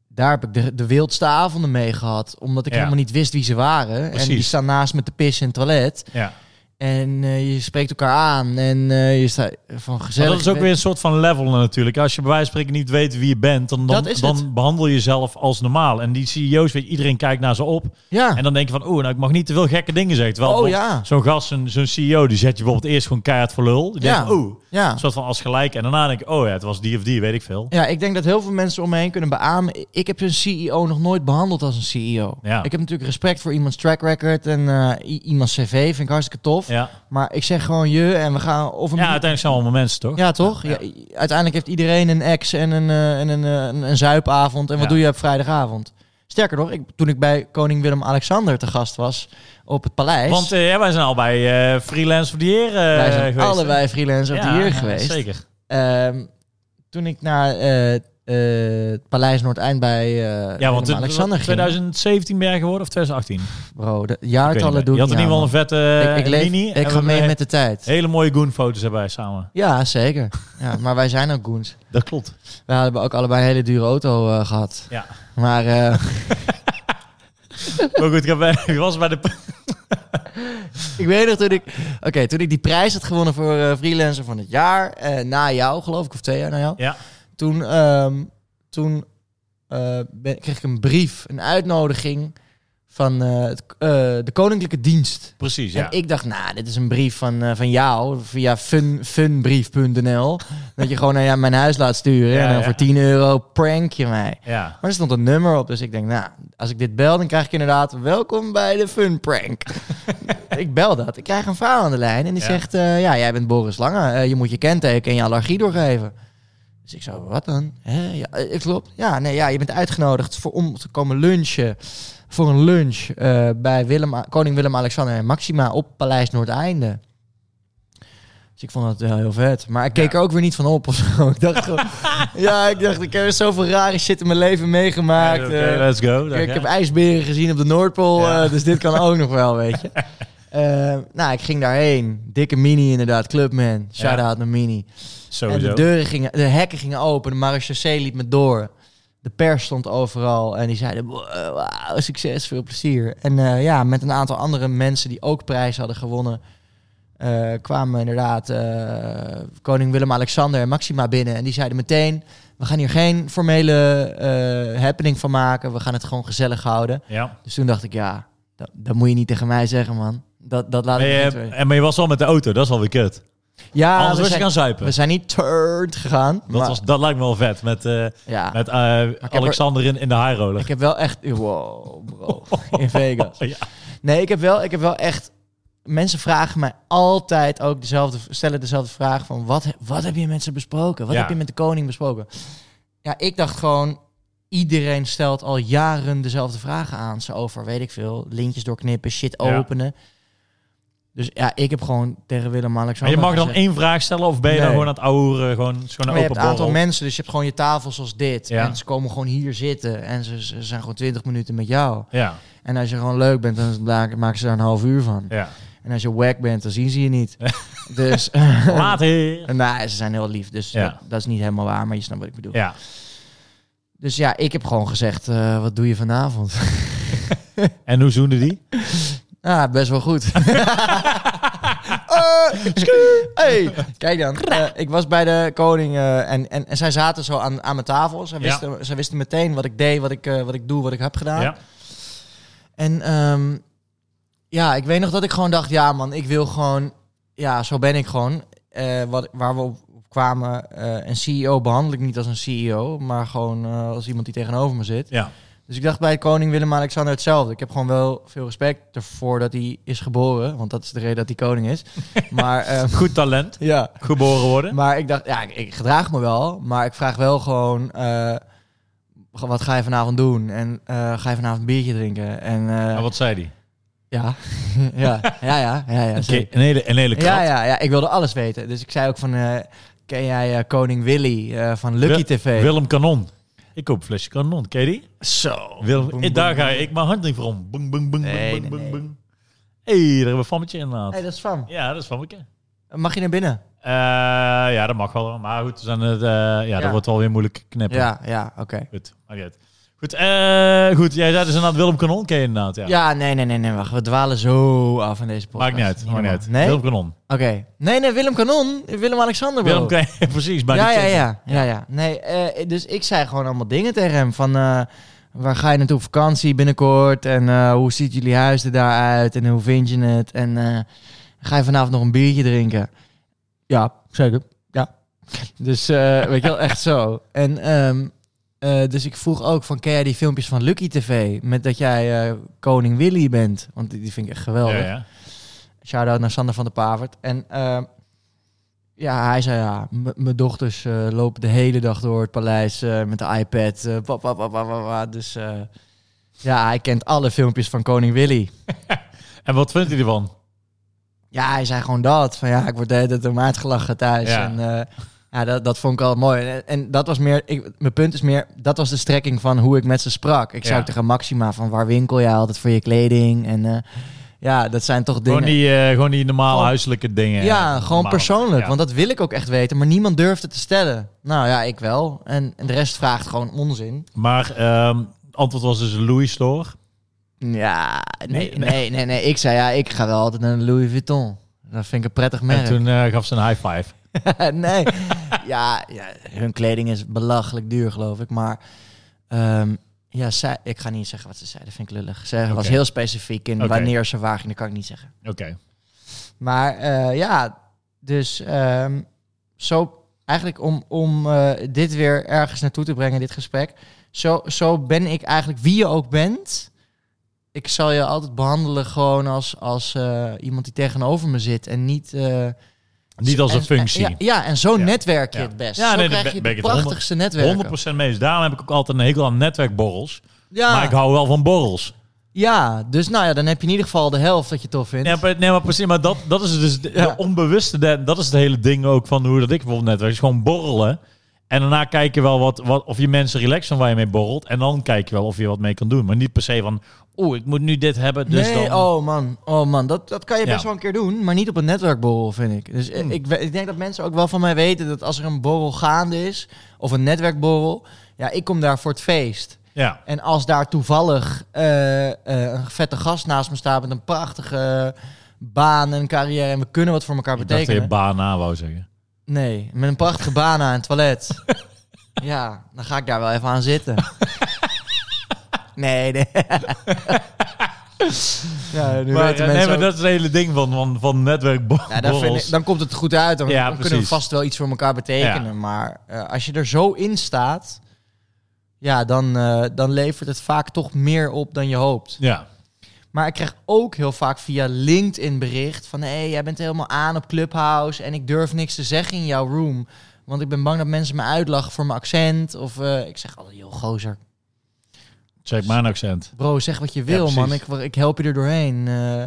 Speaker 2: Daar heb ik de, de wildste avonden mee gehad. Omdat ik
Speaker 1: Ja.
Speaker 2: helemaal niet wist wie ze waren. En die
Speaker 1: Precies.
Speaker 2: staan naast me te pissen in het toilet.
Speaker 1: Ja.
Speaker 2: En eh, je spreekt elkaar aan. En eh, je staat van
Speaker 1: Maar
Speaker 2: gezellig.
Speaker 1: Oh, dat is dus ook weer een soort van level natuurlijk. Als je bij wijze van spreken niet weet wie je bent, dan, dan,
Speaker 2: Dat is
Speaker 1: dan
Speaker 2: het.
Speaker 1: behandel je jezelf als normaal. En die CEO's, weet je, iedereen kijkt naar ze op.
Speaker 2: Ja.
Speaker 1: En dan denk je van, oeh, nou, ik mag niet te veel gekke dingen zeggen. Terwijl
Speaker 2: oh
Speaker 1: bijvoorbeeld
Speaker 2: ja.
Speaker 1: zo'n gast, zo'n zo'n CEO, die zet je bijvoorbeeld eerst gewoon keihard voor lul. Die
Speaker 2: Ja.
Speaker 1: denkt, oeh,
Speaker 2: Ja.
Speaker 1: een soort van als gelijk. En daarna denk ik, oh ja, het was die of die, weet ik veel.
Speaker 2: Ja, ik denk dat heel veel mensen om me heen kunnen beamen. Ik heb een CEO nog nooit behandeld als een CEO.
Speaker 1: Ja.
Speaker 2: Ik heb natuurlijk respect voor iemands track record en eh, i- iemands cv. Vind ik hartstikke tof.
Speaker 1: Ja,
Speaker 2: Maar ik zeg gewoon je en we gaan... Of een
Speaker 1: ja uiteindelijk zijn we allemaal mensen, toch?
Speaker 2: Ja, toch?
Speaker 1: Ja.
Speaker 2: Ja, i- uiteindelijk heeft iedereen een ex en een, eh, en een, eh, een, een zuipavond. En wat
Speaker 1: Ja.
Speaker 2: doe je op vrijdagavond? Sterker nog, ik, toen ik bij koning Willem-Alexander te gast was op het paleis...
Speaker 1: Want eh, ja, wij zijn allebei eh, freelance of the year eh,
Speaker 2: wij zijn
Speaker 1: geweest.
Speaker 2: allebei freelancer op
Speaker 1: Ja,
Speaker 2: de hier
Speaker 1: ja,
Speaker 2: geweest.
Speaker 1: Zeker.
Speaker 2: Ehm, toen ik naar eh, eh, het Paleis Noord-Eind bij eh
Speaker 1: Ja, want het-
Speaker 2: Alexander ging.
Speaker 1: 2017 ben jij geworden of 2018?
Speaker 2: Bro, de
Speaker 1: Ik
Speaker 2: jaartallen
Speaker 1: weet
Speaker 2: doen
Speaker 1: niet. Je had in ieder geval een vette eh,
Speaker 2: ik, ik, leef-
Speaker 1: linie.
Speaker 2: ik
Speaker 1: en
Speaker 2: ga
Speaker 1: we
Speaker 2: mee
Speaker 1: hebben
Speaker 2: met de tijd.
Speaker 1: Hele mooie goonfoto's hebben wij samen.
Speaker 2: Ja, zeker. Ja, maar wij zijn ook goons.
Speaker 1: Dat klopt.
Speaker 2: We hebben ook allebei een hele dure auto eh, gehad.
Speaker 1: Ja.
Speaker 2: Maar eh,
Speaker 1: Maar goed, ik, heb, [LAUGHS] bij- ik was bij de...
Speaker 2: ik weet nog toen ik... Oké, toen ik die prijs had gewonnen voor eh, freelancer van het jaar. eh, na jou, geloof ik. Of twee jaar na jou.
Speaker 1: Ja.
Speaker 2: Toen, ehm, toen eh, ben- kreeg ik een brief. Een uitnodiging van eh, het, eh, de Koninklijke Dienst.
Speaker 1: Precies, ja.
Speaker 2: En ik dacht, nou, dit is een brief van, eh, van jou via fun, funbrief.nl. dat je gewoon naar ja, mijn huis laat sturen.
Speaker 1: Ja,
Speaker 2: en dan
Speaker 1: ja.
Speaker 2: voor 10 euro prank je mij.
Speaker 1: Ja.
Speaker 2: Maar er stond een nummer op, dus ik denk, nou, als ik dit bel, dan krijg ik inderdaad welkom bij de fun prank. ik bel dat. Ik krijg een vrouw aan de lijn en die
Speaker 1: Ja.
Speaker 2: zegt, eh, ja, jij bent Boris Lange. eh, je moet je kenteken en je allergie doorgeven. Dus ik zo, wat dan? Hè? Ja, eh, klopt. Ja, nee, ja, je bent uitgenodigd voor, om te komen lunchen. Voor een lunch eh, bij Willem, koning Willem-Alexander en Maxima op Paleis Noordeinde. Dus ik vond dat wel heel vet. Maar ik keek
Speaker 1: Ja.
Speaker 2: er ook weer niet van op of zo. Ik
Speaker 1: [LAUGHS]
Speaker 2: dacht gewoon, ja, ik dacht, ik heb zoveel rare shit in mijn leven meegemaakt.
Speaker 1: Oké,
Speaker 2: eh,
Speaker 1: let's go.
Speaker 2: ik-
Speaker 1: Dacht,
Speaker 2: ik
Speaker 1: ja.
Speaker 2: heb ijsberen gezien op de Noordpool,
Speaker 1: Ja.
Speaker 2: eh, dus dit kan ook nog wel,
Speaker 1: [LAUGHS]
Speaker 2: weet je. Eh, nou, ik ging daarheen. Dikke mini inderdaad, clubman. Shout-out naar mini.
Speaker 1: Sowieso.
Speaker 2: En de deuren gingen, de hekken gingen open, de marechaussee liep me door. De pers stond overal en die zeiden, "Wow, wauw, succes, veel plezier. En eh, ja, met een aantal andere mensen die ook prijzen hadden gewonnen, eh, kwamen inderdaad eh, koning Willem-Alexander en Maxima binnen. En die zeiden meteen, we gaan hier geen formele eh, happening van maken, we gaan het gewoon gezellig houden.
Speaker 1: Ja.
Speaker 2: Dus toen dacht ik, ja, dat, dat moet je niet tegen mij zeggen, man. Dat, dat laat
Speaker 1: Maar
Speaker 2: ik niet
Speaker 1: je,
Speaker 2: weten.
Speaker 1: en, maar je was al met de auto, dat is alweer kut.
Speaker 2: Ja,
Speaker 1: eh, Anders
Speaker 2: Ah,
Speaker 1: was
Speaker 2: we
Speaker 1: je
Speaker 2: zijn,
Speaker 1: gaan zuipen.
Speaker 2: we zijn niet turned gegaan.
Speaker 1: dat,
Speaker 2: maar-
Speaker 1: was, dat lijkt me wel vet. Met, eh,
Speaker 2: ja.
Speaker 1: met eh,
Speaker 2: heb er-
Speaker 1: Alexander in, in de high roller.
Speaker 2: Ik heb wel echt... Wow, bro. In Vegas.
Speaker 1: [LAUGHS] Ja.
Speaker 2: Nee, ik heb wel, ik heb wel echt... Mensen vragen mij altijd ook dezelfde... Stellen dezelfde vraag van... Wat, he- wat heb je met ze besproken? Wat
Speaker 1: Ja.
Speaker 2: heb je met de koning besproken? Ja, ik dacht gewoon... Iedereen stelt al jaren dezelfde vragen aan ze over, weet ik veel. Lintjes doorknippen, shit
Speaker 1: Ja.
Speaker 2: openen. Dus ja, ik heb gewoon tegen
Speaker 1: Maar je
Speaker 2: Willem-Alexander
Speaker 1: mag dan
Speaker 2: gezegd-
Speaker 1: één vraag stellen of ben je dan
Speaker 2: Nee.
Speaker 1: gewoon aan het ouwen, gewoon, is gewoon een
Speaker 2: Maar je
Speaker 1: open
Speaker 2: hebt een aantal
Speaker 1: borrel?
Speaker 2: mensen, dus je hebt gewoon je tafel zoals dit.
Speaker 1: Ja.
Speaker 2: En ze komen gewoon hier zitten en ze, ze zijn gewoon 20 minuten met jou.
Speaker 1: Ja,
Speaker 2: En als je gewoon leuk bent, dan bla- maken ze daar een half uur van.
Speaker 1: ja.
Speaker 2: En als je wack bent, dan zien ze je niet. [LAUGHS]
Speaker 1: [LAUGHS]
Speaker 2: dus,
Speaker 1: Later.
Speaker 2: nou, ze zijn heel lief, dus
Speaker 1: Ja.
Speaker 2: dat, dat is niet helemaal waar, maar je snapt wat ik bedoel.
Speaker 1: Ja.
Speaker 2: Dus ja, ik heb gewoon gezegd, eh, wat doe je vanavond? [LAUGHS]
Speaker 1: En hoe zoende die?
Speaker 2: ah, best wel
Speaker 1: [LAUGHS]
Speaker 2: goed. Eh, schuur. hey, kijk dan. Eh, ik was bij de koning eh, en, en, en zij zaten zo aan, aan mijn tafel. Zij
Speaker 1: Ja.
Speaker 2: wisten, zij wisten meteen wat ik deed, wat ik, eh, wat ik doe, wat ik heb gedaan.
Speaker 1: Ja.
Speaker 2: En ehm, ja, ik weet nog dat ik gewoon dacht, ja man, ik wil gewoon, ja, zo ben ik gewoon. Eh, wat, waar we op op kwamen, eh, een CEO behandel ik niet als een CEO, maar gewoon eh, als iemand die tegenover me zit.
Speaker 1: Ja.
Speaker 2: Dus ik dacht bij koning Willem-Alexander hetzelfde. Ik heb gewoon wel veel respect ervoor dat hij is geboren, want dat is de reden dat hij koning is. maar ehm,
Speaker 1: Goed talent.
Speaker 2: ja,
Speaker 1: Geboren worden.
Speaker 2: maar ik dacht, ja, ik, ik gedraag me wel, maar ik vraag wel gewoon, eh, wat ga je vanavond doen? En eh, ga je vanavond een biertje drinken? En eh,
Speaker 1: En wat zei die?
Speaker 2: ja, [LAUGHS] ja, ja, ja, ja, ja.
Speaker 1: Een,
Speaker 2: zeker.
Speaker 1: ke- een hele, een hele krat.
Speaker 2: Ja, ja, ja, ik wilde alles weten. Dus ik zei ook van, eh, ken jij eh, Koning Willy eh, van Lucky
Speaker 1: Wil-
Speaker 2: TV?
Speaker 1: Willem Kanon. Ik koop een flesje kanon, ken je die?
Speaker 2: Zo.
Speaker 1: Willem,
Speaker 2: Boem,
Speaker 1: eh,
Speaker 2: boem,
Speaker 1: daar ga
Speaker 2: boem.
Speaker 1: ik mijn hand niet voor om. Boem, boem, boem,
Speaker 2: Nee,
Speaker 1: boem,
Speaker 2: nee,
Speaker 1: boem,
Speaker 2: nee.
Speaker 1: boem. Hé, hey, daar hebben we Fammetje inderdaad.
Speaker 2: hey, dat is van.
Speaker 1: Ja, dat is Fammetje.
Speaker 2: Mag je naar binnen?
Speaker 1: Eh, ja, dat mag wel. Maar goed, we zijn het, eh, ja, dat
Speaker 2: Ja.
Speaker 1: wordt wel weer moeilijk knippen.
Speaker 2: Ja, ja, oké.
Speaker 1: Goed, maakt niet uit. Goed, eh, goed, jij zei dus inderdaad Willem Kanon ken je inderdaad, ja.
Speaker 2: Ja, nee, nee, nee, nee, wacht. We dwalen zo af in deze podcast.
Speaker 1: Maakt niet uit, maakt niet
Speaker 2: helemaal.
Speaker 1: uit.
Speaker 2: Nee?
Speaker 1: Willem Kanon.
Speaker 2: Oké. Nee, nee, Willem Kanon. Willem-Alexander, bro.
Speaker 1: Willem Kanon, [LAUGHS] precies. Maakt
Speaker 2: ja,
Speaker 1: niet
Speaker 2: ja,
Speaker 1: uit.
Speaker 2: ja, ja, ja. Nee, eh, dus ik zei gewoon allemaal dingen tegen hem. Van, eh, waar ga je naartoe op vakantie binnenkort? En eh, hoe ziet jullie huis er daaruit? En hoe vind je het? En eh, ga je vanavond nog een biertje drinken? Ja, zeker. Ja. [LAUGHS] Dus, eh, weet je wel, echt zo. En, ehm, eh, dus ik vroeg ook van, ken jij die filmpjes van Lucky TV? Met dat jij eh, koning Willy bent. Want die, die vind ik echt geweldig.
Speaker 1: Ja, ja.
Speaker 2: Shout-out naar Sander van der Pavert. En eh, ja, hij zei ja, m- mijn dochters eh, lopen de hele dag door het paleis eh, met de iPad. eh, wa- wa- wa- wa- wa- wa. Dus eh, ja, hij kent alle filmpjes van koning Willy.
Speaker 1: En wat vindt hij ervan?
Speaker 2: Ja, hij zei gewoon dat. Van ja, ik word de hele tijd om uitgelachen thuis.
Speaker 1: Ja.
Speaker 2: En eh, ja, dat, dat vond ik al mooi. En, en dat was meer, ik, mijn punt is meer, dat was de strekking van hoe ik met ze sprak. Ik zei
Speaker 1: Ja.
Speaker 2: ook tegen Maxima van waar winkel jij altijd voor je kleding? En eh, ja, dat zijn toch dingen.
Speaker 1: Gewoon die, eh, gewoon die normale
Speaker 2: Gewoon-
Speaker 1: huiselijke dingen.
Speaker 2: Ja, gewoon
Speaker 1: normaal.
Speaker 2: persoonlijk.
Speaker 1: Ja.
Speaker 2: Want dat wil ik ook echt weten. Maar niemand durft het te stellen. Nou ja, ik wel. En, en de rest vraagt gewoon onzin.
Speaker 1: Maar ehm antwoord was dus Louis Store.
Speaker 2: Ja, nee,
Speaker 1: Nee,
Speaker 2: nee, nee. nee, Ik zei ja, ik ga wel altijd naar de Louis Vuitton. Dat vind ik een prettig
Speaker 1: En
Speaker 2: merk.
Speaker 1: toen eh, gaf ze een high five.
Speaker 2: [LAUGHS] nee. ja, ja, hun kleding is belachelijk duur, geloof ik. Maar ehm, ja, zij, ik ga niet zeggen wat ze zei. Dat vind ik lullig. Ze was
Speaker 1: Oké.
Speaker 2: heel specifiek in
Speaker 1: Oké.
Speaker 2: wanneer ze waar ging. Dat kan ik niet zeggen.
Speaker 1: Oké.
Speaker 2: Maar eh, ja, dus ehm, zo eigenlijk om, om eh, dit weer ergens naartoe te brengen, dit gesprek. Zo, zo ben ik eigenlijk wie je ook bent. Ik zal je altijd behandelen gewoon als, als eh, iemand die tegenover me zit en niet... eh,
Speaker 1: Niet als
Speaker 2: en-
Speaker 1: een functie.
Speaker 2: en- ja, ja, en zo
Speaker 1: Ja.
Speaker 2: netwerk je
Speaker 1: Ja.
Speaker 2: het best.
Speaker 1: Ja,
Speaker 2: zo
Speaker 1: nee,
Speaker 2: krijg
Speaker 1: dat
Speaker 2: je
Speaker 1: ben
Speaker 2: de
Speaker 1: ik het
Speaker 2: prachtigste netwerken.
Speaker 1: 100% mee eens. Daarom heb ik ook altijd een hekel aan netwerkborrels.
Speaker 2: Ja,
Speaker 1: Maar ik hou wel van borrels.
Speaker 2: ja, dus nou ja, dan heb je in ieder geval de helft dat je tof vindt.
Speaker 1: Ja, maar- nee, maar precies. Maar dat, dat is dus de, de
Speaker 2: Ja.
Speaker 1: onbewuste. de- dat is het hele ding ook van hoe dat ik bijvoorbeeld netwerk. Is gewoon borrelen. En daarna kijk je wel wat, wat, of je mensen relaxen van waar je mee borrelt. En dan kijk je wel of je wat mee kan doen. Maar niet per se van, oeh, ik moet nu dit hebben. Dus
Speaker 2: nee,
Speaker 1: dan...
Speaker 2: oh man, oh man, dat, dat kan je best
Speaker 1: Ja.
Speaker 2: wel een keer doen, maar niet op een netwerkborrel, vind ik. Dus eh,
Speaker 1: Hmm.
Speaker 2: ik, we- ik denk dat mensen ook wel van mij weten dat als er een borrel gaande is, of een netwerkborrel, ja, ik kom daar voor het feest.
Speaker 1: Ja,
Speaker 2: En als daar toevallig eh, eh, een vette gast naast me staat met een prachtige baan en carrière en we kunnen wat voor elkaar
Speaker 1: ik dacht dat
Speaker 2: betekenen.
Speaker 1: je baan na wou zeggen.
Speaker 2: Nee, met een prachtige baan en een [LAUGHS] toilet. ja, dan ga ik daar wel even aan zitten. nee, nee. [LAUGHS] ja, nu
Speaker 1: Maar, eh,
Speaker 2: weten
Speaker 1: nee,
Speaker 2: mensen
Speaker 1: maar
Speaker 2: ook-
Speaker 1: dat is het hele ding van, van, van netwerkborrels.
Speaker 2: Ja, dan, vind ik- dan komt het goed uit. Dan,
Speaker 1: Ja,
Speaker 2: dan kunnen we
Speaker 1: precies.
Speaker 2: vast wel iets voor elkaar betekenen.
Speaker 1: Ja.
Speaker 2: Maar eh, als je er zo in staat, ja, dan, eh, dan levert het vaak toch meer op dan je hoopt.
Speaker 1: Ja,
Speaker 2: Maar ik krijg ook heel vaak via LinkedIn bericht van... hé, hey, jij bent helemaal aan op Clubhouse en ik durf niks te zeggen in jouw room. Want ik ben bang dat mensen me uitlachen voor mijn accent. Of eh, ik zeg altijd, joh, gozer,
Speaker 1: check mijn accent.
Speaker 2: bro, zeg wat je wil, man. Ik,
Speaker 1: precies.
Speaker 2: ik help je er doorheen. Eh,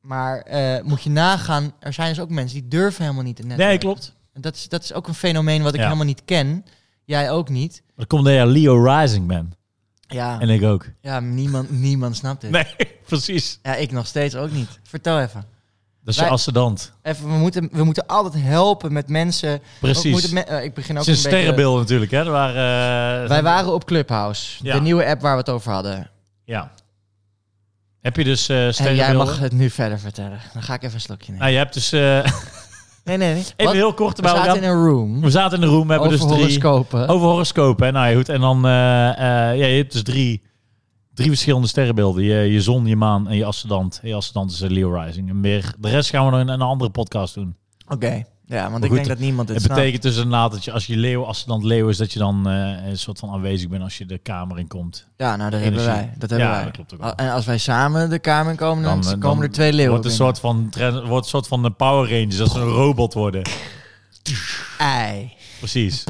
Speaker 2: maar eh, moet je nagaan, er zijn dus ook mensen die durven helemaal niet te netwerken.
Speaker 1: Nee, klopt.
Speaker 2: En Dat is, dat is ook een fenomeen wat ik
Speaker 1: Ja.
Speaker 2: helemaal niet ken. Jij ook niet.
Speaker 1: Dat komt omdat jij Leo Rising bent.
Speaker 2: Ja,
Speaker 1: En ik ook.
Speaker 2: ja niemand, niemand snapt dit.
Speaker 1: Nee, [LAUGHS] precies.
Speaker 2: Ja, ik nog steeds ook niet. Vertel even.
Speaker 1: Dat is
Speaker 2: Wij-
Speaker 1: je ascendant.
Speaker 2: Even, we, moeten, we moeten altijd helpen met mensen. We
Speaker 1: Precies.
Speaker 2: moeten me- eh, ik begin ook
Speaker 1: Het is een
Speaker 2: een beetje-
Speaker 1: sterrenbeeld natuurlijk, hè? Waar, eh,
Speaker 2: Wij waren op Clubhouse,
Speaker 1: Ja.
Speaker 2: de nieuwe app waar we het over hadden.
Speaker 1: Ja. Heb je dus eh
Speaker 2: En jij
Speaker 1: sterrenbeelden?
Speaker 2: mag het nu verder vertellen. Dan ga ik even een slokje nemen.
Speaker 1: Nou, je hebt dus... eh, [LAUGHS]
Speaker 2: Nee, nee, nee.
Speaker 1: even
Speaker 2: Wat?
Speaker 1: heel kort
Speaker 2: We
Speaker 1: erbij. We,
Speaker 2: zaten in een room
Speaker 1: we zaten in de room, we hebben
Speaker 2: over
Speaker 1: dus drie...
Speaker 2: horoscopen.
Speaker 1: Over horoscopen, hè? Nou ja, goed. En dan... eh, eh, ja, je hebt dus drie, drie verschillende sterrenbeelden. Je, je zon, je maan en je ascendant. En je ascendant is eh, Leo Rising. En meer, de rest gaan we nog in een andere podcast doen.
Speaker 2: Oké. Ja, want
Speaker 1: Maar
Speaker 2: ik
Speaker 1: goed,
Speaker 2: denk dat nou- niemand het
Speaker 1: Het
Speaker 2: snapt.
Speaker 1: betekent dus inderdaad dat je als je leeuw, als het dan leeuw is, dat je dan eh, een soort van aanwezig bent als je de kamer in komt.
Speaker 2: Ja, nou, dat
Speaker 1: energie.
Speaker 2: hebben wij. Dat hebben
Speaker 1: Ja,
Speaker 2: wij.
Speaker 1: dat klopt ook wel.
Speaker 2: Al- En als wij samen de kamer in komen, dan,
Speaker 1: Dan, eh,
Speaker 2: komen
Speaker 1: dan
Speaker 2: er twee leeuwen
Speaker 1: wordt een soort van, tren- wordt een soort van de Power Rangers, dat ze een robot worden.
Speaker 2: binnen. Ei.
Speaker 1: Precies.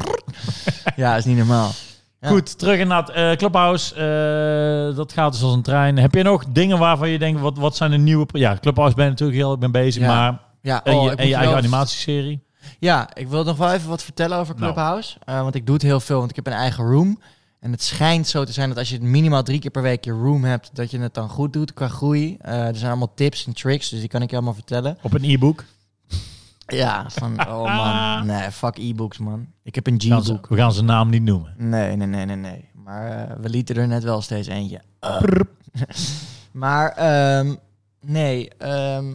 Speaker 2: Ja, is niet normaal. [LAUGHS] Ja.
Speaker 1: Goed, terug naar het eh, Clubhouse. Eh, dat gaat dus als een trein. Heb je nog dingen waarvan je denkt, wat, wat zijn de nieuwe... pro- Ja, Clubhouse ben je natuurlijk heel erg mee bezig,
Speaker 2: Ja.
Speaker 1: maar...
Speaker 2: Ja,
Speaker 1: En
Speaker 2: oh,
Speaker 1: je,
Speaker 2: ik
Speaker 1: en je
Speaker 2: moet
Speaker 1: eigen
Speaker 2: wel-
Speaker 1: animatieserie.
Speaker 2: Ja, ik wil nog wel even wat vertellen over
Speaker 1: Nou.
Speaker 2: Clubhouse. Eh, want ik doe het heel veel, want ik heb een eigen room. En het schijnt zo te zijn dat als je het minimaal drie keer per week je room hebt, dat je het dan goed doet qua groei. Eh, er zijn allemaal tips en tricks, dus die kan ik je allemaal vertellen.
Speaker 1: Op een e-book.
Speaker 2: Ja, van, oh man, nee, fuck e-books man. Ik heb een
Speaker 1: Nou, We gaan ze-
Speaker 2: G-book.
Speaker 1: We gaan zijn naam niet noemen.
Speaker 2: Nee, nee, nee, nee, nee. Maar eh, we lieten er net wel steeds eentje. up. [LAUGHS] maar ehm, nee, ehm,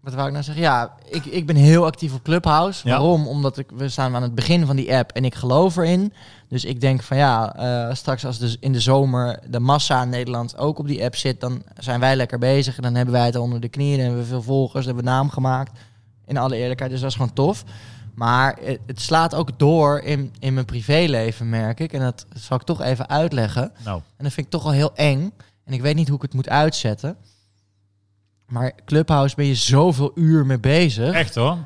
Speaker 2: wat wou ik nou zeggen? Ja, ik, ik ben heel actief op Clubhouse.
Speaker 1: Ja.
Speaker 2: Waarom? Omdat ik, we staan aan het begin van die app en ik geloof erin. Dus ik denk van ja, eh, straks als dus in de zomer de massa in Nederland ook op die app zit, dan zijn wij lekker bezig. En dan hebben wij het al onder de knieën, dan hebben we veel volgers, dan hebben we naam gemaakt. In alle eerlijkheid, dus dat is gewoon tof. Maar het, het slaat ook door in, in mijn privéleven, merk ik. En dat zal ik toch even uitleggen.
Speaker 1: Nou,
Speaker 2: En dat vind ik toch al heel eng. En ik weet niet hoe ik het moet uitzetten. Maar Clubhouse ben je zoveel uur mee bezig.
Speaker 1: echt hoor.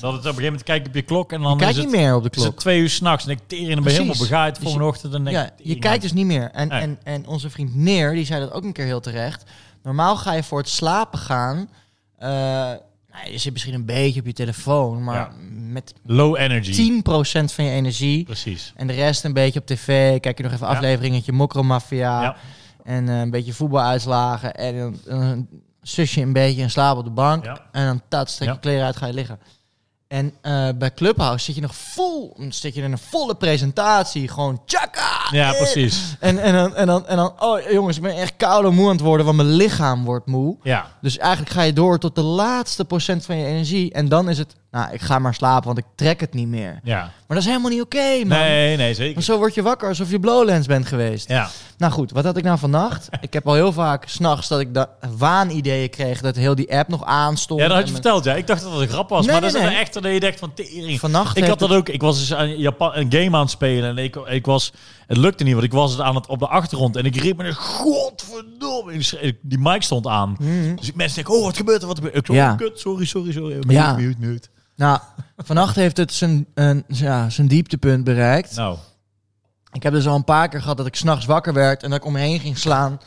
Speaker 1: Dat het op een gegeven moment kijk ik op je klok en
Speaker 2: Je
Speaker 1: dan is
Speaker 2: kijkt
Speaker 1: het,
Speaker 2: niet meer op de
Speaker 1: is het
Speaker 2: klok.
Speaker 1: twee uur s'nachts. En ik tering en dan ben je
Speaker 2: Precies.
Speaker 1: helemaal begaaid
Speaker 2: Dus
Speaker 1: volgende ochtend. En denk ik,
Speaker 2: Ja, je
Speaker 1: tering,
Speaker 2: kijkt dus niet meer. En,
Speaker 1: Nee.
Speaker 2: en, en onze vriend Neer, die zei dat ook een keer heel terecht. Normaal ga je voor het slapen gaan. eh, nou, je zit misschien een beetje op je telefoon, maar
Speaker 1: Ja.
Speaker 2: met 10%
Speaker 1: Low energy.
Speaker 2: van je energie.
Speaker 1: Precies.
Speaker 2: En de rest een beetje op tv. Kijk je nog even
Speaker 1: Ja.
Speaker 2: afleveringetje Mokromafia.
Speaker 1: Ja.
Speaker 2: En eh, een beetje voetbaluitslagen. En dan dan zus je een beetje in slaap op de bank.
Speaker 1: Ja.
Speaker 2: En dan tat, trek je
Speaker 1: Ja.
Speaker 2: kleren uit, ga je liggen. En eh, bij Clubhouse zit je nog vol, zit je in een volle presentatie. Gewoon tjaka!
Speaker 1: Ja,
Speaker 2: eh.
Speaker 1: precies.
Speaker 2: En, en, dan, en, dan, en dan, oh jongens, ik ben echt koud en moe aan het worden, want mijn lichaam wordt moe.
Speaker 1: Ja,
Speaker 2: Dus eigenlijk ga je door tot de laatste procent van je energie. En dan is het, nou, ik ga maar slapen, want ik trek het niet meer.
Speaker 1: ja.
Speaker 2: Maar dat is helemaal niet oké, man.
Speaker 1: Nee, nee,
Speaker 2: Want
Speaker 1: zeker.
Speaker 2: zo word je wakker alsof je blowlands bent geweest.
Speaker 1: Ja,
Speaker 2: Nou goed, wat had ik
Speaker 1: [LAUGHS]
Speaker 2: nou vannacht? ik heb al heel vaak s'nachts dat ik da- waanideeën kreeg dat heel die app nog aanstond.
Speaker 1: ja dat had
Speaker 2: Oh, En
Speaker 1: je
Speaker 2: mijn-
Speaker 1: verteld. Ja. Ik dacht dat het een grap was.
Speaker 2: Nee,
Speaker 1: maar
Speaker 2: nee,
Speaker 1: dat is
Speaker 2: nee.
Speaker 1: echt dat je denkt van tering.
Speaker 2: Vannacht
Speaker 1: Ik
Speaker 2: heeft
Speaker 1: had dat ook. Ik was dus aan Japan, een game aan het spelen en ik, ik was... Het lukte niet, want ik was het aan het, op de achtergrond. En ik riep me, godverdomme. En ik schreef- Die mic stond aan.
Speaker 2: Mhm.
Speaker 1: Dus mensen denken, oh, wat gebeurt er? Wat gebeurt er? Ik zo,
Speaker 2: Ja.
Speaker 1: oh, kut, sorry, sorry, sorry. Mute,
Speaker 2: Ja.
Speaker 1: mute, mute.
Speaker 2: Nou, vannacht heeft het zijn, een, ja, zijn dieptepunt bereikt.
Speaker 1: Nou,
Speaker 2: Ik heb dus al een paar keer gehad dat ik s'nachts wakker werd en dat ik omheen ging slaan.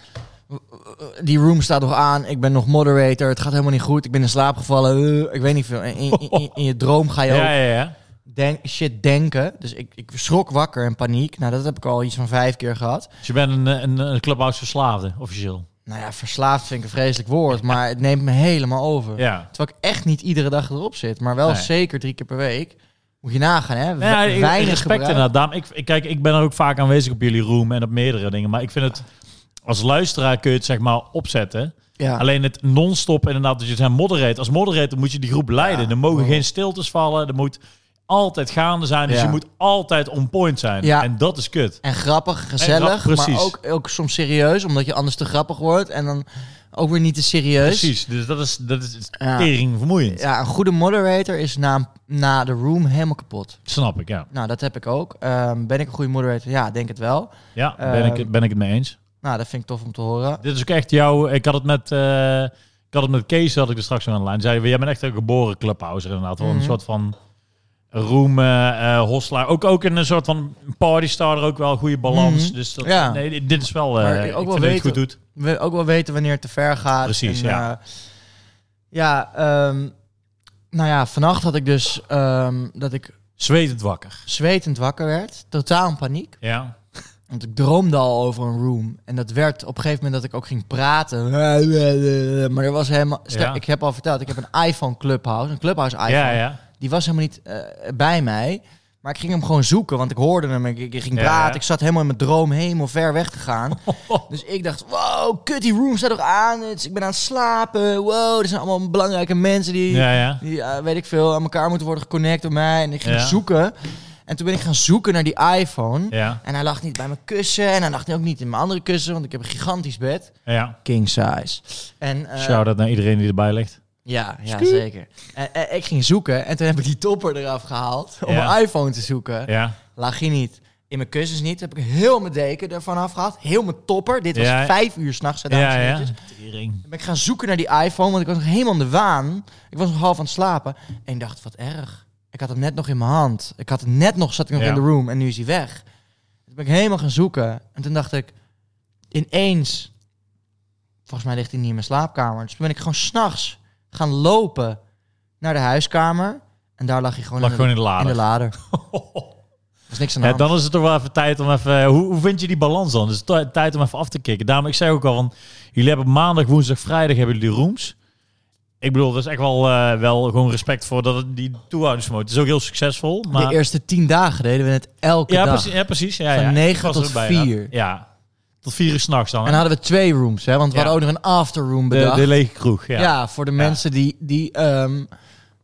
Speaker 2: Die room staat nog aan, ik ben nog moderator, het gaat helemaal niet goed, ik ben in slaap gevallen, eh, ik weet niet veel. In, in, in- in je droom ga je
Speaker 1: [LAUGHS] ja,
Speaker 2: ook
Speaker 1: ja, ja.
Speaker 2: denk, shit denken. Dus ik, ik schrok wakker en paniek. Nou, dat heb ik al iets van vijf keer gehad.
Speaker 1: Dus je bent een, een, een clubhouse verslaafde, officieel.
Speaker 2: Nou ja, verslaafd vind ik een vreselijk woord, maar het neemt me helemaal over.
Speaker 1: Ja.
Speaker 2: Terwijl ik echt niet iedere dag erop zit, maar wel
Speaker 1: Nee.
Speaker 2: zeker drie keer per week. Moet je nagaan, hè? We-
Speaker 1: Nou ja,
Speaker 2: Weinig
Speaker 1: weinig respect
Speaker 2: gebruik.
Speaker 1: inderdaad. Daarom, ik, ik, kijk, ik ben er ook vaak aanwezig op jullie room en op meerdere dingen. Maar ik vind het... Als luisteraar kun je het zeg maar opzetten.
Speaker 2: Ja.
Speaker 1: Alleen het non-stop inderdaad, dat je zijn moderator. Als moderator moet je die groep leiden.
Speaker 2: Ja.
Speaker 1: er mogen
Speaker 2: Oh.
Speaker 1: geen stiltes vallen. Er moet altijd gaande zijn. Dus
Speaker 2: Ja.
Speaker 1: je moet altijd on point zijn.
Speaker 2: Ja. Dus?
Speaker 1: En dat is kut.
Speaker 2: En grappig,
Speaker 1: grap-
Speaker 2: gezellig, maar
Speaker 1: precies.
Speaker 2: ook, ook soms serieus, omdat je anders te grappig wordt en dan ook weer niet te serieus.
Speaker 1: Precies. Dus dat is, dat is
Speaker 2: Ja.
Speaker 1: tering vermoeiend.
Speaker 2: Ja, een goede moderator is na, na de room helemaal kapot.
Speaker 1: Snap ik, ja.
Speaker 2: Nou, dat heb ik ook. Ehm, ben ik een goede moderator? Ja, denk het wel.
Speaker 1: Ja, ben,
Speaker 2: Ehm,
Speaker 1: ik, het- ben ik het mee eens.
Speaker 2: Nou, dat vind ik tof om te horen.
Speaker 1: Dit is ook echt jouw... Ik had het met... eh, ik had het met Kees, had ik er straks nog aan de lijn. Zei, jij bent echt een geboren clubhouser inderdaad. Wel
Speaker 2: Mhm.
Speaker 1: Een soort van room, eh eh, hostelaar. Ook, ook in een soort van partystar ook wel. Goede balans.
Speaker 2: Mhm.
Speaker 1: Dus dat,
Speaker 2: Ja.
Speaker 1: nee, dit- dit is wel... eh,
Speaker 2: Maar ook
Speaker 1: ik
Speaker 2: wel
Speaker 1: vind dat je het
Speaker 2: weten-
Speaker 1: goed doet.
Speaker 2: we ook wel weten wanneer het te ver gaat.
Speaker 1: Precies,
Speaker 2: En,
Speaker 1: ja.
Speaker 2: eh, ja, ehm, nou ja, vannacht had ik dus ehm, dat ik
Speaker 1: Zwetend wakker.
Speaker 2: zwetend wakker werd. Totaal in paniek.
Speaker 1: Ja.
Speaker 2: Want ik droomde al over een room. En dat werd op een gegeven moment dat ik ook ging praten. [LAUGHS] Maar er was helemaal... Stel,
Speaker 1: Ja.
Speaker 2: Ik heb al verteld, ik heb een iPhone Clubhouse. Een Clubhouse iPhone.
Speaker 1: Ja, ja.
Speaker 2: Die was helemaal niet eh, bij mij. Maar ik ging hem gewoon zoeken, want ik hoorde hem. Ik, ik ik ging
Speaker 1: Ja,
Speaker 2: praten.
Speaker 1: ja.
Speaker 2: Ik zat helemaal in mijn droom helemaal ver weg te
Speaker 1: [LAUGHS]
Speaker 2: gaan.
Speaker 1: Oh.
Speaker 2: dus ik dacht, wow, kut, die room staat nog aan. Het is- Ik ben aan het slapen. Wow, er zijn allemaal belangrijke mensen die,
Speaker 1: Ja, ja.
Speaker 2: die eh, weet ik veel, aan elkaar moeten worden geconnect door mij. En ik ging
Speaker 1: Ja.
Speaker 2: zoeken. En toen ben ik gaan zoeken naar die iPhone.
Speaker 1: Ja,
Speaker 2: En hij lag niet bij mijn kussen. En hij lag ook niet in mijn andere kussen, want ik heb een gigantisch bed.
Speaker 1: ja.
Speaker 2: King size. En, eh,
Speaker 1: Shout-out naar iedereen die erbij ligt.
Speaker 2: ja, ja
Speaker 1: Scoot.
Speaker 2: zeker. En, en ik ging zoeken en toen heb ik die topper eraf gehaald om
Speaker 1: Ja.
Speaker 2: mijn iPhone te zoeken.
Speaker 1: Ja.
Speaker 2: Lag je niet. In mijn kussens niet. Heb ik heel mijn deken ervan afgehaald. Heel mijn topper. Dit was
Speaker 1: Ja.
Speaker 2: vijf uur s'nachts.
Speaker 1: Ja, ja. Tering.
Speaker 2: Ben ik gaan zoeken naar die iPhone, want ik was nog helemaal in de waan. Ik was nog half aan het slapen. En ik dacht, wat erg. Ik had hem net nog in mijn hand. Ik had hem net nog, zat ik nog
Speaker 1: Ja.
Speaker 2: in de room en nu is hij weg. Toen ben ik helemaal gaan zoeken. En toen dacht ik, ineens, volgens mij ligt hij niet in mijn slaapkamer. Dus toen ben ik gewoon s'nachts gaan lopen naar de huiskamer. En daar lag hij gewoon,
Speaker 1: Lag
Speaker 2: in,
Speaker 1: gewoon in de
Speaker 2: de, in de
Speaker 1: lader. [LAUGHS]
Speaker 2: lader. Er was niks aan de
Speaker 1: Ja,
Speaker 2: hand.
Speaker 1: dan is het toch wel even tijd om even... eh, Hoe, hoe vind je die balans dan? Dus t- tijd om even af te kicken. Daarom, ik zei ook al, want jullie hebben maandag, woensdag, vrijdag hebben jullie rooms. Ik bedoel, dat is echt wel, eh, wel gewoon respect voor dat het die toehoudingsvermogen. Het is ook heel succesvol. Maar...
Speaker 2: De eerste tien dagen deden we het elke
Speaker 1: ja,
Speaker 2: dag.
Speaker 1: precies, ja, precies. Ja,
Speaker 2: Van
Speaker 1: ja. Ik
Speaker 2: negen
Speaker 1: was er
Speaker 2: tot
Speaker 1: ook bijna.
Speaker 2: vier.
Speaker 1: Ja, tot vier uur s'nachts dan.
Speaker 2: En
Speaker 1: hè?
Speaker 2: hadden we twee rooms, hè? Want we
Speaker 1: Ja.
Speaker 2: hadden ook nog een afterroom
Speaker 1: de,
Speaker 2: bedacht.
Speaker 1: de lege kroeg.
Speaker 2: ja.
Speaker 1: Ja.
Speaker 2: voor de mensen die, die ehm,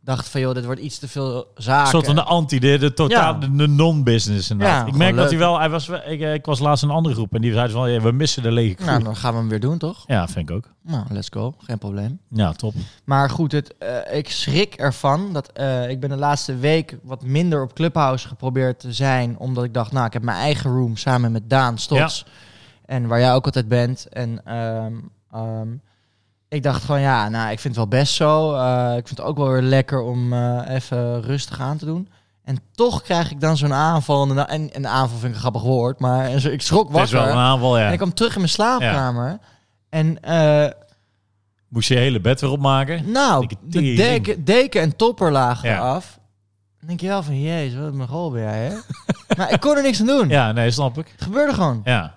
Speaker 2: dachten van, joh, dit wordt iets te veel
Speaker 1: Een
Speaker 2: zaken.
Speaker 1: soort van de anti, de, de totaal
Speaker 2: Ja.
Speaker 1: de non-business. inderdaad.
Speaker 2: Ja,
Speaker 1: ik
Speaker 2: gewoon
Speaker 1: merk dat
Speaker 2: leuk.
Speaker 1: hij wel, hij was, wel- ik, eh, ik was laatst in een andere groep en die zeiden van, ja, we missen de lege kroeg.
Speaker 2: Nou, dan gaan we hem weer doen, toch?
Speaker 1: Ja, vind ik ook.
Speaker 2: Nou, let's go. Geen probleem.
Speaker 1: Ja, top.
Speaker 2: Maar goed, het, eh, ik schrik ervan. Dat, eh, ik ben de laatste week wat minder op Clubhouse geprobeerd te zijn. Omdat ik dacht, nou, ik heb mijn eigen room samen met Daan Stots. En waar jij ook altijd bent. En ehm, ehm, ik dacht gewoon, ja, nou, ik vind het wel best zo. Eh, ik vind het ook wel weer lekker om eh, even rustig aan te doen. En toch krijg ik dan zo'n aanval. En, dan- en, en aanval vind ik een grappig woord. Maar [LAUGHS] en zo- ik schrok
Speaker 1: Het is
Speaker 2: wakker.
Speaker 1: wel een aanval, ja.
Speaker 2: En ik kwam terug in mijn slaapkamer. En eh,
Speaker 1: Moest je je hele bed weer opmaken.
Speaker 2: nou,
Speaker 1: Dikke
Speaker 2: de
Speaker 1: tering.
Speaker 2: deken, deken en topper lagen
Speaker 1: Ja.
Speaker 2: eraf. Dan denk je wel van, jezus, wat een goal ben jij, hè? [LAUGHS] maar ik kon er niks aan doen.
Speaker 1: Ja, nee, snap ik.
Speaker 2: Het gebeurde gewoon.
Speaker 1: Ja.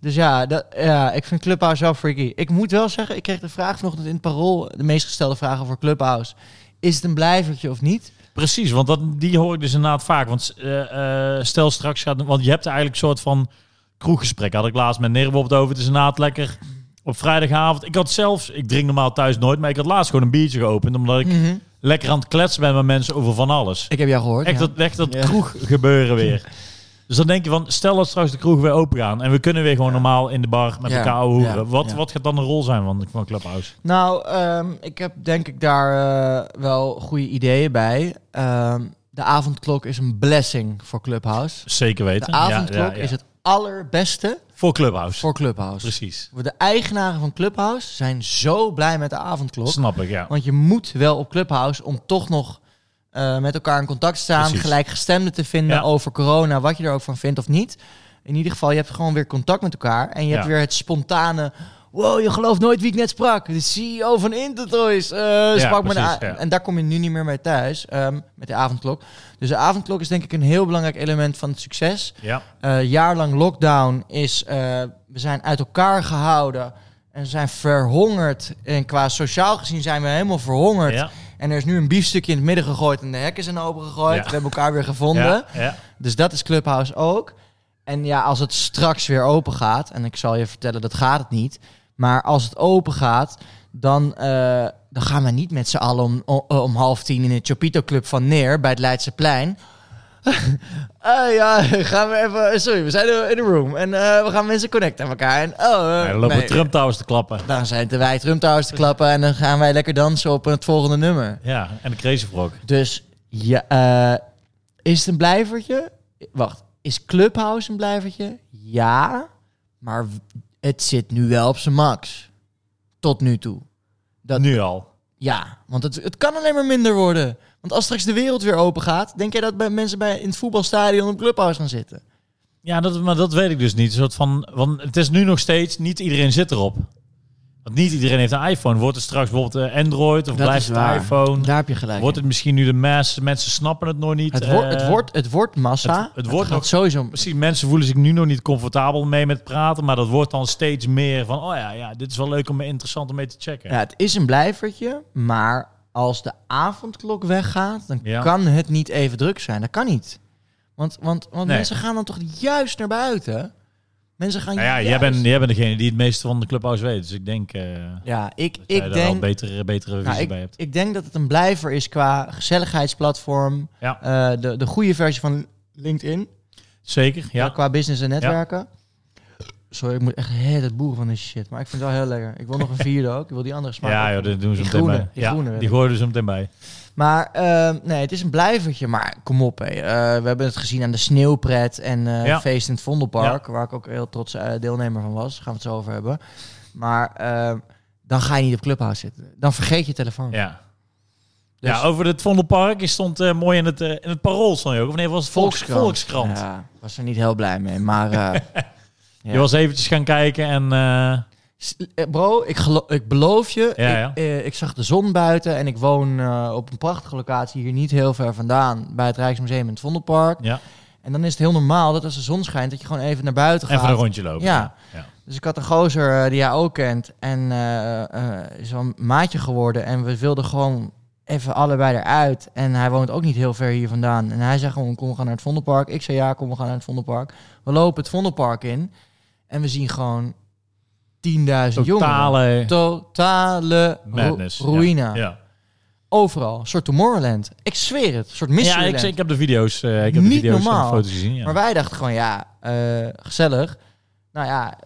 Speaker 2: Dus ja, dat, ja, ik vind Clubhouse wel freaky. Ik moet wel zeggen, ik kreeg de vraag vanochtend in het parool, de meest gestelde vragen voor Clubhouse. Is het een blijvertje of niet?
Speaker 1: Precies, want dat, die hoor ik dus inderdaad vaak. Want eh, eh, stel straks gaat... Want je hebt eigenlijk een soort van kroeggesprek. Had ik laatst met Nerbo op het over. Het is inderdaad lekker op vrijdagavond. Ik had zelfs... Ik drink normaal thuis nooit, maar ik had laatst gewoon een biertje geopend. Omdat ik
Speaker 2: Mhm.
Speaker 1: lekker aan het kletsen ben met mensen over van alles.
Speaker 2: Ik heb jou gehoord.
Speaker 1: Echt
Speaker 2: ja.
Speaker 1: dat, echt dat
Speaker 2: Ja.
Speaker 1: kroeg gebeuren weer. Dus dan denk je van, stel dat straks de kroeg weer open gaan en we kunnen weer gewoon normaal in de bar met
Speaker 2: Ja.
Speaker 1: elkaar hoeren.
Speaker 2: Ja.
Speaker 1: Wat,
Speaker 2: Ja.
Speaker 1: wat gaat dan de rol zijn van, van Clubhouse?
Speaker 2: Nou, ehm, ik heb denk ik daar eh, wel goede ideeën bij. Ehm, de avondklok is een blessing voor Clubhouse.
Speaker 1: Dus Zeker
Speaker 2: De
Speaker 1: weten. Ja,
Speaker 2: avondklok
Speaker 1: ja, ja.
Speaker 2: is het allerbeste
Speaker 1: Voor Clubhouse.
Speaker 2: voor Clubhouse.
Speaker 1: Precies.
Speaker 2: De eigenaren van Clubhouse zijn zo blij met de avondklok.
Speaker 1: Snap ik, ja.
Speaker 2: Want je moet wel op Clubhouse om toch nog eh, met elkaar in contact te staan.
Speaker 1: Precies.
Speaker 2: Gelijkgestemden te vinden
Speaker 1: Ja.
Speaker 2: over corona, wat je er ook van vindt of niet. In ieder geval, je hebt gewoon weer contact met elkaar. En je hebt
Speaker 1: Ja.
Speaker 2: weer het spontane... Wow, je gelooft nooit wie ik net sprak. De CEO van Intertoys eh sprak me
Speaker 1: precies,
Speaker 2: na-
Speaker 1: ja.
Speaker 2: En daar kom je nu niet meer mee thuis, ehm, met de avondklok. Dus de avondklok is denk ik een heel belangrijk element van het succes
Speaker 1: Ja,
Speaker 2: eh jaarlang lockdown is, eh, we zijn uit elkaar gehouden en zijn verhongerd. En qua sociaal gezien zijn we helemaal verhongerd.
Speaker 1: ja,
Speaker 2: En er is nu een biefstukje in het midden gegooid en de hekken zijn open gegooid.
Speaker 1: Ja.
Speaker 2: We hebben elkaar weer gevonden.
Speaker 1: ja, ja.
Speaker 2: Dus dat is Clubhouse ook. En ja, als het straks weer open gaat, en ik zal je vertellen, dat gaat het niet. Maar als het open gaat, dan, eh, dan gaan we niet met z'n allen om, o- om, half tien in de Chopito Club van neer bij het [LAUGHS] Leidseplein. Ah ja, [LAUGHS] gaan we even. eh, Sorry, we zijn in de room. En eh, we gaan mensen connecten aan elkaar. En, oh,
Speaker 1: Ja,
Speaker 2: eh,
Speaker 1: dan lopen
Speaker 2: nee.
Speaker 1: Trump Towers te klappen.
Speaker 2: Dan zijn te wij Trump Towers te klappen. En dan gaan wij lekker dansen op het volgende nummer.
Speaker 1: Ja, en de Crazy Frog.
Speaker 2: Dus ja, eh, is het een blijvertje? Wacht, is Clubhouse een blijvertje? Ja, maar w- het zit nu wel op zijn max. Tot nu toe. Dat-
Speaker 1: Nu al.
Speaker 2: Ja, want het, het kan alleen maar minder worden. Want als straks de wereld weer open gaat, denk jij dat bij mensen bij, in het voetbalstadion op Clubhouse gaan zitten?
Speaker 1: Ja, dat, maar dat weet ik dus niet. Een soort van, want het is nu nog steeds, niet iedereen zit erop. Want niet iedereen heeft een iPhone. Wordt het straks bijvoorbeeld eh, Android of
Speaker 2: Dat
Speaker 1: blijft
Speaker 2: is
Speaker 1: het
Speaker 2: waar.
Speaker 1: iPhone?
Speaker 2: Daar heb je gelijk.
Speaker 1: Wordt
Speaker 2: in.
Speaker 1: het misschien nu de mass? Mensen snappen het nog niet.
Speaker 2: het,
Speaker 1: eh,
Speaker 2: wordt, het, wordt, het wordt massa.
Speaker 1: het- het wordt
Speaker 2: gaat
Speaker 1: nog-
Speaker 2: sowieso.
Speaker 1: Misschien mensen voelen zich nu nog niet comfortabel mee met praten, maar dat wordt dan steeds meer van, oh ja, ja dit is wel leuk om me interessant om mee te checken.
Speaker 2: Ja, het is een blijvertje, maar als de avondklok weggaat, dan
Speaker 1: Ja.
Speaker 2: kan het niet even druk zijn. Dat kan niet. Want, want, want
Speaker 1: Nee.
Speaker 2: mensen gaan dan toch juist naar buiten? Mensen gaan
Speaker 1: nou ja, jij
Speaker 2: juist-
Speaker 1: bent, jij bent degene die het meeste van de clubhouse weet, dus ik denk eh,
Speaker 2: Ja, ik,
Speaker 1: dat jij
Speaker 2: ik
Speaker 1: daar wel
Speaker 2: denk...
Speaker 1: betere, betere visie
Speaker 2: Nou,
Speaker 1: bij
Speaker 2: ik,
Speaker 1: hebt.
Speaker 2: ik denk dat het een blijver is qua gezelligheidsplatform.
Speaker 1: Ja.
Speaker 2: eh, de, de goede versie van LinkedIn. eh,
Speaker 1: Zeker, ja.
Speaker 2: Qua business en netwerken. Sorry, ik moet echt heel het boeren van deze shit. Maar ik vind het wel heel lekker. Ik
Speaker 1: [LAUGHS]
Speaker 2: wil nog een vierde ook. Ik wil die andere smaak.
Speaker 1: Ja, joh,
Speaker 2: ook.
Speaker 1: dat doen ze
Speaker 2: Die
Speaker 1: meteen
Speaker 2: groene,
Speaker 1: bij.
Speaker 2: die
Speaker 1: ja,
Speaker 2: groene wil
Speaker 1: die
Speaker 2: ik.
Speaker 1: gooiden ze meteen bij.
Speaker 2: Maar ehm, nee, het is een blijvertje. Maar kom op, hé. Eh, we hebben het gezien aan de sneeuwpret en eh,
Speaker 1: Ja.
Speaker 2: feest in het Vondelpark. Waar ik ook heel trots eh, deelnemer van was. Gaan we het zo over hebben. Maar ehm, dan ga je niet op Clubhouse zitten. Dan vergeet je telefoon.
Speaker 1: Ja.
Speaker 2: Hm. Dus-
Speaker 1: ja, over het Vondelpark. Je stond eh, mooi in het, eh, in het parool, stond je ook. Of nee, was het Volks- Volkskrant.
Speaker 2: Ja, was er niet heel blij mee. Maar
Speaker 1: [LAUGHS]
Speaker 2: eh, Ja.
Speaker 1: Je was eventjes gaan kijken en... eh,
Speaker 2: s- eh, bro, ik, gelo- ik beloof je.
Speaker 1: Ja,
Speaker 2: ik,
Speaker 1: ja.
Speaker 2: eh, ik zag de zon buiten. En ik woon eh, op een prachtige locatie hier niet heel ver vandaan. Bij het Rijksmuseum in het Vondelpark.
Speaker 1: ja,
Speaker 2: En dan is het heel normaal dat als de zon schijnt dat je gewoon even naar buiten gaat.
Speaker 1: even een rondje lopen.
Speaker 2: Ja.
Speaker 1: ja.
Speaker 2: Dus ik had een gozer eh, die jij ook kent. En eh, eh, is wel een maatje geworden. En we wilden gewoon even allebei eruit. En hij woont ook niet heel ver hier vandaan. En hij zei gewoon, kom we gaan naar het Vondelpark. Ik zei, ja, kom we gaan naar het Vondelpark. We lopen het Vondelpark in. En we zien gewoon 10.000 jongeren.
Speaker 1: Totale
Speaker 2: Totale ru-
Speaker 1: madness. Ja.
Speaker 2: ruïna.
Speaker 1: Ja,
Speaker 2: Overal. Een soort Tomorrowland. Ik zweer het. Een soort
Speaker 1: ja
Speaker 2: mysteryland.
Speaker 1: ik, ik heb de video's, eh, ik heb de
Speaker 2: Niet
Speaker 1: video's en
Speaker 2: normaal.
Speaker 1: de foto's gezien. Ja.
Speaker 2: Maar wij dachten gewoon, ja, eh, gezellig. Nou ja,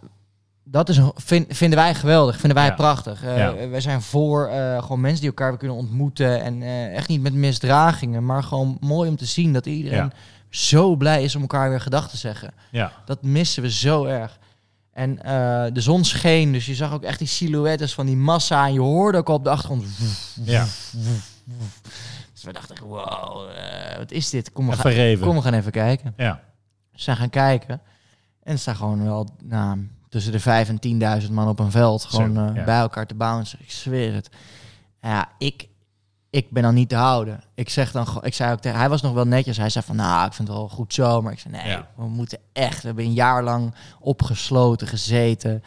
Speaker 2: dat is een, vind- vinden wij geweldig, vinden wij
Speaker 1: Ja.
Speaker 2: prachtig. Eh,
Speaker 1: Ja.
Speaker 2: Wij zijn voor eh, gewoon mensen die elkaar weer kunnen ontmoeten. En eh, echt niet met misdragingen, maar gewoon mooi om te zien dat iedereen
Speaker 1: Ja.
Speaker 2: zo blij is om elkaar weer gedag te zeggen.
Speaker 1: ja.
Speaker 2: Dat missen we zo erg. En eh, de zon scheen, dus je zag ook echt die silhouettes van die massa. En je hoorde ook al op de achtergrond. [LAUGHS]
Speaker 1: ja.
Speaker 2: Dus we dachten, wow, eh, wat is dit? Kom, we gaan,
Speaker 1: Verreven.
Speaker 2: kom, we gaan even kijken.
Speaker 1: Ja.
Speaker 2: Ze zijn gaan kijken. En er staan gewoon wel nou, tussen de 5 en 10.000 man op een veld. Gewoon eh,
Speaker 1: ja.
Speaker 2: bij elkaar te bouncen. Ik zweer het. Ja, ik, ik ben dan niet te houden. Ik zeg dan, gewoon- ik zei ook tegen, hij was nog wel netjes. Hij zei van, nou, ik vind het wel goed zo. Maar ik zei, nee,
Speaker 1: Ja.
Speaker 2: we moeten echt. We hebben een jaar lang opgesloten gezeten.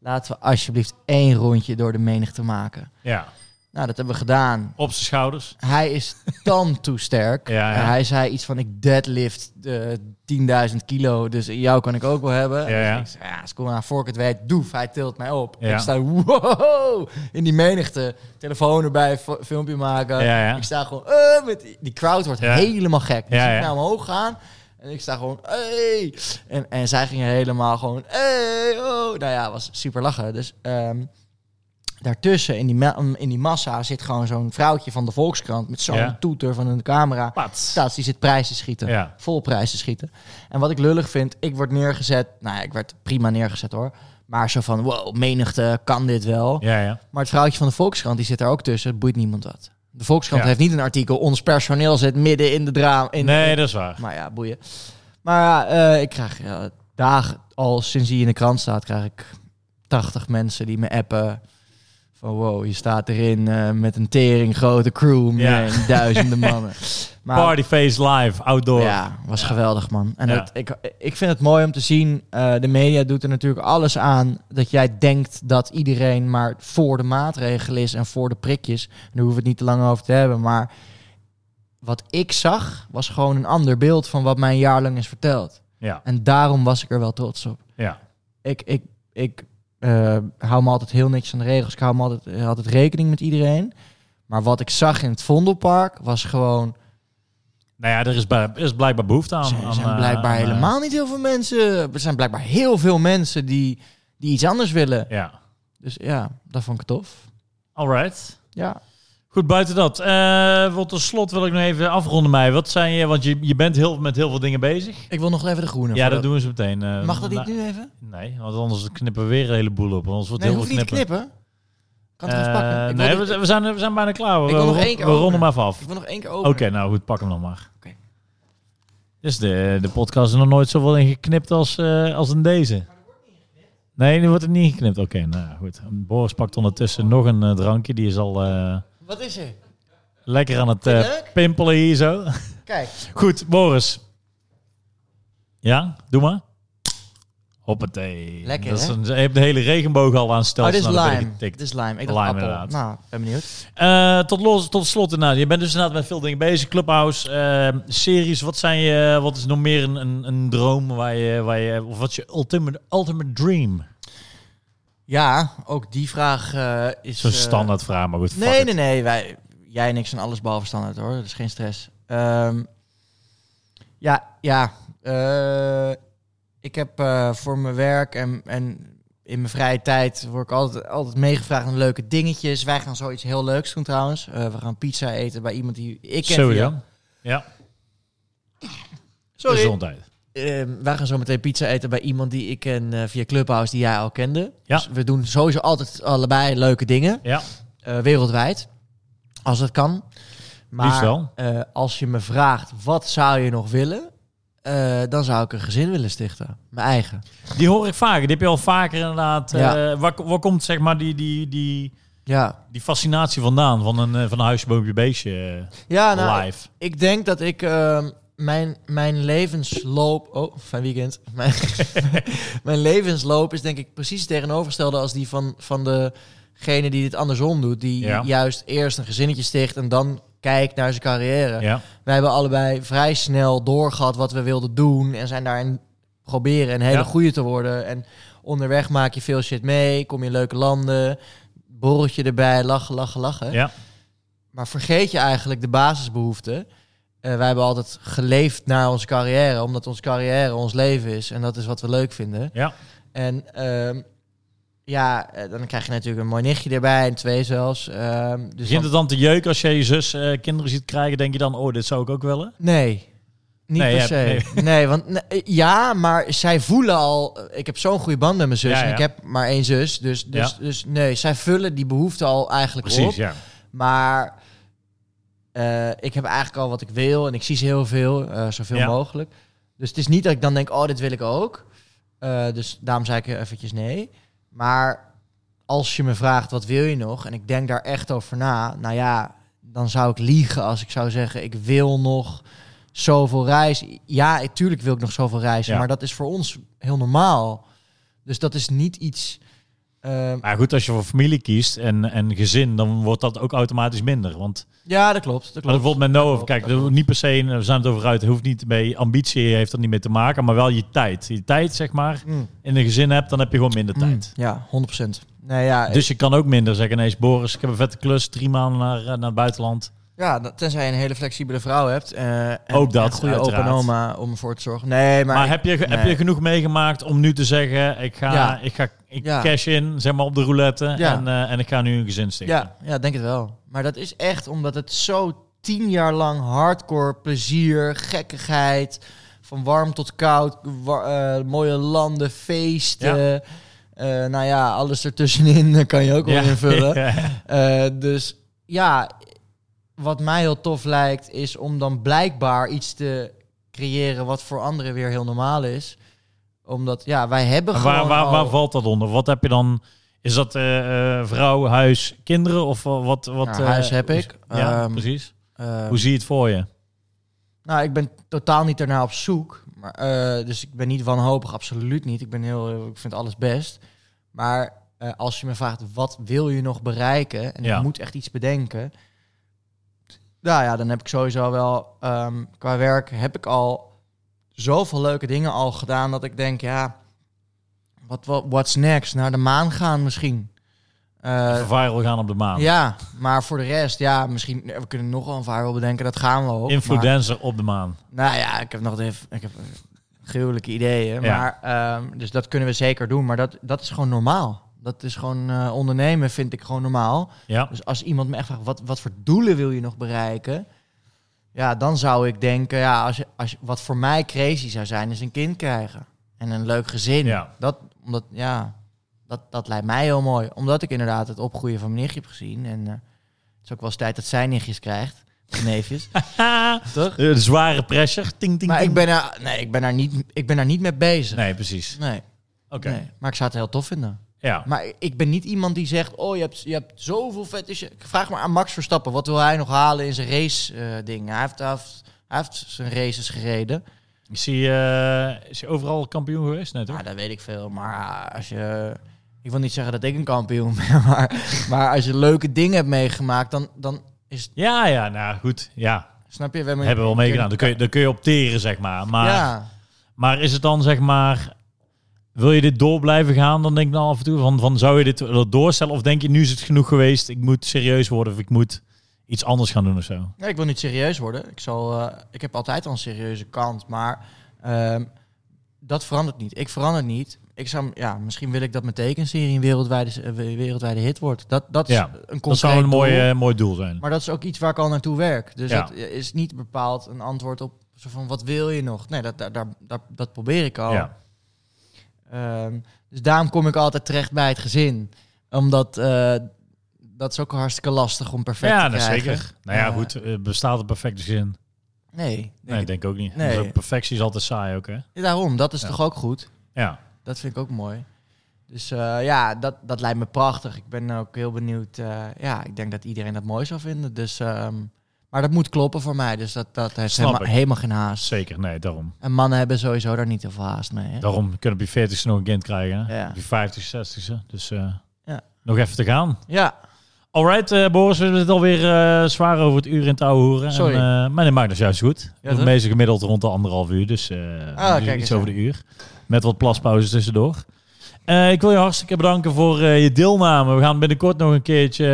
Speaker 2: Laten we alsjeblieft één rondje door de menigte maken.
Speaker 1: ja.
Speaker 2: Nou, dat hebben we gedaan.
Speaker 1: Op zijn schouders.
Speaker 2: Hij is dan toe
Speaker 1: [LAUGHS]
Speaker 2: sterk.
Speaker 1: Ja, ja.
Speaker 2: En Hij zei iets van, ik deadlift eh 10.000 kilo, dus jou kan ik ook wel hebben.
Speaker 1: Ja, ja.
Speaker 2: Dus ik zei, ja, als ik aan voor ik het weet, doef, hij tilt mij op.
Speaker 1: Ja.
Speaker 2: Ik sta, wow, in die menigte. Telefoon erbij, fo- filmpje maken.
Speaker 1: Ja, ja.
Speaker 2: Ik sta gewoon, eh, met die, die crowd wordt
Speaker 1: Ja.
Speaker 2: helemaal gek. Dus
Speaker 1: Ja, ja.
Speaker 2: ik naar omhoog gaan. En ik sta gewoon, hey. En, en zij gingen helemaal gewoon, hey, oh. Nou ja, was super lachen. Dus ehm, daartussen, in die, ma- mm, in die massa, zit gewoon zo'n vrouwtje van de Volkskrant... met zo'n
Speaker 1: Ja.
Speaker 2: toeter van een camera.
Speaker 1: Pats.
Speaker 2: Staat, die zit prijs te schieten.
Speaker 1: Ja.
Speaker 2: Vol prijs te schieten. En wat ik lullig vind, ik word neergezet. Nou ja, ik werd prima neergezet hoor. Maar zo van, wow, menigte, kan dit wel?
Speaker 1: Ja, ja.
Speaker 2: Maar het vrouwtje van de Volkskrant, die zit daar ook tussen. Het boeit niemand wat. De Volkskrant
Speaker 1: Ja.
Speaker 2: heeft niet een artikel. Ons personeel zit midden in de draam. In
Speaker 1: Nee, dat is waar.
Speaker 2: Maar ja, boeien. Maar ja, eh, ik krijg ja, dagen, al sinds hij in de krant staat, krijg ik 80 mensen die me appen. Van wow, je staat erin eh, met een tering grote crew. om je
Speaker 1: Ja.
Speaker 2: heen, duizenden mannen. Maar
Speaker 1: Partyface live, outdoor.
Speaker 2: ja, was
Speaker 1: Ja.
Speaker 2: geweldig, man. En
Speaker 1: Ja.
Speaker 2: dat, ik, ik vind het mooi om te zien. eh, de media doet er natuurlijk alles aan dat jij denkt dat iedereen maar voor de maatregel is en voor de prikjes. En daar hoeven we het niet te lang over te hebben. Maar wat ik zag, was gewoon een ander beeld van wat mij een jaar lang is verteld.
Speaker 1: Ja.
Speaker 2: En daarom was ik er wel trots op.
Speaker 1: Ja.
Speaker 2: Ik, ik, ik eh, hou me altijd heel netjes aan de regels. Ik hou me altijd, eh, altijd rekening met iedereen. Maar wat ik zag in het Vondelpark was gewoon
Speaker 1: Nou ja, er is, bij- er is blijkbaar behoefte aan.
Speaker 2: Er
Speaker 1: aan,
Speaker 2: zijn
Speaker 1: eh,
Speaker 2: blijkbaar
Speaker 1: aan, eh,
Speaker 2: helemaal niet heel veel mensen. Er zijn blijkbaar heel veel mensen die, die iets anders willen.
Speaker 1: Ja.
Speaker 2: Dus ja, dat vond ik tof.
Speaker 1: Alright.
Speaker 2: Ja.
Speaker 1: Goed, buiten dat. Eh want tot slot wil ik nog even afronden, mij. Wat zijn je, want je, je bent heel, met heel veel dingen bezig.
Speaker 2: Ik wil nog even de groene.
Speaker 1: Ja,
Speaker 2: voor
Speaker 1: dat doen we zo meteen. eh,
Speaker 2: Mag dat niet
Speaker 1: na-
Speaker 2: nu even?
Speaker 1: Nee, want anders knippen we weer een heleboel op. Anders wordt
Speaker 2: Nee,
Speaker 1: heel
Speaker 2: hoef
Speaker 1: veel
Speaker 2: niet te
Speaker 1: knippen.
Speaker 2: knippen. Kan het
Speaker 1: Eh,
Speaker 2: even pakken. Ik wil,
Speaker 1: nee,
Speaker 2: dit-
Speaker 1: we, zijn- we zijn, we zijn bijna klaar. We,
Speaker 2: Ik wil nog
Speaker 1: we-
Speaker 2: één keer
Speaker 1: we ronden hem
Speaker 2: openen.
Speaker 1: even af.
Speaker 2: ik wil nog één keer
Speaker 1: Oké,
Speaker 2: open.
Speaker 1: nou goed, pak hem dan maar.
Speaker 2: Oké.
Speaker 1: Dit is de, de podcast er nog nooit zoveel in geknipt als, eh, als in deze. Nee, nu wordt het niet geknipt. Oké, nou ja, goed. Boris pakt ondertussen nog een eh, drankje. Die is al eh,
Speaker 2: Wat is er?
Speaker 1: lekker aan het eh,
Speaker 2: Leuk.
Speaker 1: pimpelen hier zo. [LAUGHS]
Speaker 2: Kijk.
Speaker 1: Goed, Boris. Ja, doe maar. Hoppatee.
Speaker 2: Lekker,
Speaker 1: Dat is
Speaker 2: hè?
Speaker 1: een- je hebt de hele regenboog al aan Nou, stel.
Speaker 2: oh, dit is lime. Dit is lime. Ik dacht
Speaker 1: Lime,
Speaker 2: appel.
Speaker 1: inderdaad.
Speaker 2: Nou, ben benieuwd.
Speaker 1: Eh, tot, los, tot slot inderdaad. Je bent dus inderdaad met veel dingen bezig. Clubhouse, eh, series. Wat, zijn je, wat is nog meer een, een, een droom waar je, waar je... Of wat is je ultimate, ultimate dream?
Speaker 2: Ja, ook die vraag eh, is...
Speaker 1: Zo'n
Speaker 2: eh,
Speaker 1: standaard vraag, maar goed.
Speaker 2: Nee,
Speaker 1: fuck
Speaker 2: nee,
Speaker 1: it.
Speaker 2: nee. Wij, jij en ik zijn alles behalve standaard hoor. Dat is geen stress. Ehm, ja, ja. eh, ik heb eh, voor mijn werk en, en in mijn vrije tijd word ik altijd, altijd meegevraagd aan leuke dingetjes. Wij gaan zoiets heel leuks doen trouwens. Eh, we gaan pizza eten bij iemand die ik ken.
Speaker 1: Zo
Speaker 2: via-
Speaker 1: ja. Ja,
Speaker 2: Sorry.
Speaker 1: gezondheid.
Speaker 2: Ehm, wij gaan zo meteen pizza eten bij iemand die ik ken eh, via Clubhouse, die jij al kende.
Speaker 1: Ja.
Speaker 2: Dus we doen sowieso altijd allebei leuke dingen.
Speaker 1: Ja,
Speaker 2: eh, wereldwijd. Als dat kan.
Speaker 1: Liefst
Speaker 2: Maar
Speaker 1: wel.
Speaker 2: eh, als je me vraagt, wat zou je nog willen? Eh, dan zou ik een gezin willen stichten. Mijn eigen.
Speaker 1: die hoor ik vaker. Die heb je al vaker inderdaad. eh,
Speaker 2: Ja.
Speaker 1: waar, waar komt zeg maar die, die, die,
Speaker 2: Ja.
Speaker 1: die fascinatie vandaan? Van een, eh, van een huisje, boompje, beestje eh,
Speaker 2: Ja, nou,
Speaker 1: live.
Speaker 2: ik denk dat ik ehm, mijn, mijn levensloop. Oh, fijn weekend. [LAUGHS] Mijn, mijn levensloop is denk ik precies het tegenovergestelde als die van, van degene die dit andersom doet. Die
Speaker 1: Ja.
Speaker 2: juist eerst een gezinnetje sticht en dan kijkt naar zijn carrière.
Speaker 1: Ja.
Speaker 2: Wij hebben allebei vrij snel doorgehad wat we wilden doen. En zijn daarin proberen een hele
Speaker 1: Ja.
Speaker 2: goede te worden. En onderweg maak je veel shit mee. Kom je in leuke landen. Borreltje erbij. Lachen, lachen, lachen.
Speaker 1: Ja.
Speaker 2: Maar vergeet je eigenlijk de basisbehoeften. Eh, wij hebben altijd geleefd naar onze carrière. Omdat onze carrière ons leven is. En dat is wat we leuk vinden.
Speaker 1: Ja.
Speaker 2: En ehm, ja, eh, dan krijg je natuurlijk een mooi nichtje erbij. En twee zelfs. Ehm, dus
Speaker 1: Begint
Speaker 2: dan-
Speaker 1: het dan te jeuken als je je zus eh, kinderen ziet krijgen? Denk je dan, oh, dit zou ik ook willen?
Speaker 2: Nee. Niet
Speaker 1: Nee,
Speaker 2: per
Speaker 1: ja,
Speaker 2: se. [LAUGHS] Nee, want nee, ja, maar zij voelen al. Ik heb zo'n goede band met mijn zus.
Speaker 1: Ja,
Speaker 2: en
Speaker 1: ja.
Speaker 2: ik heb maar één zus. Dus, dus, dus nee, zij vullen die behoefte al eigenlijk op.
Speaker 1: ja.
Speaker 2: Maar eh, ik heb eigenlijk al wat ik wil. En ik zie ze heel veel, eh, zoveel
Speaker 1: Ja.
Speaker 2: mogelijk. Dus het is niet dat ik dan denk: oh, dit wil ik ook. Eh, dus daarom zei ik eventjes nee. Maar als je me vraagt: wat wil je nog? En ik denk daar echt over na. Nou ja, dan zou ik liegen als ik zou zeggen: ik wil nog zoveel reizen. Ja, ik- tuurlijk wil ik nog zoveel reizen.
Speaker 1: Ja.
Speaker 2: Maar dat is voor ons heel normaal. Dus dat is niet iets. eh,
Speaker 1: Maar goed, als je voor familie kiest en, en gezin, dan wordt dat ook automatisch minder. Want
Speaker 2: ja, dat klopt. Dat
Speaker 1: maar
Speaker 2: klopt.
Speaker 1: bijvoorbeeld met
Speaker 2: Dat
Speaker 1: Noah,
Speaker 2: klopt,
Speaker 1: kijk,
Speaker 2: dat
Speaker 1: dat hoeft
Speaker 2: klopt.
Speaker 1: niet per se, we zijn het over uit, hoeft niet mee, ambitie heeft er niet mee te maken, maar wel je tijd. Je tijd, zeg maar,
Speaker 2: Mm.
Speaker 1: in een gezin hebt, dan heb je gewoon minder tijd.
Speaker 2: Ja, 100%. Nee, ja,
Speaker 1: Dus je kan ook minder zeggen, ineens Boris, ik heb een vette klus, drie maanden naar, eh, naar het buitenland.
Speaker 2: ja, dat- tenzij je een hele flexibele vrouw hebt. eh, en
Speaker 1: Ook dat,
Speaker 2: Een goede open
Speaker 1: uiteraard.
Speaker 2: oma om ervoor te zorgen. Nee, maar,
Speaker 1: Maar, heb, je, ge- heb
Speaker 2: nee.
Speaker 1: je genoeg meegemaakt om nu te zeggen, ik ga,
Speaker 2: Ja.
Speaker 1: ik ga ik
Speaker 2: Ja.
Speaker 1: cash in, zeg maar, op de roulette
Speaker 2: Ja.
Speaker 1: en, eh, en ik ga nu een gezin stichten.
Speaker 2: ja, ja, denk het wel. Maar dat is echt omdat het zo tien jaar lang hardcore plezier, gekkigheid, van warm tot koud, wa- eh, mooie landen, feesten. eh, nou ja, alles ertussenin [LAUGHS] eh, kan je ook wel
Speaker 1: Ja. [LAUGHS]
Speaker 2: invullen.
Speaker 1: Ja.
Speaker 2: Eh, dus ja, wat mij heel tof lijkt, is om dan blijkbaar iets te creëren wat voor anderen weer heel normaal is. Omdat, ja, wij hebben
Speaker 1: En
Speaker 2: gewoon.
Speaker 1: Waar, waar,
Speaker 2: al-
Speaker 1: waar valt dat onder? Wat heb je dan? Is dat eh, eh, vrouw, huis, kinderen? Of eh, wat? wat
Speaker 2: Ja,
Speaker 1: eh,
Speaker 2: Nou, huis heb ik.
Speaker 1: Ja,
Speaker 2: Ehm,
Speaker 1: precies.
Speaker 2: eh,
Speaker 1: Hoe zie je het voor je?
Speaker 2: nou, ik ben totaal niet ernaar op zoek. Maar, eh, dus ik ben niet wanhopig, absoluut niet. Ik, ben heel, heel- ik vind alles best. Maar eh, als je me vraagt, wat wil je nog bereiken? En
Speaker 1: Ja.
Speaker 2: ik moet echt iets bedenken. Nou ja, dan heb ik sowieso wel... ehm, qua werk heb ik al zoveel leuke dingen al gedaan... dat ik denk, ja, wat, wat, what's next? Naar de maan gaan misschien. Eh,
Speaker 1: Viral gaan op de maan.
Speaker 2: ja, maar voor de rest, ja, misschien... We kunnen nog wel een viral bedenken, dat gaan we ook. maar-
Speaker 1: Influencer op de maan.
Speaker 2: nou ja, ik heb nog even, ik heb eh, gruwelijke ideeën.
Speaker 1: Ja.
Speaker 2: Maar, ehm, dus dat kunnen we zeker doen. Maar dat, dat is gewoon normaal. Dat is gewoon eh, ondernemen, vind ik gewoon normaal.
Speaker 1: Ja.
Speaker 2: Dus als iemand me echt vraagt, wat, wat voor doelen wil je nog bereiken? Ja, dan zou ik denken, ja, als je, als je, wat voor mij crazy zou zijn, is een kind krijgen. En een leuk gezin.
Speaker 1: Ja.
Speaker 2: Dat, omdat, ja, dat, dat lijkt mij heel mooi. Omdat ik inderdaad het opgroeien van mijn nichtje heb gezien. En eh, het is ook wel eens tijd dat zij nichtjes krijgt. Of neefjes. [LAUGHS] Toch?
Speaker 1: Eh, zware pressure. Ting, ting,
Speaker 2: Maar
Speaker 1: ting.
Speaker 2: ik ben, daar, nee, ik, ben daar niet, ik ben daar niet mee bezig.
Speaker 1: Nee, precies.
Speaker 2: Nee,
Speaker 1: Oké.
Speaker 2: nee. Maar ik zou het heel tof vinden.
Speaker 1: Ja.
Speaker 2: Maar ik- ik ben niet iemand die zegt... Oh, je hebt, je hebt zoveel fetishen. Ik Vraag maar aan Max Verstappen. Wat wil hij nog halen in zijn race eh, ding? Hij heeft, hij, heeft, hij heeft zijn races gereden.
Speaker 1: Is hij, eh, is hij overal kampioen geweest? Nee, toch?
Speaker 2: Nou, dat weet ik veel. Maar eh, als je... Ik wil niet zeggen dat ik een kampioen [LAUGHS] ben. Maar, maar als je leuke dingen hebt meegemaakt... Dan, dan is...
Speaker 1: Ja, ja. Nou, goed. Ja.
Speaker 2: Snap je? We hebben,
Speaker 1: Hebben we wel meegedaan. Dan kun, je, dan kun je opteren, zeg maar. Maar,
Speaker 2: Ja.
Speaker 1: maar is het dan, zeg maar... Wil je dit door blijven gaan? Dan denk ik dan af en toe van, van zou je dit willen doorstellen? Of denk je, nu is het genoeg geweest. Ik moet serieus worden of ik moet iets anders gaan doen of zo.
Speaker 2: Nee, ik wil niet serieus worden. Ik, zal, eh, ik heb altijd al een serieuze kant, maar ehm, dat verandert niet. Ik verander niet. Ik zou, ja, misschien wil ik dat mijn tekenserie een wereldwijde, eh, wereldwijde hit wordt. Dat, dat is
Speaker 1: Ja,
Speaker 2: een concreet
Speaker 1: Dat zou een mooi,
Speaker 2: doel,
Speaker 1: eh, mooi doel zijn.
Speaker 2: Maar dat is ook iets waar ik al naartoe werk. Dus
Speaker 1: Ja.
Speaker 2: dat is niet bepaald een antwoord op zo van wat wil je nog? Nee, dat, daar, daar, daar- dat probeer ik al.
Speaker 1: Ja.
Speaker 2: Ehm, dus daarom kom ik altijd terecht bij het gezin. Omdat eh, dat is ook hartstikke lastig om perfect
Speaker 1: ja,
Speaker 2: te
Speaker 1: dat
Speaker 2: krijgen.
Speaker 1: zeker. Nou ja,
Speaker 2: Eh,
Speaker 1: goed. eh, bestaat het perfecte zin? Nee,
Speaker 2: Nee, denk
Speaker 1: denk ik denk ook niet.
Speaker 2: Nee.
Speaker 1: Dus Perfectie is altijd saai ook, hè?
Speaker 2: Ja, Daarom, dat is
Speaker 1: Ja.
Speaker 2: toch ook goed?
Speaker 1: Ja.
Speaker 2: Dat vind ik ook mooi. Dus eh, ja, dat, dat lijkt me prachtig. Ik ben ook heel benieuwd. eh, ja, ik denk dat iedereen dat mooi zou vinden. Dus ehm, Maar dat moet kloppen voor mij. Dus dat, dat heeft
Speaker 1: Snap
Speaker 2: helemaal,
Speaker 1: ik.
Speaker 2: helemaal geen haast.
Speaker 1: Zeker, nee, daarom.
Speaker 2: En mannen hebben sowieso daar niet te veel haast mee. Hè?
Speaker 1: Daarom kunnen we op je 40ste nog een kind krijgen. Hè?
Speaker 2: Ja.
Speaker 1: Op je 50 60ste. Dus eh,
Speaker 2: Ja.
Speaker 1: nog even te gaan.
Speaker 2: Ja,
Speaker 1: Alright, eh, Boris, we hebben het alweer eh zwaar over het uur in touw horen.
Speaker 2: Sorry.
Speaker 1: En, eh, maar dat maakt dus juist goed.
Speaker 2: Ja,
Speaker 1: Ja,
Speaker 2: toch? Ah,
Speaker 1: meestal gemiddeld rond de anderhalf uur, dus, eh dus
Speaker 2: kijk eens
Speaker 1: iets over
Speaker 2: aan.
Speaker 1: de uur. Met wat plaspauzes tussendoor. Eh, ik wil je hartstikke bedanken voor eh, je deelname. We gaan binnenkort nog een keertje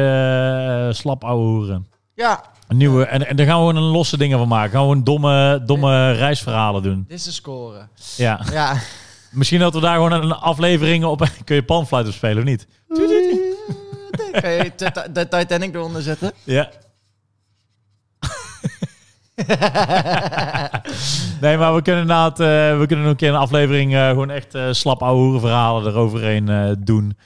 Speaker 1: eh, slap ouwe hoeren.
Speaker 2: ja.
Speaker 1: Een nieuwe, en, en daar gaan we gewoon een losse dingen van maken. Gaan we gewoon domme, domme reisverhalen doen.
Speaker 2: Dit is de score.
Speaker 1: Ja.
Speaker 2: Ja.
Speaker 1: Misschien dat we daar gewoon een aflevering op... [LAUGHS] Kun je panfluit op spelen of niet?
Speaker 2: Kan je Tita- de Titanic eronder
Speaker 1: [LAUGHS]
Speaker 2: zetten?
Speaker 1: Ja. nee, maar we kunnen inderdaad, eh, we kunnen nog een keer een aflevering eh, gewoon echt eh, slap ouwe hoeren verhalen eroverheen eh, doen.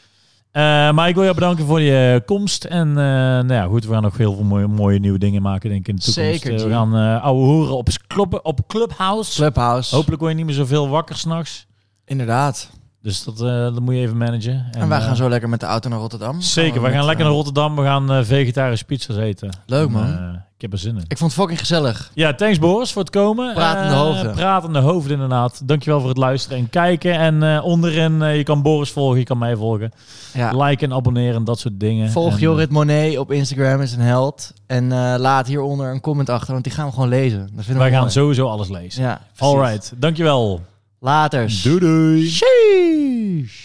Speaker 1: Eh, maar ik wil je bedanken voor je komst. En eh, nou ja, goed, we gaan nog heel veel mooie, mooie nieuwe dingen maken, denk ik, in de toekomst.
Speaker 2: Zeker,
Speaker 1: Eh,
Speaker 2: G.
Speaker 1: we gaan eh ouwe hoeren op, s- club, op Clubhouse.
Speaker 2: Clubhouse.
Speaker 1: Hopelijk word je niet meer zoveel wakker s'nachts.
Speaker 2: Inderdaad.
Speaker 1: Dus dat, eh, dat moet je even managen.
Speaker 2: En, wij
Speaker 1: eh,
Speaker 2: gaan zo lekker met de auto naar Rotterdam.
Speaker 1: Zeker,
Speaker 2: Gaan
Speaker 1: we gaan
Speaker 2: met,
Speaker 1: lekker
Speaker 2: eh,
Speaker 1: naar Rotterdam. We gaan eh, vegetarische pizza's eten.
Speaker 2: Leuk,
Speaker 1: En,
Speaker 2: man.
Speaker 1: eh, ik heb er zin in.
Speaker 2: Ik vond het fucking gezellig.
Speaker 1: Ja, thanks Boris voor het komen.
Speaker 2: Pratende
Speaker 1: Eh,
Speaker 2: hoofden.
Speaker 1: Pratende hoofden, inderdaad. Dankjewel voor het luisteren en kijken. En eh, onderin, eh, je kan Boris volgen, je kan mij volgen.
Speaker 2: Ja.
Speaker 1: Liken en abonneren, dat soort dingen.
Speaker 2: Volg
Speaker 1: En,
Speaker 2: Jorrit Monet op Instagram, is een held. En eh, laat hieronder een comment achter, want die gaan we gewoon lezen. Dat vinden
Speaker 1: eh,
Speaker 2: we
Speaker 1: Wij gaan
Speaker 2: mooi.
Speaker 1: sowieso alles lezen.
Speaker 2: Ja,
Speaker 1: Alright, dankjewel.
Speaker 2: Later.
Speaker 1: doei.
Speaker 2: Sheesh.